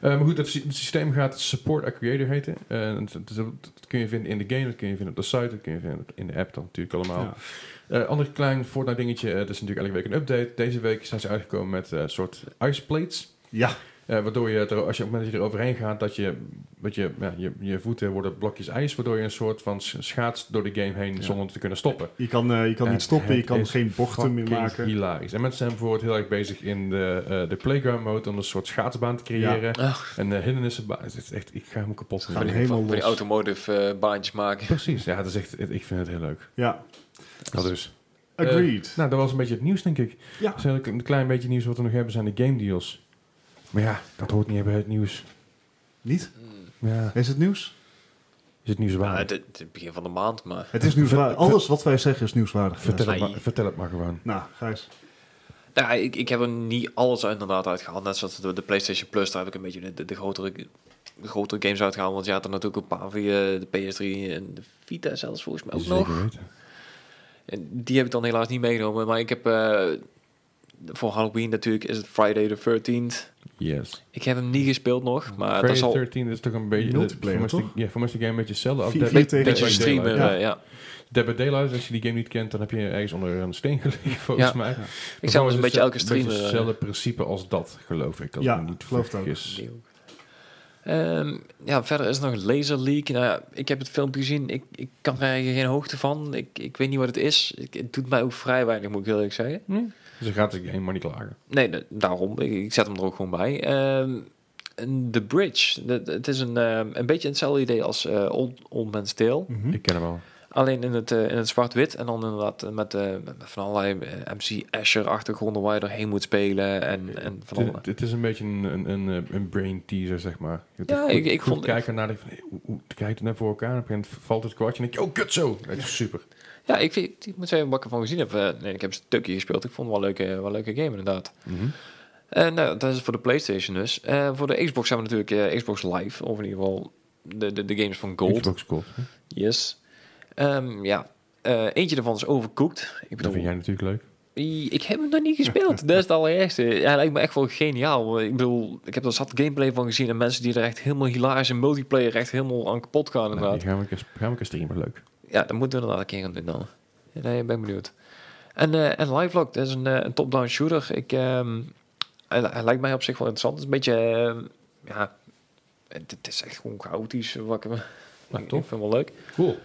Speaker 2: Eh, maar goed, het, sy- het systeem gaat Support a Creator heten. Eh, en dat, dat- dat kun je vinden in de game, dat kun je vinden op de site, dat kun je vinden op- in de app dan natuurlijk allemaal.
Speaker 4: Ja.
Speaker 2: Eh, ander klein Fortnite dingetje, eh, het is natuurlijk elke week een update. Deze week zijn ze uitgekomen met eh, een soort ice plates.
Speaker 4: Ja,
Speaker 2: Eh, waardoor je, er, als je op het moment dat je er overheen gaat, dat je, wat je, ja, je, je voeten worden blokjes ijs, waardoor je een soort van sch- schaats door de game heen
Speaker 4: Ja.
Speaker 2: zonder te kunnen stoppen.
Speaker 4: je kan, eh, je kan
Speaker 2: En
Speaker 4: niet stoppen, je
Speaker 2: het
Speaker 4: kan
Speaker 2: is
Speaker 4: geen bochten meer
Speaker 2: Fucking
Speaker 4: maken.
Speaker 2: Hilarisch. En mensen zijn bijvoorbeeld heel erg bezig in de, eh, de playground mode om een soort schaatsbaan te creëren.
Speaker 3: Ach,
Speaker 2: En de hindernisse Het is echt, ik ga me kapot.
Speaker 4: Gaan
Speaker 2: maken.
Speaker 4: helemaal
Speaker 3: van die
Speaker 4: los.
Speaker 3: automotive eh, baantjes maken.
Speaker 2: Precies, ja, dat is echt, ik vind het heel leuk.
Speaker 4: Ja,
Speaker 2: Dat dus.
Speaker 4: agreed.
Speaker 2: Nou, dat was een beetje het nieuws, denk ik.
Speaker 4: Ja.
Speaker 2: Dus eigenlijk een klein beetje nieuws wat we nog hebben zijn de game deals. Maar ja, dat hoort niet bij het nieuws.
Speaker 4: Niet?
Speaker 2: Ja.
Speaker 4: Is het nieuws?
Speaker 2: Is Nou, het
Speaker 3: Ja,
Speaker 2: nieuwswaardig?
Speaker 3: het, het begin van de maand, maar...
Speaker 4: Het is nieuwswaardig. Alles wat wij zeggen is nieuwswaardig.
Speaker 2: Vertel het,
Speaker 3: Ai.
Speaker 2: maar, vertel het maar gewoon.
Speaker 4: Nou, Gijs.
Speaker 3: Nou, ja, ik, ik heb er niet alles uit- inderdaad uitgehaald. Net zoals de, de PlayStation Plus, daar heb ik een beetje de, de, de grotere, de grotere games uitgehaald. Want je had er natuurlijk een paar via de PS3 en de Vita zelfs volgens mij ook nog.
Speaker 2: Zeker weten.
Speaker 3: En die heb ik dan helaas niet meegenomen. Maar ik heb eh, voor Halloween natuurlijk is het Friday the 13th.
Speaker 2: Yes.
Speaker 3: Ik heb hem niet gespeeld nog, maar dat
Speaker 2: Friday
Speaker 3: zal
Speaker 2: 13 Ah, is toch een beetje...
Speaker 4: Multiplayer,
Speaker 2: voor mij is de-
Speaker 4: toch?
Speaker 2: Ja, voor mij is de game een beetje hetzelfde. als
Speaker 4: Vier-
Speaker 2: Dead-
Speaker 4: vier
Speaker 2: Dead
Speaker 4: tegen
Speaker 3: een beetje
Speaker 2: by
Speaker 4: tegen
Speaker 3: streamen.
Speaker 2: Daylight.
Speaker 3: eh, Ja.
Speaker 4: Ja.
Speaker 2: Dead by Daylight, als je die game niet kent, dan heb je ergens onder een steen gelegen, volgens
Speaker 3: Ja.
Speaker 2: mij. Maar
Speaker 3: Ik zou
Speaker 2: volgens
Speaker 3: eens een beetje elke
Speaker 2: dus Het
Speaker 3: streamer...
Speaker 2: is
Speaker 3: eh,
Speaker 2: hetzelfde principe als dat, geloof ik. Als
Speaker 4: Ja,
Speaker 2: ik me niet
Speaker 4: geloof het ook.
Speaker 2: vergis.
Speaker 3: Ehm, ja, verder is er nog Laser Leak. Nou ja, ik heb het filmpje gezien. Ik, ik kan er eigenlijk geen hoogte van. Ik, ik weet niet wat het is. Ik, het doet mij ook vrij weinig, moet ik heel eerlijk zeggen.
Speaker 2: Dus Het is een gratis game, maar niet klagen.
Speaker 3: Nee, da- daarom. Ik, ik zet hem er ook gewoon bij. Ehm, en The Bridge. Dat- Het is een, ehm, een beetje hetzelfde idee als eh Old, Old Man's Tale.
Speaker 4: Mhm.
Speaker 2: Ik ken hem al.
Speaker 3: Alleen in het, eh, in het zwart-wit. En dan inderdaad met, eh, met van allerlei eh, MC Asher-achtergronden waar je doorheen moet spelen. En, en van alle...
Speaker 2: Het, het is een beetje een, een, een, eh, een brain teaser, zeg maar. Je moet
Speaker 3: Ja,
Speaker 2: goed-
Speaker 3: ik- ik
Speaker 2: goed
Speaker 3: vond-
Speaker 2: kijken naar die van, hey, hoe, hoe kijk je het naar voor elkaar? En op een gegeven moment valt het kwartje en denk je, oh, kut zo. Dat is super.
Speaker 3: Ja, ik, vind, ik moet zeggen wat ik ervan gezien heb. eh, nee, ik heb een stukje gespeeld. Ik vond het wel een leuke, wel een leuke game inderdaad. En nou, dat is voor de PlayStation dus. Eh, voor de Xbox hebben we natuurlijk eh, Xbox Live. Of in ieder geval de, de, de games van Gold.
Speaker 2: Xbox Gold. hè?
Speaker 3: Yes. Ehm, ja. Eh, eentje daarvan is Overcooked. Ik
Speaker 2: Dat
Speaker 3: bedoel,
Speaker 2: vind jij natuurlijk leuk.
Speaker 3: I- Ik heb hem nog niet gespeeld. Dat is het allereerste. Hij lijkt me echt wel geniaal. Ik bedoel, ik heb er zat gameplay van gezien. En mensen die er echt helemaal hilarisch in multiplayer echt helemaal aan kapot gaan.
Speaker 2: Nou, die
Speaker 3: Inderdaad.
Speaker 2: gaan we een keer, gaan we een keer streamen, leuk.
Speaker 3: Ja, dat moeten we inderdaad een keer gaan doen dan. Ja, Nee, ik ben benieuwd. En, eh en Lifelock, dat is een, eh, een top-down shooter. Ik, ehm, hij, hij lijkt mij op zich wel interessant. Het is een beetje, ehm, ja, het, het is echt gewoon chaotisch. eh, Wat ik,
Speaker 2: Nou,
Speaker 3: ik
Speaker 2: tof.
Speaker 3: vind het wel leuk.
Speaker 2: Cool.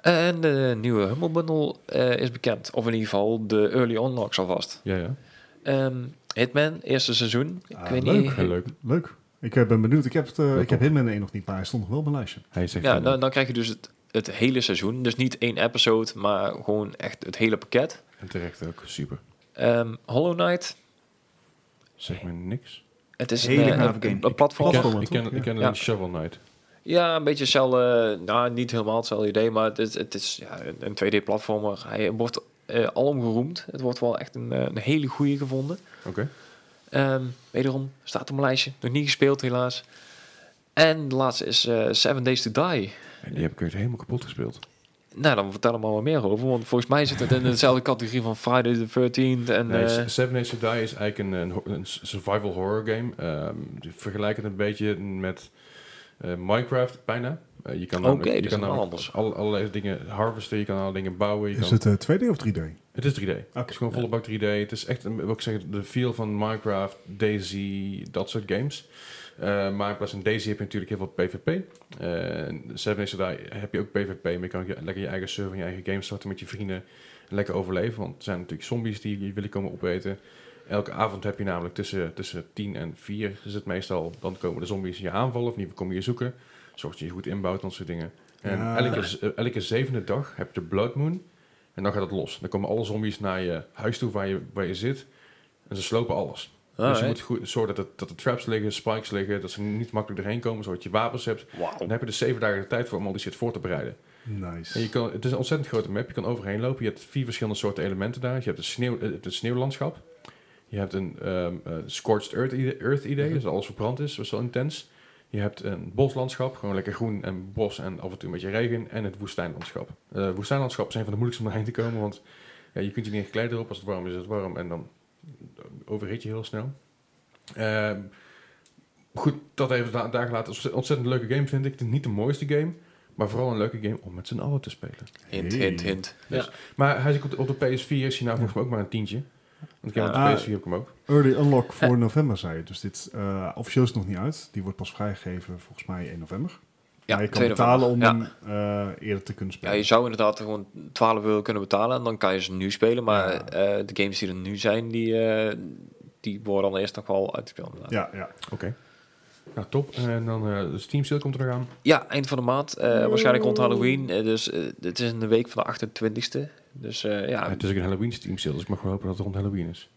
Speaker 3: En de nieuwe Humble Bundle eh, is bekend. Of in ieder geval de early unlocks alvast.
Speaker 2: Ja, ja.
Speaker 3: Ehm, Hitman, eerste seizoen. Ik
Speaker 4: Ah,
Speaker 3: weet
Speaker 4: leuk,
Speaker 3: niet.
Speaker 2: Heel leuk.
Speaker 4: Leuk. Ik eh, ben benieuwd. Ik heb, het, eh,
Speaker 2: Leuk
Speaker 4: ik heb
Speaker 2: op.
Speaker 4: Hitman 1 nog niet, maar hij stond nog wel op mijn lijstje.
Speaker 2: Hij zegt
Speaker 3: Ja, dan, dan krijg je dus het, het hele seizoen. Dus niet één episode, maar gewoon echt het hele pakket.
Speaker 2: En terecht ook, super.
Speaker 3: Ehm, Hollow Knight,
Speaker 2: Zeg me niks.
Speaker 3: Het is
Speaker 1: Hele
Speaker 3: een, eh,
Speaker 1: gave
Speaker 3: een,
Speaker 1: game.
Speaker 3: een platform.
Speaker 2: Ik
Speaker 4: Platform,
Speaker 2: ken, ik ken,
Speaker 4: toch?
Speaker 2: ik ken
Speaker 3: Ja.
Speaker 2: alleen Shovel Knight.
Speaker 3: Ja, een beetje hetzelfde. Nou, niet helemaal hetzelfde idee, maar het is, het is ja, een- een 2D-platformer. Hij wordt eh alom geroemd. Het wordt wel echt een, eh, een hele goede gevonden.
Speaker 2: Oké.
Speaker 3: Ehm, wederom staat op mijn lijstje. Nog niet gespeeld, helaas. En de laatste is eh, Seven Days to Die.
Speaker 2: En die heb ik echt helemaal kapot gespeeld.
Speaker 3: Nou, dan vertel er maar wat meer over. Want volgens mij zit het in dezelfde categorie van Friday the 13th. En,
Speaker 2: Nee,
Speaker 3: eh,
Speaker 2: Seven Days to Die is eigenlijk een, een ho- een survival horror game. Ehm, die vergelijk het een beetje met eh, Minecraft, bijna. Eh, je kan
Speaker 3: Oké,
Speaker 2: namelijk,
Speaker 3: dat
Speaker 2: je
Speaker 3: is
Speaker 2: kan
Speaker 3: helemaal
Speaker 2: namelijk
Speaker 3: anders.
Speaker 2: Alle, allerlei dingen harvesten, je kan allerlei dingen bouwen. Je
Speaker 4: Is
Speaker 2: kan,
Speaker 4: het eh, 2D of 3D?
Speaker 2: het is 3D. Het is gewoon volle bak 3D. Het is echt, een- wat ik zeg, de feel van Minecraft, Daisy, dat soort games. Eh, Eh, maar in plaats van Daisy heb je natuurlijk heel veel PvP. Eh, en Seven Days to Die heb je ook PvP. Maar je kan ook je- lekker je eigen server, en je eigen game starten met je vrienden. En lekker overleven. Want er zijn natuurlijk zombies die je willen komen opeten. Elke avond heb je namelijk tussen, tussen 10 en 4 is het meestal. Dan komen de zombies je aanvallen of in ieder geval komen je zoeken. Zorg dat je je goed inbouwt en dat soort dingen. En
Speaker 4: Ja.
Speaker 2: elke, z- eh, elke zevende dag heb je de Blood Moon. En dan gaat het los. Dan komen alle zombies naar je huis toe waar je, waar je zit. En ze slopen alles
Speaker 3: Ah,
Speaker 2: dus je moet goed zorgen dat, het- dat er traps liggen, spikes liggen, dat ze niet makkelijk doorheen komen, zodat je wapens hebt. Dan heb je dus zeven dagen de tijd voor om al die shit voor te bereiden. En je
Speaker 4: Nice.
Speaker 2: kan, het is een ontzettend grote map, je kan overheen lopen. Je hebt vier verschillende soorten elementen daar. Je hebt het, sneeuw, eh, het sneeuwlandschap, je hebt een ehm, eh, scorched earth idee, earth idee dus alles verbrand is, dat is wel intens. Je hebt een boslandschap, gewoon lekker groen en bos en af en toe een beetje regen. En het woestijnlandschap. Eh woestijnlandschap zijn van de moeilijkste om erheen te komen, want ja, je kunt je niet echt kleden erop. Als het warm is, is het warm en dan overhit je heel snel. Ehm, goed, dat even da- daar gelaten. Het is een ontzettend leuke game, vind ik. Het is niet de mooiste game, maar vooral een leuke game om met z'n allen te spelen.
Speaker 3: Hint, hint, hint.
Speaker 2: Dus- Maar hij is ook op de, op de PS4 is hij nou volgens mij ook maar een tientje. Want ik heb
Speaker 4: Ah.
Speaker 2: op de PS4 heb ik hem ook.
Speaker 4: Early unlock
Speaker 3: Eh.
Speaker 4: voor november, zei je. Dus dit eh, officieel is het nog niet uit. Die wordt pas vrijgegeven volgens mij 1 november.
Speaker 3: Ja,
Speaker 4: maar je kan
Speaker 3: 2
Speaker 4: betalen om
Speaker 3: november.
Speaker 4: hem eh, eerder te kunnen
Speaker 3: Ja,
Speaker 4: spelen.
Speaker 3: je zou inderdaad gewoon 12 euro kunnen betalen en dan kan je ze nu spelen. Maar
Speaker 4: Ja.
Speaker 3: eh, de games die er nu zijn, die, eh, die worden dan eerst nog wel uitgespeeld. inderdaad.
Speaker 4: ja, ja.
Speaker 2: Oké. Nou, top. En dan eh de Steam Sale komt er nog aan.
Speaker 3: Ja, eind van de maand. eh, Waarschijnlijk rond Halloween. Eh, dus eh, het is in de week van de 28e. Dus eh ja,
Speaker 2: het is ook een Halloween Steam Sale, dus ik mag gewoon hopen dat het rond Halloween is.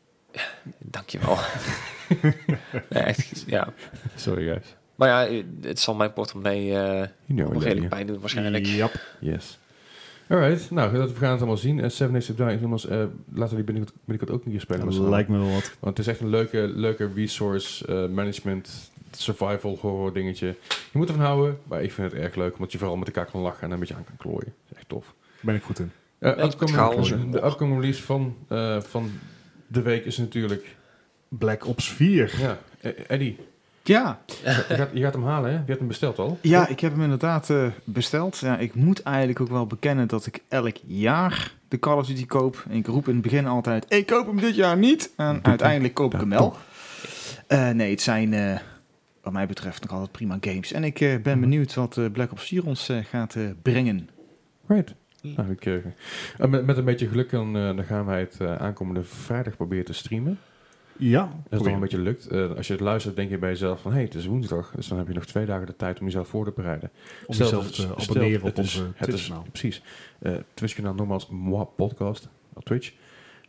Speaker 3: dankjewel. nee, echt, ja.
Speaker 2: Sorry, guys.
Speaker 3: Maar ja, eh, het zal mijn portemonnee eh,
Speaker 2: You know
Speaker 3: nog
Speaker 2: I love
Speaker 3: redelijk
Speaker 2: you.
Speaker 3: pijn doen waarschijnlijk.
Speaker 4: Yep.
Speaker 2: Yes. Alright, nou, dat- we gaan het allemaal zien. En Seven Days to Die, is immers, eh, laten we die binnenkort, binnenkort ook een keer spelen. met z'n allen.
Speaker 4: Lijkt me wel wat.
Speaker 2: Want het is echt een leuke, leuke resource eh, management, survival horror dingetje. Je moet ervan houden, maar ik vind het erg leuk, omdat je vooral met elkaar kan lachen en een beetje aan kan klooien. Dat is echt tof.
Speaker 4: Ben ik goed in.
Speaker 2: Eh,
Speaker 3: ik
Speaker 2: upcoming-
Speaker 3: ga alles doen.
Speaker 2: de upcoming release van, eh, van de week is natuurlijk...
Speaker 4: Black Ops 4.
Speaker 2: Ja, eh, Eddie,
Speaker 1: Ja,
Speaker 2: je gaat, je gaat hem halen, hè? Je hebt hem besteld al.
Speaker 1: Ja, ik heb hem inderdaad eh, besteld. Ja, ik moet eigenlijk ook wel bekennen dat ik elk jaar de Call of Duty koop. En ik roep in het begin altijd, ik koop hem dit jaar niet. En uiteindelijk koop ik hem wel. Eh, nee, het zijn eh, wat mij betreft nog altijd prima games. En ik eh, ben benieuwd wat eh, Black Ops 4 ons eh, gaat eh, brengen.
Speaker 2: Right. Nou, ik, eh, eh, met, met een beetje geluk dan, eh, dan gaan wij het eh, aankomende vrijdag proberen te streamen.
Speaker 4: Ja.
Speaker 2: Als het
Speaker 4: Probeer.
Speaker 2: dan een beetje lukt. eh, als je het luistert, denk je bij jezelf van... hé, hey, het is woensdag, dus dan heb je nog twee dagen de tijd om jezelf voor te bereiden.
Speaker 4: Om
Speaker 2: Stel
Speaker 4: jezelf
Speaker 2: dat-
Speaker 4: te
Speaker 2: stel
Speaker 4: abonneren
Speaker 2: dat
Speaker 4: op
Speaker 2: het is-
Speaker 4: onze
Speaker 2: het is-
Speaker 4: Twitch-kanaal.
Speaker 2: Precies. Eh Twitch-kanaal nogmaals Moi Podcast op Twitch.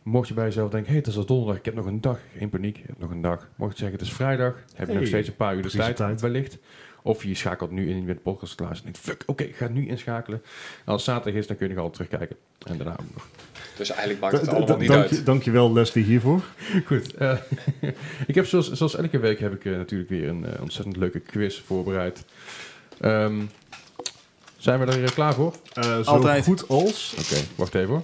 Speaker 2: Mocht je bij jezelf denken, hé, hey, het is al donderdag, ik heb nog een dag. Geen paniek, ik heb nog een dag. Mocht je zeggen, het is vrijdag, heb je
Speaker 4: Hey,
Speaker 2: nog steeds een paar uur de
Speaker 4: precies de
Speaker 2: tijd,
Speaker 4: tijd.
Speaker 2: wellicht. Of je schakelt nu in met de podcast te luisteren en denkt, fuck, oké, ik ga nu inschakelen. En als het zaterdag is, dan kun je nog altijd terugkijken. En daarna ook nog.
Speaker 3: Dus eigenlijk maakt het allemaal niet
Speaker 4: Dank je-
Speaker 3: uit.
Speaker 4: Dankjewel Leslie hiervoor.
Speaker 2: Goed. eh, ik heb zoals, zoals elke week heb ik eh, natuurlijk weer een eh, ontzettend leuke quiz voorbereid. Ehm, zijn we er eh, klaar voor? Oké,
Speaker 4: Eh, zo
Speaker 1: Altijd.
Speaker 4: goed als.
Speaker 2: wacht even hoor.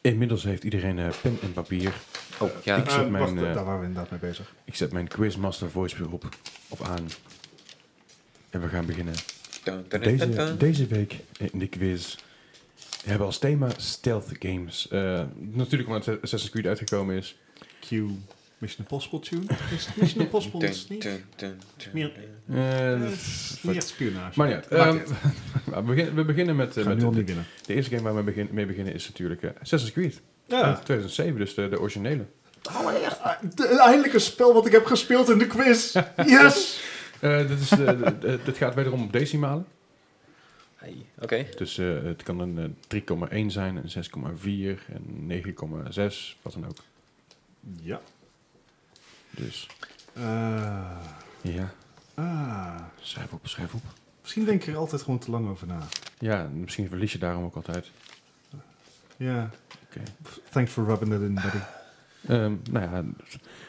Speaker 2: Inmiddels heeft iedereen eh, pen en papier.
Speaker 3: Oh, ja.
Speaker 2: Ik zet
Speaker 4: Eh,
Speaker 2: mijn,
Speaker 4: wacht,
Speaker 2: eh,
Speaker 4: daar waren we inderdaad mee bezig.
Speaker 2: Ik zet mijn Quizmaster Voice weer op of aan. En we gaan beginnen. Deze, deze week in de quiz hebben als thema stealth games. Eh, natuurlijk omdat Assassin's Creed uitgekomen is.
Speaker 4: Q. Mission Impossible tune. Is Mission Impossible is niet. Meer,
Speaker 2: Eh,
Speaker 4: eh,
Speaker 2: wat-
Speaker 4: meer spionage.
Speaker 2: Maar ja,
Speaker 4: Maakt
Speaker 2: ehm,
Speaker 4: niet uit.
Speaker 2: we, beginnen- we beginnen met, eh,
Speaker 4: Gaan
Speaker 2: met
Speaker 4: nu al niet
Speaker 2: de,
Speaker 4: winnen.
Speaker 2: de eerste game waar we begin- mee beginnen is natuurlijk eh, Assassin's Creed. Uit 2007, dus de, de originele.
Speaker 4: Allereerst, eh, de- eindelijk een spel wat ik heb gespeeld in de quiz. Yes!
Speaker 2: Eh, dit, is, eh, de- de- dit gaat wederom op decimalen.
Speaker 3: Oké.
Speaker 2: Dus eh, het kan een eh, 3,1 zijn, een 6,4 en 9,6, wat dan ook.
Speaker 4: ja.
Speaker 2: Dus
Speaker 4: Eh,
Speaker 2: ja,
Speaker 4: ah.
Speaker 2: schrijf op, schrijf op.
Speaker 4: Misschien denk ik er altijd gewoon te lang over na.
Speaker 2: Ja, en misschien verlies je daarom ook altijd.
Speaker 4: Ja.
Speaker 2: Oké.
Speaker 4: Thanks for rubbing that in, buddy.
Speaker 2: Ehm, nou ja,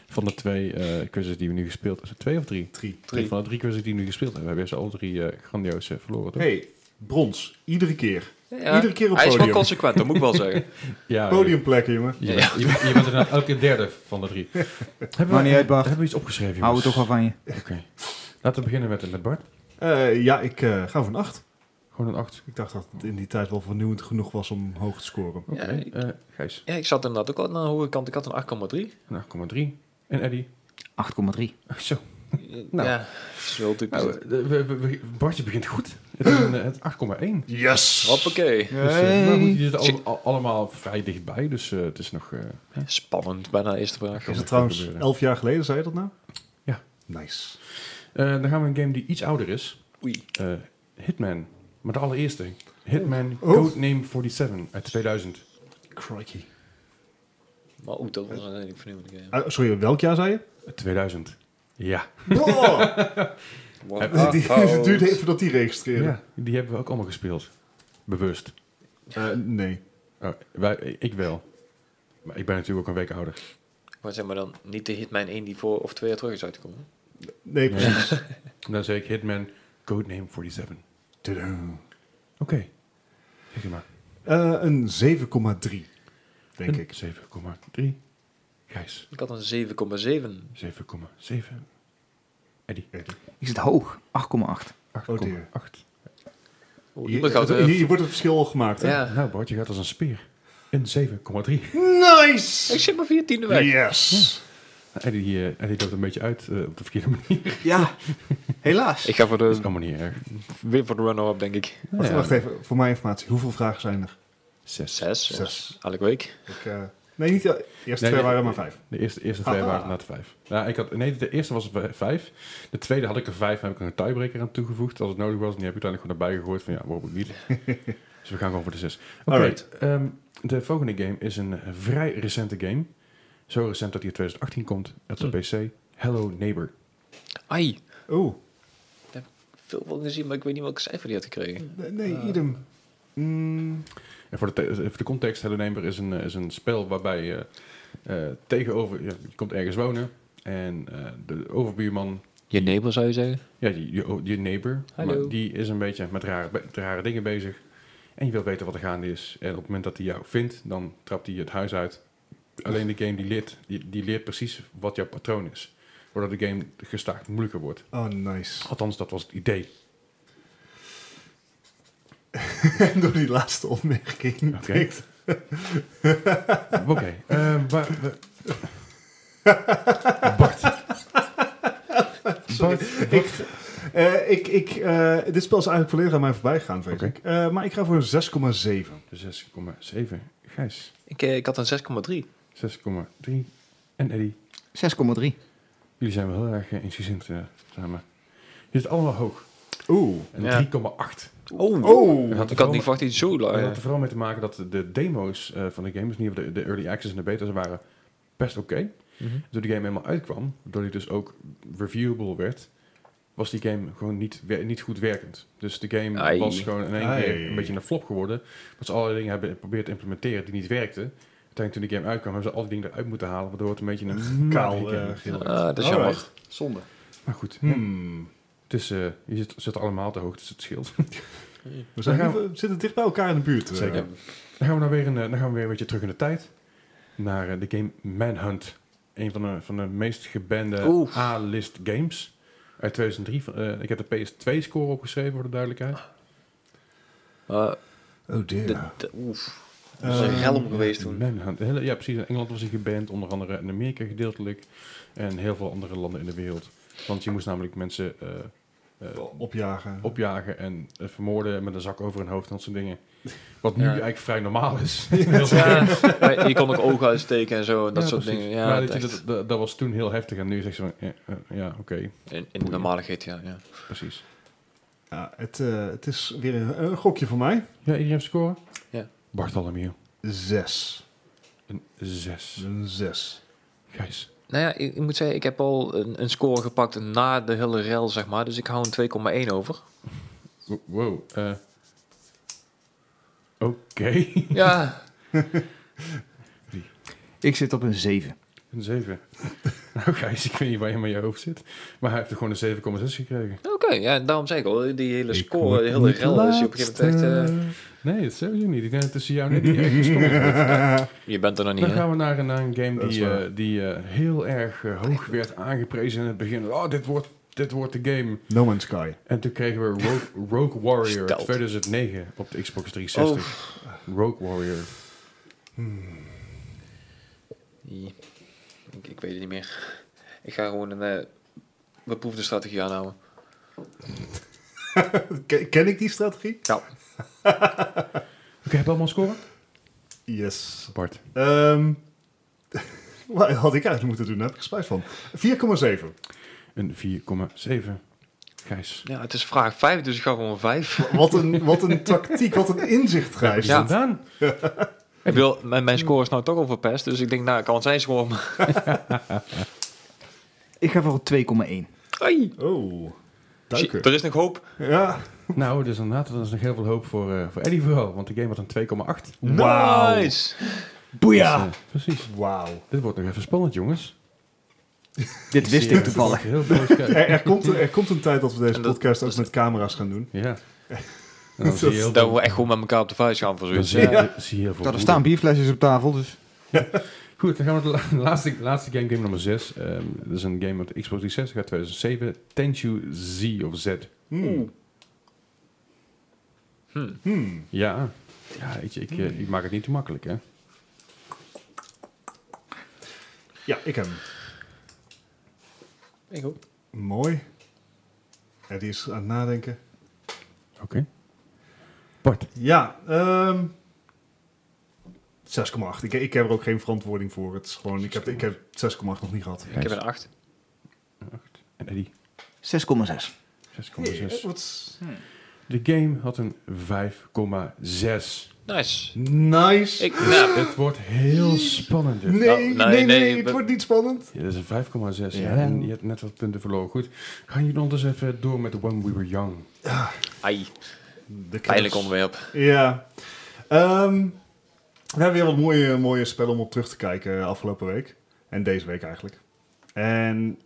Speaker 2: van de twee eh quizzes die we nu gespeeld hebben, twee of drie?
Speaker 4: Drie.
Speaker 3: Drie.
Speaker 2: Van de drie quizzes die we nu gespeeld hebben, hebben we ze alle drie eh, grandioos eh, verloren. Toch?
Speaker 4: Hey, brons. Iedere keer.
Speaker 3: Ja,
Speaker 4: Iedere keer op
Speaker 3: Hij is wel
Speaker 4: podium.
Speaker 3: consequent, dat moet ik wel zeggen.
Speaker 2: Ja,
Speaker 4: Ah, Podiumplekken, jongen.
Speaker 2: Je, bent- je, bent- je bent inderdaad elke derde van de drie. hebben,
Speaker 1: Maakt niet uit, Bart.
Speaker 2: hebben we iets opgeschreven?
Speaker 1: Hou
Speaker 2: jongens?
Speaker 1: het toch wel van je.
Speaker 2: Oké. Laten we beginnen met, met Bart.
Speaker 4: Eh, ja, ik eh, ga voor een acht.
Speaker 2: Gewoon een 8.
Speaker 4: Ik dacht dat het in die tijd wel vernieuwend genoeg was om hoog te scoren.
Speaker 2: Oké.
Speaker 3: Ja, ik-
Speaker 2: Eh, Gijs,
Speaker 3: Ja, ik zat inderdaad ook al aan de hoge kant. Ik had een 8,3.
Speaker 2: een 8,3. En Eddie,
Speaker 3: Ah,
Speaker 1: 8,3.
Speaker 2: Zo.
Speaker 3: Nou,
Speaker 2: Nou.
Speaker 3: ja, dat is wel typisch.
Speaker 2: Nou, eh, we- we- we- Bartje begint goed. Het is een, eh, het 8,1.
Speaker 4: Yes!
Speaker 3: Hoppakee.
Speaker 2: Dus, eh, maar goed, die zitten
Speaker 3: Hey.
Speaker 2: al- al- allemaal vrij dichtbij, dus eh, het is nog... eh, hè,
Speaker 3: Spannend, bijna eerste vraag.
Speaker 2: kan
Speaker 4: Is
Speaker 2: nog
Speaker 4: het trouwens
Speaker 2: gebeuren.
Speaker 4: elf jaar geleden, zei je dat nou?
Speaker 2: Ja.
Speaker 4: Nice.
Speaker 2: Eh, dan gaan we een game die iets ouder is.
Speaker 3: Oei.
Speaker 2: Eh, Hitman. Maar de allereerste. Hitman
Speaker 4: Oh.
Speaker 2: Codename 47 uit 2000.
Speaker 4: Crikey.
Speaker 3: Maar eh, ook dat was een hele vernieuwende game.
Speaker 4: Ah, sorry, welk jaar zei je?
Speaker 2: Eh, 2000. Ja.
Speaker 4: Oh,
Speaker 3: Wow. Oh,
Speaker 4: die, het duurde even dat die registreerde.
Speaker 2: ja. Die hebben we ook allemaal gespeeld. Bewust.
Speaker 4: Eh, nee.
Speaker 2: Oh, wij, ik wel. Maar ik ben natuurlijk ook een week ouder.
Speaker 3: Maar zeg maar dan niet de Hitman 1 die voor of twee jaar terug is uitgekomen.
Speaker 4: Nee, precies.
Speaker 2: Dan zeg ik Hitman Codename 47. Oké.
Speaker 4: Tudu.
Speaker 2: Zeg je maar.
Speaker 4: Eh, een 7,3, denk
Speaker 2: Een
Speaker 4: ik.
Speaker 2: 7,3. Gijs.
Speaker 3: Ik had een 7,7.
Speaker 2: 7,7. Eddie.
Speaker 1: Ik zit hoog. 8,8.
Speaker 2: 8,8.
Speaker 4: Oh dear.
Speaker 3: Oh,
Speaker 4: Hier,
Speaker 3: iemand gaat,
Speaker 4: het-
Speaker 3: eh,
Speaker 4: hier wordt het verschil al gemaakt. hè?
Speaker 3: ja.
Speaker 2: nou, Bart, je gaat als een speer. Een 7,3.
Speaker 4: Nice!
Speaker 3: Ik zit maar 14e weg.
Speaker 4: Yes!
Speaker 2: Eddie, die, eh, Eddie loopt een beetje uit eh, op de verkeerde manier.
Speaker 1: Ja, helaas.
Speaker 3: Ik ga voor
Speaker 2: Dat is
Speaker 3: de,
Speaker 2: allemaal niet erg.
Speaker 3: weer voor de runner-up, denk ik.
Speaker 2: Nou
Speaker 4: Wacht,
Speaker 2: ja,
Speaker 4: wacht even, voor mijn informatie. Hoeveel vragen zijn er?
Speaker 2: Zes.
Speaker 3: Zes.
Speaker 4: Zes.
Speaker 3: Elke week.
Speaker 4: Ik, eh, nee, niet de eerste twee
Speaker 2: nee,
Speaker 4: waren er
Speaker 2: nee.
Speaker 4: maar vijf.
Speaker 2: De eerste, eerste twee
Speaker 4: Aha.
Speaker 2: waren na de vijf. Nou, ik had, nee, de eerste was er vij- vijf. De tweede had ik er vijf. Daar heb ik er een tiebreaker aan toegevoegd als het nodig was. En die heb ik uiteindelijk gewoon erbij gegooid van ja, waarom ook niet. dus we gaan gewoon voor de zes. Oké,
Speaker 4: Alright.
Speaker 2: ehm, de volgende game is een eh, vrij recente game. Zo recent dat die in 2018 komt. Op de PC. Hello Neighbor.
Speaker 3: Ai.
Speaker 4: Oeh,
Speaker 3: Veel van gezien, maar ik weet niet welke cijfer die had gekregen.
Speaker 4: nee, nee, idem. Mm,
Speaker 2: En voor de, te- voor de context, Hello Neighbor is een, eh, is een spel waarbij je eh, tegenover... ja, je komt ergens wonen en eh, de overbuurman
Speaker 3: Je neighbor zou je zeggen?
Speaker 2: Ja, je, je, je neighbor.
Speaker 3: Hallo.
Speaker 2: Maar die is een beetje met rare, be- met rare dingen bezig. En je wilt weten wat er gaande is. En op het moment dat hij jou vindt, dan trapt hij het huis uit. Alleen de game die leert, die, die leert precies wat jouw patroon is. Waardoor de game gestaakt moeilijker wordt.
Speaker 4: oh, nice.
Speaker 2: Althans, dat was het idee.
Speaker 4: En door die laatste opmerking.
Speaker 2: Oké.
Speaker 4: denk ik-
Speaker 2: Oké. ehm, waar- waar- Bart. Bart, wat-
Speaker 4: Eh, ik, ik, eh, dit spel is eigenlijk volledig aan mij voorbij gegaan, weet
Speaker 2: Oké.
Speaker 4: ik. Eh, maar ik ga voor een 6,7.
Speaker 2: 6,7. Gijs.
Speaker 3: Ik, eh, ik had een 6,3.
Speaker 2: 6,3. En Eddie.
Speaker 1: 6,3.
Speaker 2: Jullie zijn wel heel erg eh, incisint eh, samen. Je zit allemaal hoog.
Speaker 4: Oeh.
Speaker 2: En
Speaker 3: Ja.
Speaker 2: 3,8.
Speaker 3: Oh.
Speaker 4: Oh.
Speaker 2: Dat had er
Speaker 3: Ik
Speaker 2: vooral
Speaker 3: had niet verwacht iets zo
Speaker 2: mee- dat
Speaker 3: laag.
Speaker 2: had er vooral mee te maken dat de demo's eh, van de games, in ieder geval de, de early access en de beta's, waren best oké. Toen die game helemaal uitkwam, doordat die dus ook reviewable werd, was die game gewoon niet, wer- niet goed werkend. Dus de game
Speaker 3: Ai.
Speaker 2: was gewoon in één
Speaker 4: Ai.
Speaker 2: keer een beetje een flop geworden. Dat ze allerlei dingen hebben geprobeerd te implementeren die niet werkten. Uiteindelijk toen de game uitkwam, hebben ze al die dingen eruit moeten halen, waardoor het een beetje een
Speaker 4: Kaal.
Speaker 2: matige game
Speaker 4: eh,
Speaker 2: werd.
Speaker 4: geel.
Speaker 3: Ah, dat is
Speaker 4: Alright.
Speaker 3: jammer.
Speaker 1: Zonde.
Speaker 2: Maar goed,
Speaker 4: Hmm.
Speaker 2: het is, eh, je zit, zit allemaal te hoog, dus het scheelt.
Speaker 4: We, zijn,
Speaker 2: Dan gaan
Speaker 4: we zitten dicht bij elkaar in de buurt. eh.
Speaker 2: Zeker. Dan gaan we nou weer een, eh, dan gaan we weer een beetje terug in de tijd. Naar eh, de game Manhunt. Een van de, van de meest gebande
Speaker 3: Oeh.
Speaker 2: A-list games. Uit 2003. Van, eh, ik heb de PS2-score opgeschreven, voor de
Speaker 3: Ah,
Speaker 2: duidelijkheid.
Speaker 3: Maar
Speaker 4: Oh dear.
Speaker 3: de- de- oef. Dat is een
Speaker 4: Eh,
Speaker 3: helm geweest toen.
Speaker 2: Manhunt. Hele- ja, precies. In Engeland was hij geband. Onder andere in Amerika gedeeltelijk. En heel veel andere landen in de wereld. Want je moest namelijk mensen eh, eh,
Speaker 4: Opjagen.
Speaker 2: opjagen en eh, vermoorden met een zak over hun hoofd en dat soort dingen. Wat nu
Speaker 3: Ja.
Speaker 2: eigenlijk vrij normaal is.
Speaker 3: Ja, maar je kon ook ogen uitsteken en zo, en dat
Speaker 2: Ja,
Speaker 3: soort
Speaker 2: precies.
Speaker 3: dingen. Ja,
Speaker 2: Maar
Speaker 3: het
Speaker 2: dat, je
Speaker 3: echt-
Speaker 2: dat, dat, dat was toen heel heftig en nu zeg je van, eh, eh, ja, oké,
Speaker 3: in, in de normale GTA, ja.
Speaker 2: precies.
Speaker 4: Ja, het, eh, het is weer een, een gokje voor mij.
Speaker 2: Ja, iedereen heeft scoren?
Speaker 3: Ja.
Speaker 2: Bartholomew,
Speaker 4: Zes.
Speaker 2: een 6.
Speaker 4: Een zes.
Speaker 2: Gijs,
Speaker 3: Nou ja, ik, ik moet zeggen, ik heb al een, een score gepakt na de hele rel, zeg maar. Dus ik hou een 2,1 over.
Speaker 2: Wo- wow, eh, oké.
Speaker 3: Ja,
Speaker 1: Ik zit op een 7.
Speaker 2: Een 7. nou Gijs, ik weet niet waar je met je hoofd zit, maar hij heeft er gewoon een 7,6 gekregen.
Speaker 3: oké. ja, daarom zeg ik al, die hele
Speaker 2: Ik
Speaker 3: score, de hele rel is op een gegeven moment echt... eh,
Speaker 2: Nee, dat sowieso niet. Ik denk dat tussen jou en die echt gescoord wordt.
Speaker 3: je bent er nog niet,
Speaker 2: Dan
Speaker 3: hè?
Speaker 2: gaan we naar, naar een game
Speaker 4: Dat is
Speaker 2: die,
Speaker 4: waar.
Speaker 2: eh, die eh, heel erg eh, hoog werd aangeprezen in het begin. Oh, dit wordt, dit wordt de game.
Speaker 4: No Man's Sky.
Speaker 2: En toen kregen we Rogue, Rogue Warrior
Speaker 3: Stelt.
Speaker 2: 2009 op de
Speaker 1: Oh.
Speaker 2: Xbox 360. Rogue Warrior.
Speaker 3: Ik, ik weet het niet meer. Ik ga gewoon een eh, beproefde strategie aanhouden.
Speaker 4: Ken, ken ik die strategie?
Speaker 3: Ja.
Speaker 2: Oké, heb je allemaal scoren?
Speaker 4: Yes.
Speaker 2: Bart.
Speaker 4: Ehm wat had ik eigenlijk moeten doen, daar heb ik spijt van. 4,7.
Speaker 2: Een 4,7. Gijs.
Speaker 3: ja, het is vraag 5, dus ik ga gewoon 5.
Speaker 4: Wat een, wat een tactiek, wat een inzicht, Gijs.
Speaker 3: Ja.
Speaker 2: Vandaan.
Speaker 3: Ik wil, mijn, mijn score is nou toch al verpest, dus ik denk, nou, ik kan zijn score. maar-
Speaker 1: Ik ga voor 2,1.
Speaker 3: Ai.
Speaker 4: Oh,
Speaker 3: Shit,
Speaker 4: duiken.
Speaker 3: er is nog hoop.
Speaker 4: Ja,
Speaker 2: Nou, dus inderdaad, dat is nog heel veel hoop voor, eh voor Eddie vooral. Want de game had een 2,8.
Speaker 4: Wauw.
Speaker 3: Nice. Ah.
Speaker 1: Boeia!
Speaker 2: Dus, eh, precies.
Speaker 4: wauw.
Speaker 2: Dit wordt nog even spannend, jongens.
Speaker 1: Dit wist ik
Speaker 2: Serieus,
Speaker 1: toevallig.
Speaker 2: ik word Heel boos kijken.
Speaker 4: Er, er, komt, een- er komt een tijd dat we deze
Speaker 3: En dat-
Speaker 4: podcast ook met camera's gaan doen.
Speaker 2: ja. En dan zie je heel
Speaker 3: Dat
Speaker 2: veel,
Speaker 3: we echt gewoon met elkaar op de vuist gaan voor
Speaker 2: dan
Speaker 3: zoiets.
Speaker 2: zie je, zie je heel veel
Speaker 1: Dat er
Speaker 2: woede.
Speaker 1: staan bierflesjes op tafel, dus...
Speaker 2: Goed, dan gaan we naar de la- laatste, laatste game, game nummer 6. dat is een game op de Xbox 360 uit 2007. Tenchu Z of Z.
Speaker 4: Hmm.
Speaker 3: Hmm.
Speaker 4: Hmm.
Speaker 2: Ja, ja weet je, ik, eh, ik maak het niet te makkelijk, hè.
Speaker 4: Ja, ik heb hem.
Speaker 3: Ik ook.
Speaker 4: Mooi. Ja, die is aan het nadenken.
Speaker 2: Oké. Bart.
Speaker 4: Ja, ehm 6,8. Ik, ik heb er ook geen verantwoording voor. Het is gewoon, ik heb, ik heb 6,8 nog niet gehad.
Speaker 3: Ik heb een 8.
Speaker 2: En Eddie.
Speaker 1: 6,6.
Speaker 2: 6,6.
Speaker 4: Wat-
Speaker 2: eh, De game had een 5,6.
Speaker 3: Nice.
Speaker 4: Nice.
Speaker 3: Ik, nou,
Speaker 2: Het wordt heel spannend. dit.
Speaker 4: Nee,
Speaker 3: Nou, nee,
Speaker 4: nee, nee,
Speaker 3: nee,
Speaker 4: het
Speaker 3: we-
Speaker 4: wordt niet spannend.
Speaker 2: Ja, dat is een 5,6. Ja.
Speaker 1: Ja.
Speaker 2: En je hebt net wat punten verloren. Goed, gaan jullie ondertussen even door met When We Were Young.
Speaker 3: ai,
Speaker 4: De
Speaker 3: pijnlijk onderwerp.
Speaker 4: Ja. Ehm, we hebben weer wat mooie, mooie spellen om op terug te kijken eh, afgelopen week. En deze week eigenlijk. En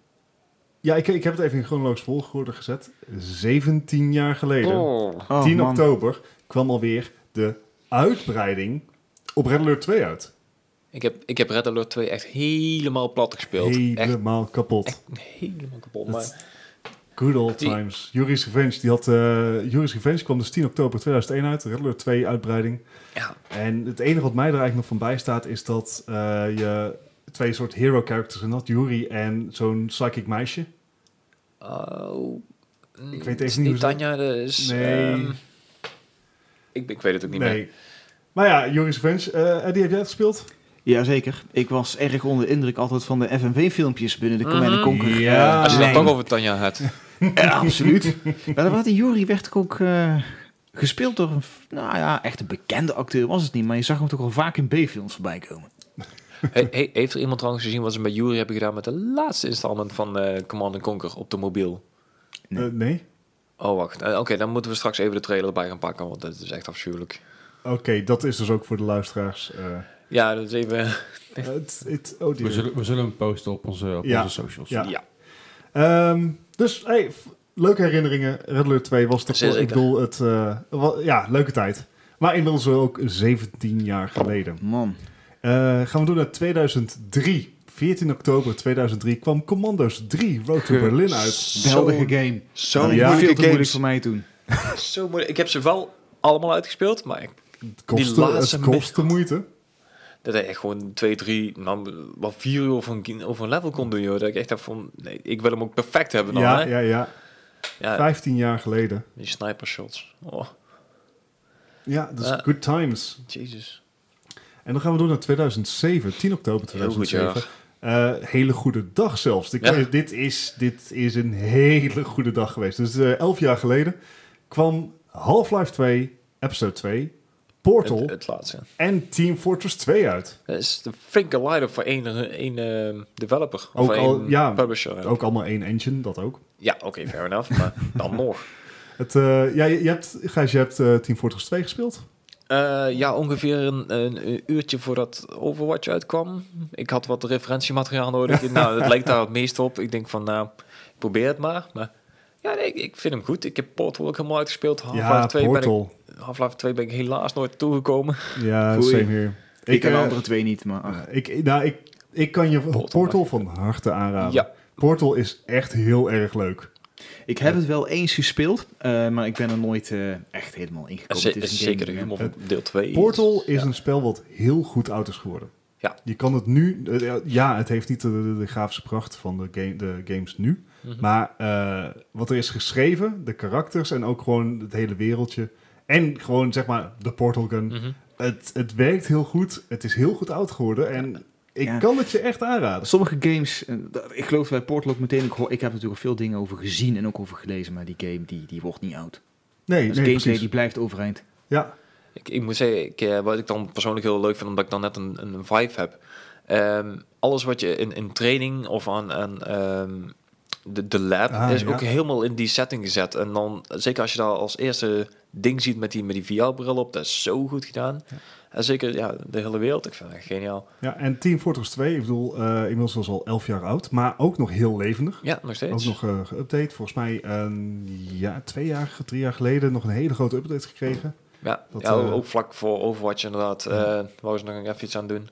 Speaker 4: ja, ik, ik heb het even in chronologisch volgorde gezet. 17 jaar geleden,
Speaker 3: Oh.
Speaker 4: 10
Speaker 1: man.
Speaker 4: oktober, kwam alweer de uitbreiding op Red Alert 2 uit.
Speaker 3: Ik, heb, ik heb Red Alert 2 echt helemaal plat gespeeld. Echt,
Speaker 4: Helemaal kapot.
Speaker 3: echt helemaal kapot.
Speaker 4: Dat-
Speaker 3: Maar
Speaker 4: Good old
Speaker 3: Die-
Speaker 4: times. Juris Revenge, die had, eh, Yuri's Revenge kwam dus 10 oktober 2001 uit. Red Alert 2 uitbreiding.
Speaker 3: ja,
Speaker 4: En het enige wat mij er eigenlijk nog van bij staat is dat eh, je twee soort hero characters en dat Yuri en zo'n psychic meisje.
Speaker 3: Oh, mm,
Speaker 4: Ik weet even
Speaker 3: het is
Speaker 4: niet hoe ze-
Speaker 3: Tanja, dus...
Speaker 4: Nee.
Speaker 3: ehm, ik, ik weet het ook niet meer.
Speaker 4: Nee. Maar ja, Yuri's Revenge, eh Eddie, heb jij het gespeeld?
Speaker 1: Jazeker. Ik was erg onder de indruk altijd van de FNV-filmpjes binnen de Command
Speaker 3: Mhm.
Speaker 1: Conquer.
Speaker 4: Ja.
Speaker 1: eh,
Speaker 3: Als je
Speaker 1: lijn.
Speaker 3: het dan toch over Tanja hebt.
Speaker 1: Ja, absoluut. maar wat in Jury werd toch ook eh, gespeeld door een, f- nou ja, echt een bekende acteur was het niet, maar je zag hem toch al vaak in B-films voorbij komen.
Speaker 3: He- he- heeft er iemand trouwens gezien wat ze bij Jury hebben gedaan met de laatste installment van eh, Command Conquer op de mobiel?
Speaker 1: Nee.
Speaker 4: Eh, nee?
Speaker 3: Oh, wacht. Eh, Oké, dan moeten we straks even de trailer erbij gaan pakken, want dat is echt afschuwelijk.
Speaker 4: Oké, dat is dus ook voor de luisteraars. eh,
Speaker 3: Ja, dat is even...
Speaker 4: het, het, oh
Speaker 2: We
Speaker 4: dear.
Speaker 2: zullen, we zullen hem posten op onze, op
Speaker 4: Ja.
Speaker 2: onze socials.
Speaker 4: Ja.
Speaker 3: ja.
Speaker 4: Ehm, dus, hey, f- leuke herinneringen. Red Alert 2 was toch,
Speaker 3: Zeker.
Speaker 4: ik bedoel, het, eh, wa- ja, leuke tijd. Maar inmiddels ook 17 jaar geleden.
Speaker 1: Man.
Speaker 4: Eh, gaan we door naar 2003. 14 oktober 2003 kwam Commando's 3 Road to
Speaker 1: Ge-
Speaker 4: Berlin uit.
Speaker 1: Geweldige game.
Speaker 3: Zo
Speaker 1: Veel te
Speaker 4: Ja.
Speaker 3: moeilijke
Speaker 1: moeilijk
Speaker 3: games.
Speaker 1: voor mij toen.
Speaker 3: Zo moeilijk. Ik heb ze wel allemaal uitgespeeld, maar ik,
Speaker 4: Het kostte,
Speaker 3: laatste
Speaker 4: het kostte moeite.
Speaker 3: dat ik echt gewoon twee, drie, nou, wel vier uur over een, game- over een level kon doen, joh. Dat ik echt dacht van, nee, ik wil hem ook perfect hebben dan,
Speaker 4: Ja,
Speaker 3: hè. Eh.
Speaker 4: ja, ja.
Speaker 3: Ja,
Speaker 4: 15 jaar geleden.
Speaker 3: die sniper shots. Oh,
Speaker 4: Ja, dus
Speaker 3: Ja.
Speaker 4: good times.
Speaker 3: jezus.
Speaker 4: En dan gaan we door naar 2007. 10 oktober
Speaker 3: Heel goed,
Speaker 4: 2007.
Speaker 3: ja.
Speaker 4: Eh, hele goede dag zelfs. Dit, kan
Speaker 3: Ja.
Speaker 4: je- dit, is, dit is een hele goede dag geweest. Dus eh 11 jaar geleden kwam Half-Life 2, Episode 2, Portal
Speaker 3: Het, het laatste.
Speaker 4: en Team Fortress 2 uit.
Speaker 3: Dat is de flinke leider voor één, één eh, developer.
Speaker 4: Ook
Speaker 3: of één
Speaker 4: al- ja.
Speaker 3: publisher.
Speaker 4: Ook allemaal één engine, dat ook.
Speaker 3: Ja, oké, fair enough. Maar dan nog.
Speaker 4: Het, eh, ja, je, je hebt, Gijs, je hebt eh, Team Fortress 2 gespeeld.
Speaker 3: Eh, ja, ongeveer een, een uurtje voordat Overwatch uitkwam. Ik had wat referentiemateriaal nodig. nou, dat lijkt daar het meest op. Ik denk van, nou, ik probeer het maar. Maar ja, nee, ik, ik vind hem goed. Ik heb Portal ook helemaal uitgespeeld. Half-Life
Speaker 4: ja,
Speaker 3: 2, ben ik-
Speaker 4: Portal.
Speaker 3: Half-Life 2 ben ik helaas nooit toegekomen.
Speaker 4: Ja,
Speaker 1: Oei.
Speaker 4: same here.
Speaker 1: Ik, ken de
Speaker 4: eh,
Speaker 1: andere twee niet, maar ach.
Speaker 4: eh, ik, nou, ik, ik kan je Portal, van harte aanraden.
Speaker 3: Ja.
Speaker 4: Portal is echt heel erg leuk.
Speaker 1: Ik heb het wel eens gespeeld, eh, maar ik ben er nooit eh, echt helemaal ingekomen.
Speaker 3: Ze-
Speaker 1: Het is een game,
Speaker 3: Zeker
Speaker 1: hè.
Speaker 3: helemaal van deel 2.
Speaker 4: Portal is een spel wat heel goed oud is geworden.
Speaker 3: Ja.
Speaker 4: Je kan het nu... eh, ja, het heeft niet de, de- de grafische pracht van de, game, de games nu.
Speaker 3: Mhm.
Speaker 4: Maar eh, wat er is geschreven, de karakters en ook gewoon het hele wereldje. En gewoon, zeg maar, de Portal Gun.
Speaker 3: Mhm.
Speaker 4: Het, het werkt heel goed. Het is heel goed oud geworden. En ik
Speaker 1: Ja.
Speaker 4: kan het je echt aanraden.
Speaker 1: Sommige games, eh, dat- ik geloof bij Portal ook meteen, ik, hoor, ik heb natuurlijk veel dingen over gezien en ook over gelezen, maar die game die, die wordt niet oud. Dus
Speaker 4: Nee, nee,
Speaker 1: gameplay
Speaker 4: precies.
Speaker 1: die blijft overeind.
Speaker 4: Ja,
Speaker 3: Ik, ik moet zeggen, ik, eh, wat ik dan persoonlijk heel leuk vind, omdat ik dan net een, een vibe heb. Ehm, alles wat je in, in training of aan, aan ehm, de, de lab
Speaker 4: Ah,
Speaker 3: is
Speaker 4: ja.
Speaker 3: ook helemaal in die setting gezet. En dan, zeker als je daar als eerste ding ziet met die, met die VR-bril op, dat is zo goed gedaan. En zeker ja, de hele wereld, ik vind het echt geniaal.
Speaker 4: ja, en Team Fortress 2, ik bedoel, eh, inmiddels was al 11 jaar oud. Maar ook nog heel levendig.
Speaker 3: Ja, nog steeds.
Speaker 4: Ook nog eh geüpdate. Volgens mij een ja, twee jaar, drie jaar geleden nog een hele grote update gekregen.
Speaker 3: ja,
Speaker 4: dat,
Speaker 3: ja,
Speaker 4: eh,
Speaker 3: ook vlak voor Overwatch inderdaad. eh wou ze nog even iets aan doen.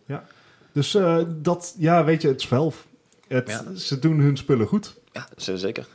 Speaker 4: Dus eh, dat, ja, weet je, het is Valve. Het,
Speaker 3: Ja.
Speaker 4: Ze doen hun spullen goed.
Speaker 3: Ja, ze- zeker.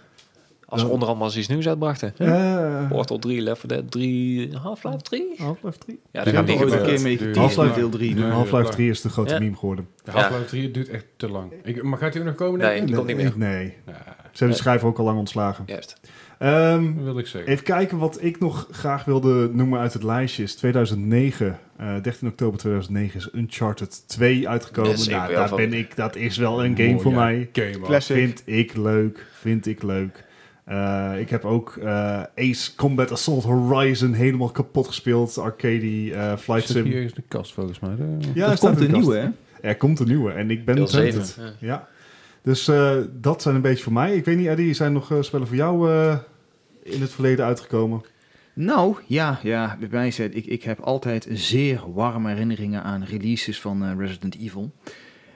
Speaker 3: Als ze
Speaker 4: Dan-
Speaker 3: onder andere iets nieuws uitbrachten.
Speaker 4: Eh,
Speaker 3: Portal 3, Left 4 Dead 3, Half-Life 3?
Speaker 4: Half-Life 3?
Speaker 3: Ja,
Speaker 2: Die hebben
Speaker 3: dat gaat
Speaker 2: we
Speaker 3: niet
Speaker 1: ooit een
Speaker 3: gebeuren.
Speaker 1: keer mee
Speaker 2: Dude.
Speaker 1: geteased in
Speaker 4: Half-Life-
Speaker 1: deel 3.
Speaker 2: Nee,
Speaker 1: maar-
Speaker 4: Half-Life
Speaker 2: klaar.
Speaker 4: 3 is de grote
Speaker 3: Ja.
Speaker 4: meme geworden.
Speaker 2: De Half-Life 3 duurt echt te lang. Ik, maar gaat die ook nog komen?
Speaker 3: Nee.
Speaker 2: denk ik?
Speaker 3: Die komt niet meer.
Speaker 4: Nee,
Speaker 2: Nou,
Speaker 4: ze hebben de schrijver ook al lang ontslagen.
Speaker 3: Juist.
Speaker 4: Ehm,
Speaker 2: dat wil ik zeggen.
Speaker 4: even kijken wat ik nog graag wilde noemen uit het lijstje. Is 2009, eh 13 oktober 2009 is Uncharted 2 uitgekomen.
Speaker 3: Dat is
Speaker 4: nou,
Speaker 3: even
Speaker 4: daar
Speaker 3: wel
Speaker 4: ben
Speaker 3: van-
Speaker 4: ik, dat is wel een game
Speaker 2: Mooie
Speaker 4: voor mij.
Speaker 2: Game, man.
Speaker 1: Classic.
Speaker 4: Vind ik leuk. Vind ik leuk. Eh, ik heb ook eh, Ace Combat Assault Horizon helemaal kapot gespeeld. Arcade eh Flight
Speaker 2: Zit
Speaker 4: Sim.
Speaker 2: hier is de kast volgens mij. Eh,
Speaker 4: Ja,
Speaker 1: er
Speaker 4: hij staat
Speaker 1: komt
Speaker 4: in
Speaker 1: een
Speaker 4: de
Speaker 1: nieuwe,
Speaker 4: kast.
Speaker 1: hè?
Speaker 4: Er komt een nieuwe en ik ben
Speaker 3: Deel
Speaker 4: ontzettend.
Speaker 3: zeven,
Speaker 4: Ja. Dus eh, dat zijn een beetje voor mij. Ik weet niet, Eddie, zijn er nog eh, spellen voor jou eh, in het verleden uitgekomen?
Speaker 1: Nou, ja, ja, bij mij zei ik, ik heb altijd zeer warme herinneringen aan releases van eh, Resident Evil.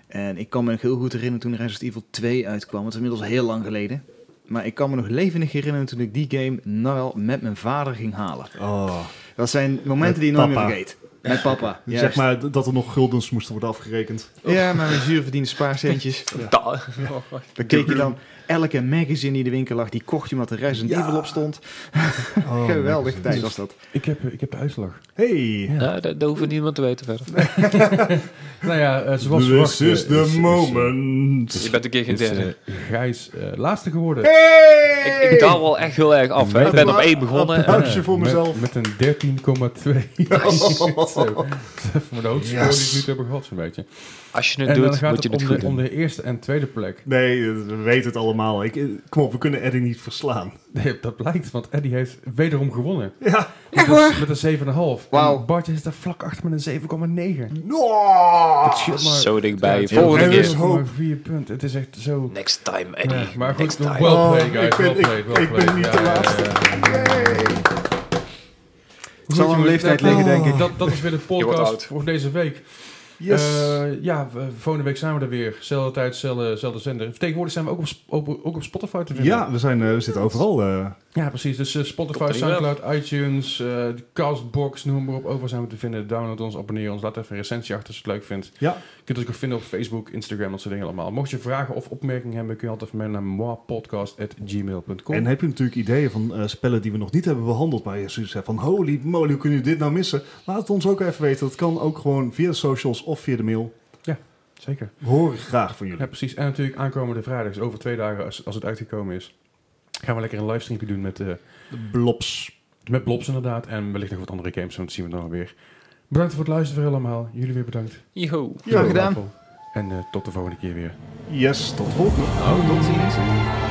Speaker 1: En ik kan me nog heel goed herinneren toen Resident Evil 2 uitkwam. Het is inmiddels heel lang geleden. Maar ik kan me nog levendig herinneren toen ik die game nou wel met mijn vader ging halen.
Speaker 4: Oh,
Speaker 1: Dat zijn momenten
Speaker 4: Met
Speaker 1: die je nooit meer
Speaker 4: papa.
Speaker 1: vergeet. Met papa.
Speaker 4: zeg
Speaker 1: juist.
Speaker 4: maar d- dat er nog guldens moesten worden afgerekend.
Speaker 1: Ja, maar mijn zuur verdiende spaarcentjes.
Speaker 3: Da-
Speaker 1: Dan keek je dan elke magazine die in de winkel lag, die kocht je omdat er Resident
Speaker 4: Ja.
Speaker 1: Evil op stond.
Speaker 4: Oh,
Speaker 1: Geweldig
Speaker 4: lekker.
Speaker 1: tijd was dat.
Speaker 2: Ik heb, ik heb de uitslag.
Speaker 4: Hey,
Speaker 3: Nou, dat, dat hoeft niemand te weten verder.
Speaker 2: Nou ja, eh, zoals verwacht,
Speaker 4: this
Speaker 2: eh,
Speaker 4: is the
Speaker 2: eh,
Speaker 1: Dus
Speaker 4: moment.
Speaker 3: Je bent een keer geen
Speaker 2: is, eh,
Speaker 3: derde.
Speaker 2: Gijs eh, laatste geworden.
Speaker 1: eh,
Speaker 4: Hey!
Speaker 3: Ik, ik daal wel echt heel erg af. hè. Ik ben op één begonnen. en-
Speaker 4: Applausje voor
Speaker 2: Eh, Met-
Speaker 4: mezelf.
Speaker 2: Met, een 13,2. Zo. Voor mijn hoogste score die
Speaker 4: Yes.
Speaker 2: ik nu toe heb gehad, zo'n beetje.
Speaker 3: Als je het
Speaker 2: En dan
Speaker 3: doet,
Speaker 2: gaat
Speaker 3: moet je
Speaker 2: het om
Speaker 3: het goed
Speaker 2: de, om
Speaker 3: doen.
Speaker 2: de eerste en tweede plek.
Speaker 4: Nee, eh, we weten het allemaal. Ik, eh, kom op, we kunnen Eddie niet verslaan.
Speaker 2: Nee, Dat blijkt, want Eddie heeft wederom gewonnen.
Speaker 4: Ja.
Speaker 2: Met een, met een 7,5.
Speaker 1: Wauw.
Speaker 2: En Bart is daar vlak achter met een 7,9.
Speaker 4: No! Ah,
Speaker 2: Het scheelt maar-
Speaker 3: Zo dichtbij.
Speaker 2: Ja,
Speaker 3: Volgende
Speaker 2: het scheelt maar
Speaker 4: keer.
Speaker 2: hoop. vier punten. Het is echt zo...
Speaker 3: Next time,
Speaker 2: Ja,
Speaker 3: Eddie.
Speaker 2: maar
Speaker 3: Next
Speaker 2: goed, well
Speaker 3: time.
Speaker 2: played,
Speaker 4: Oh,
Speaker 2: guys.
Speaker 4: ik ben-
Speaker 2: well
Speaker 4: ik-
Speaker 2: played, well
Speaker 4: ik ben
Speaker 2: played.
Speaker 4: niet
Speaker 2: Ja,
Speaker 4: de
Speaker 2: ja, ja,
Speaker 4: laatste.
Speaker 2: ja.
Speaker 1: Zal aan
Speaker 2: jongens,
Speaker 1: leeftijd
Speaker 2: dat-
Speaker 1: liggen,
Speaker 4: denk ik.
Speaker 2: Dat, dat is weer de
Speaker 3: wordt
Speaker 2: podcast
Speaker 3: oud.
Speaker 2: voor deze week. Eh, ja, we- volgende week zijn we er weer. Zelfde tijd, zelfde, zelfde zender. Tegenwoordig zijn we ook op, Sp- op, ook op Spotify te vinden.
Speaker 4: ja, we, zijn, eh, we zitten overal. eh,
Speaker 2: ja precies. Dus eh,
Speaker 3: Top
Speaker 2: Spotify,
Speaker 3: drie
Speaker 2: Soundcloud, iTunes, eh, de Castbox, noem maar op. Overal zijn we te vinden. Download ons, abonneer ons. Laat even een recensie achter als je het leuk vindt.
Speaker 4: ja,
Speaker 2: Je kunt ons ook vinden op Facebook, Instagram, dat soort dingen allemaal. Mocht je vragen of opmerkingen hebben, kun je altijd even mailen naar moapodcast.gmail.com.
Speaker 4: En heb je natuurlijk ideeën van eh, spellen die we nog niet hebben behandeld, maar je zoiets hebt van holy moly, hoe kunnen jullie dit nou missen? Laat het ons ook even weten. Dat kan ook gewoon via de socials of via de mail.
Speaker 2: Zeker.
Speaker 4: We horen graag van jullie.
Speaker 2: Ja, precies. En natuurlijk aankomende vrijdag, dus over twee dagen, als, als het uitgekomen is, gaan we lekker een livestreampje doen met, eh,
Speaker 4: De blobs.
Speaker 2: met Blobs inderdaad. En wellicht nog wat andere games, want dat zien we dan weer. Bedankt voor het luisteren voor allemaal. Jullie weer bedankt.
Speaker 3: Yo.
Speaker 1: Graag gedaan.
Speaker 2: En eh, tot de volgende keer weer.
Speaker 4: Yes, Nou, tot volgende.
Speaker 1: Tot ziens.
Speaker 2: Doei.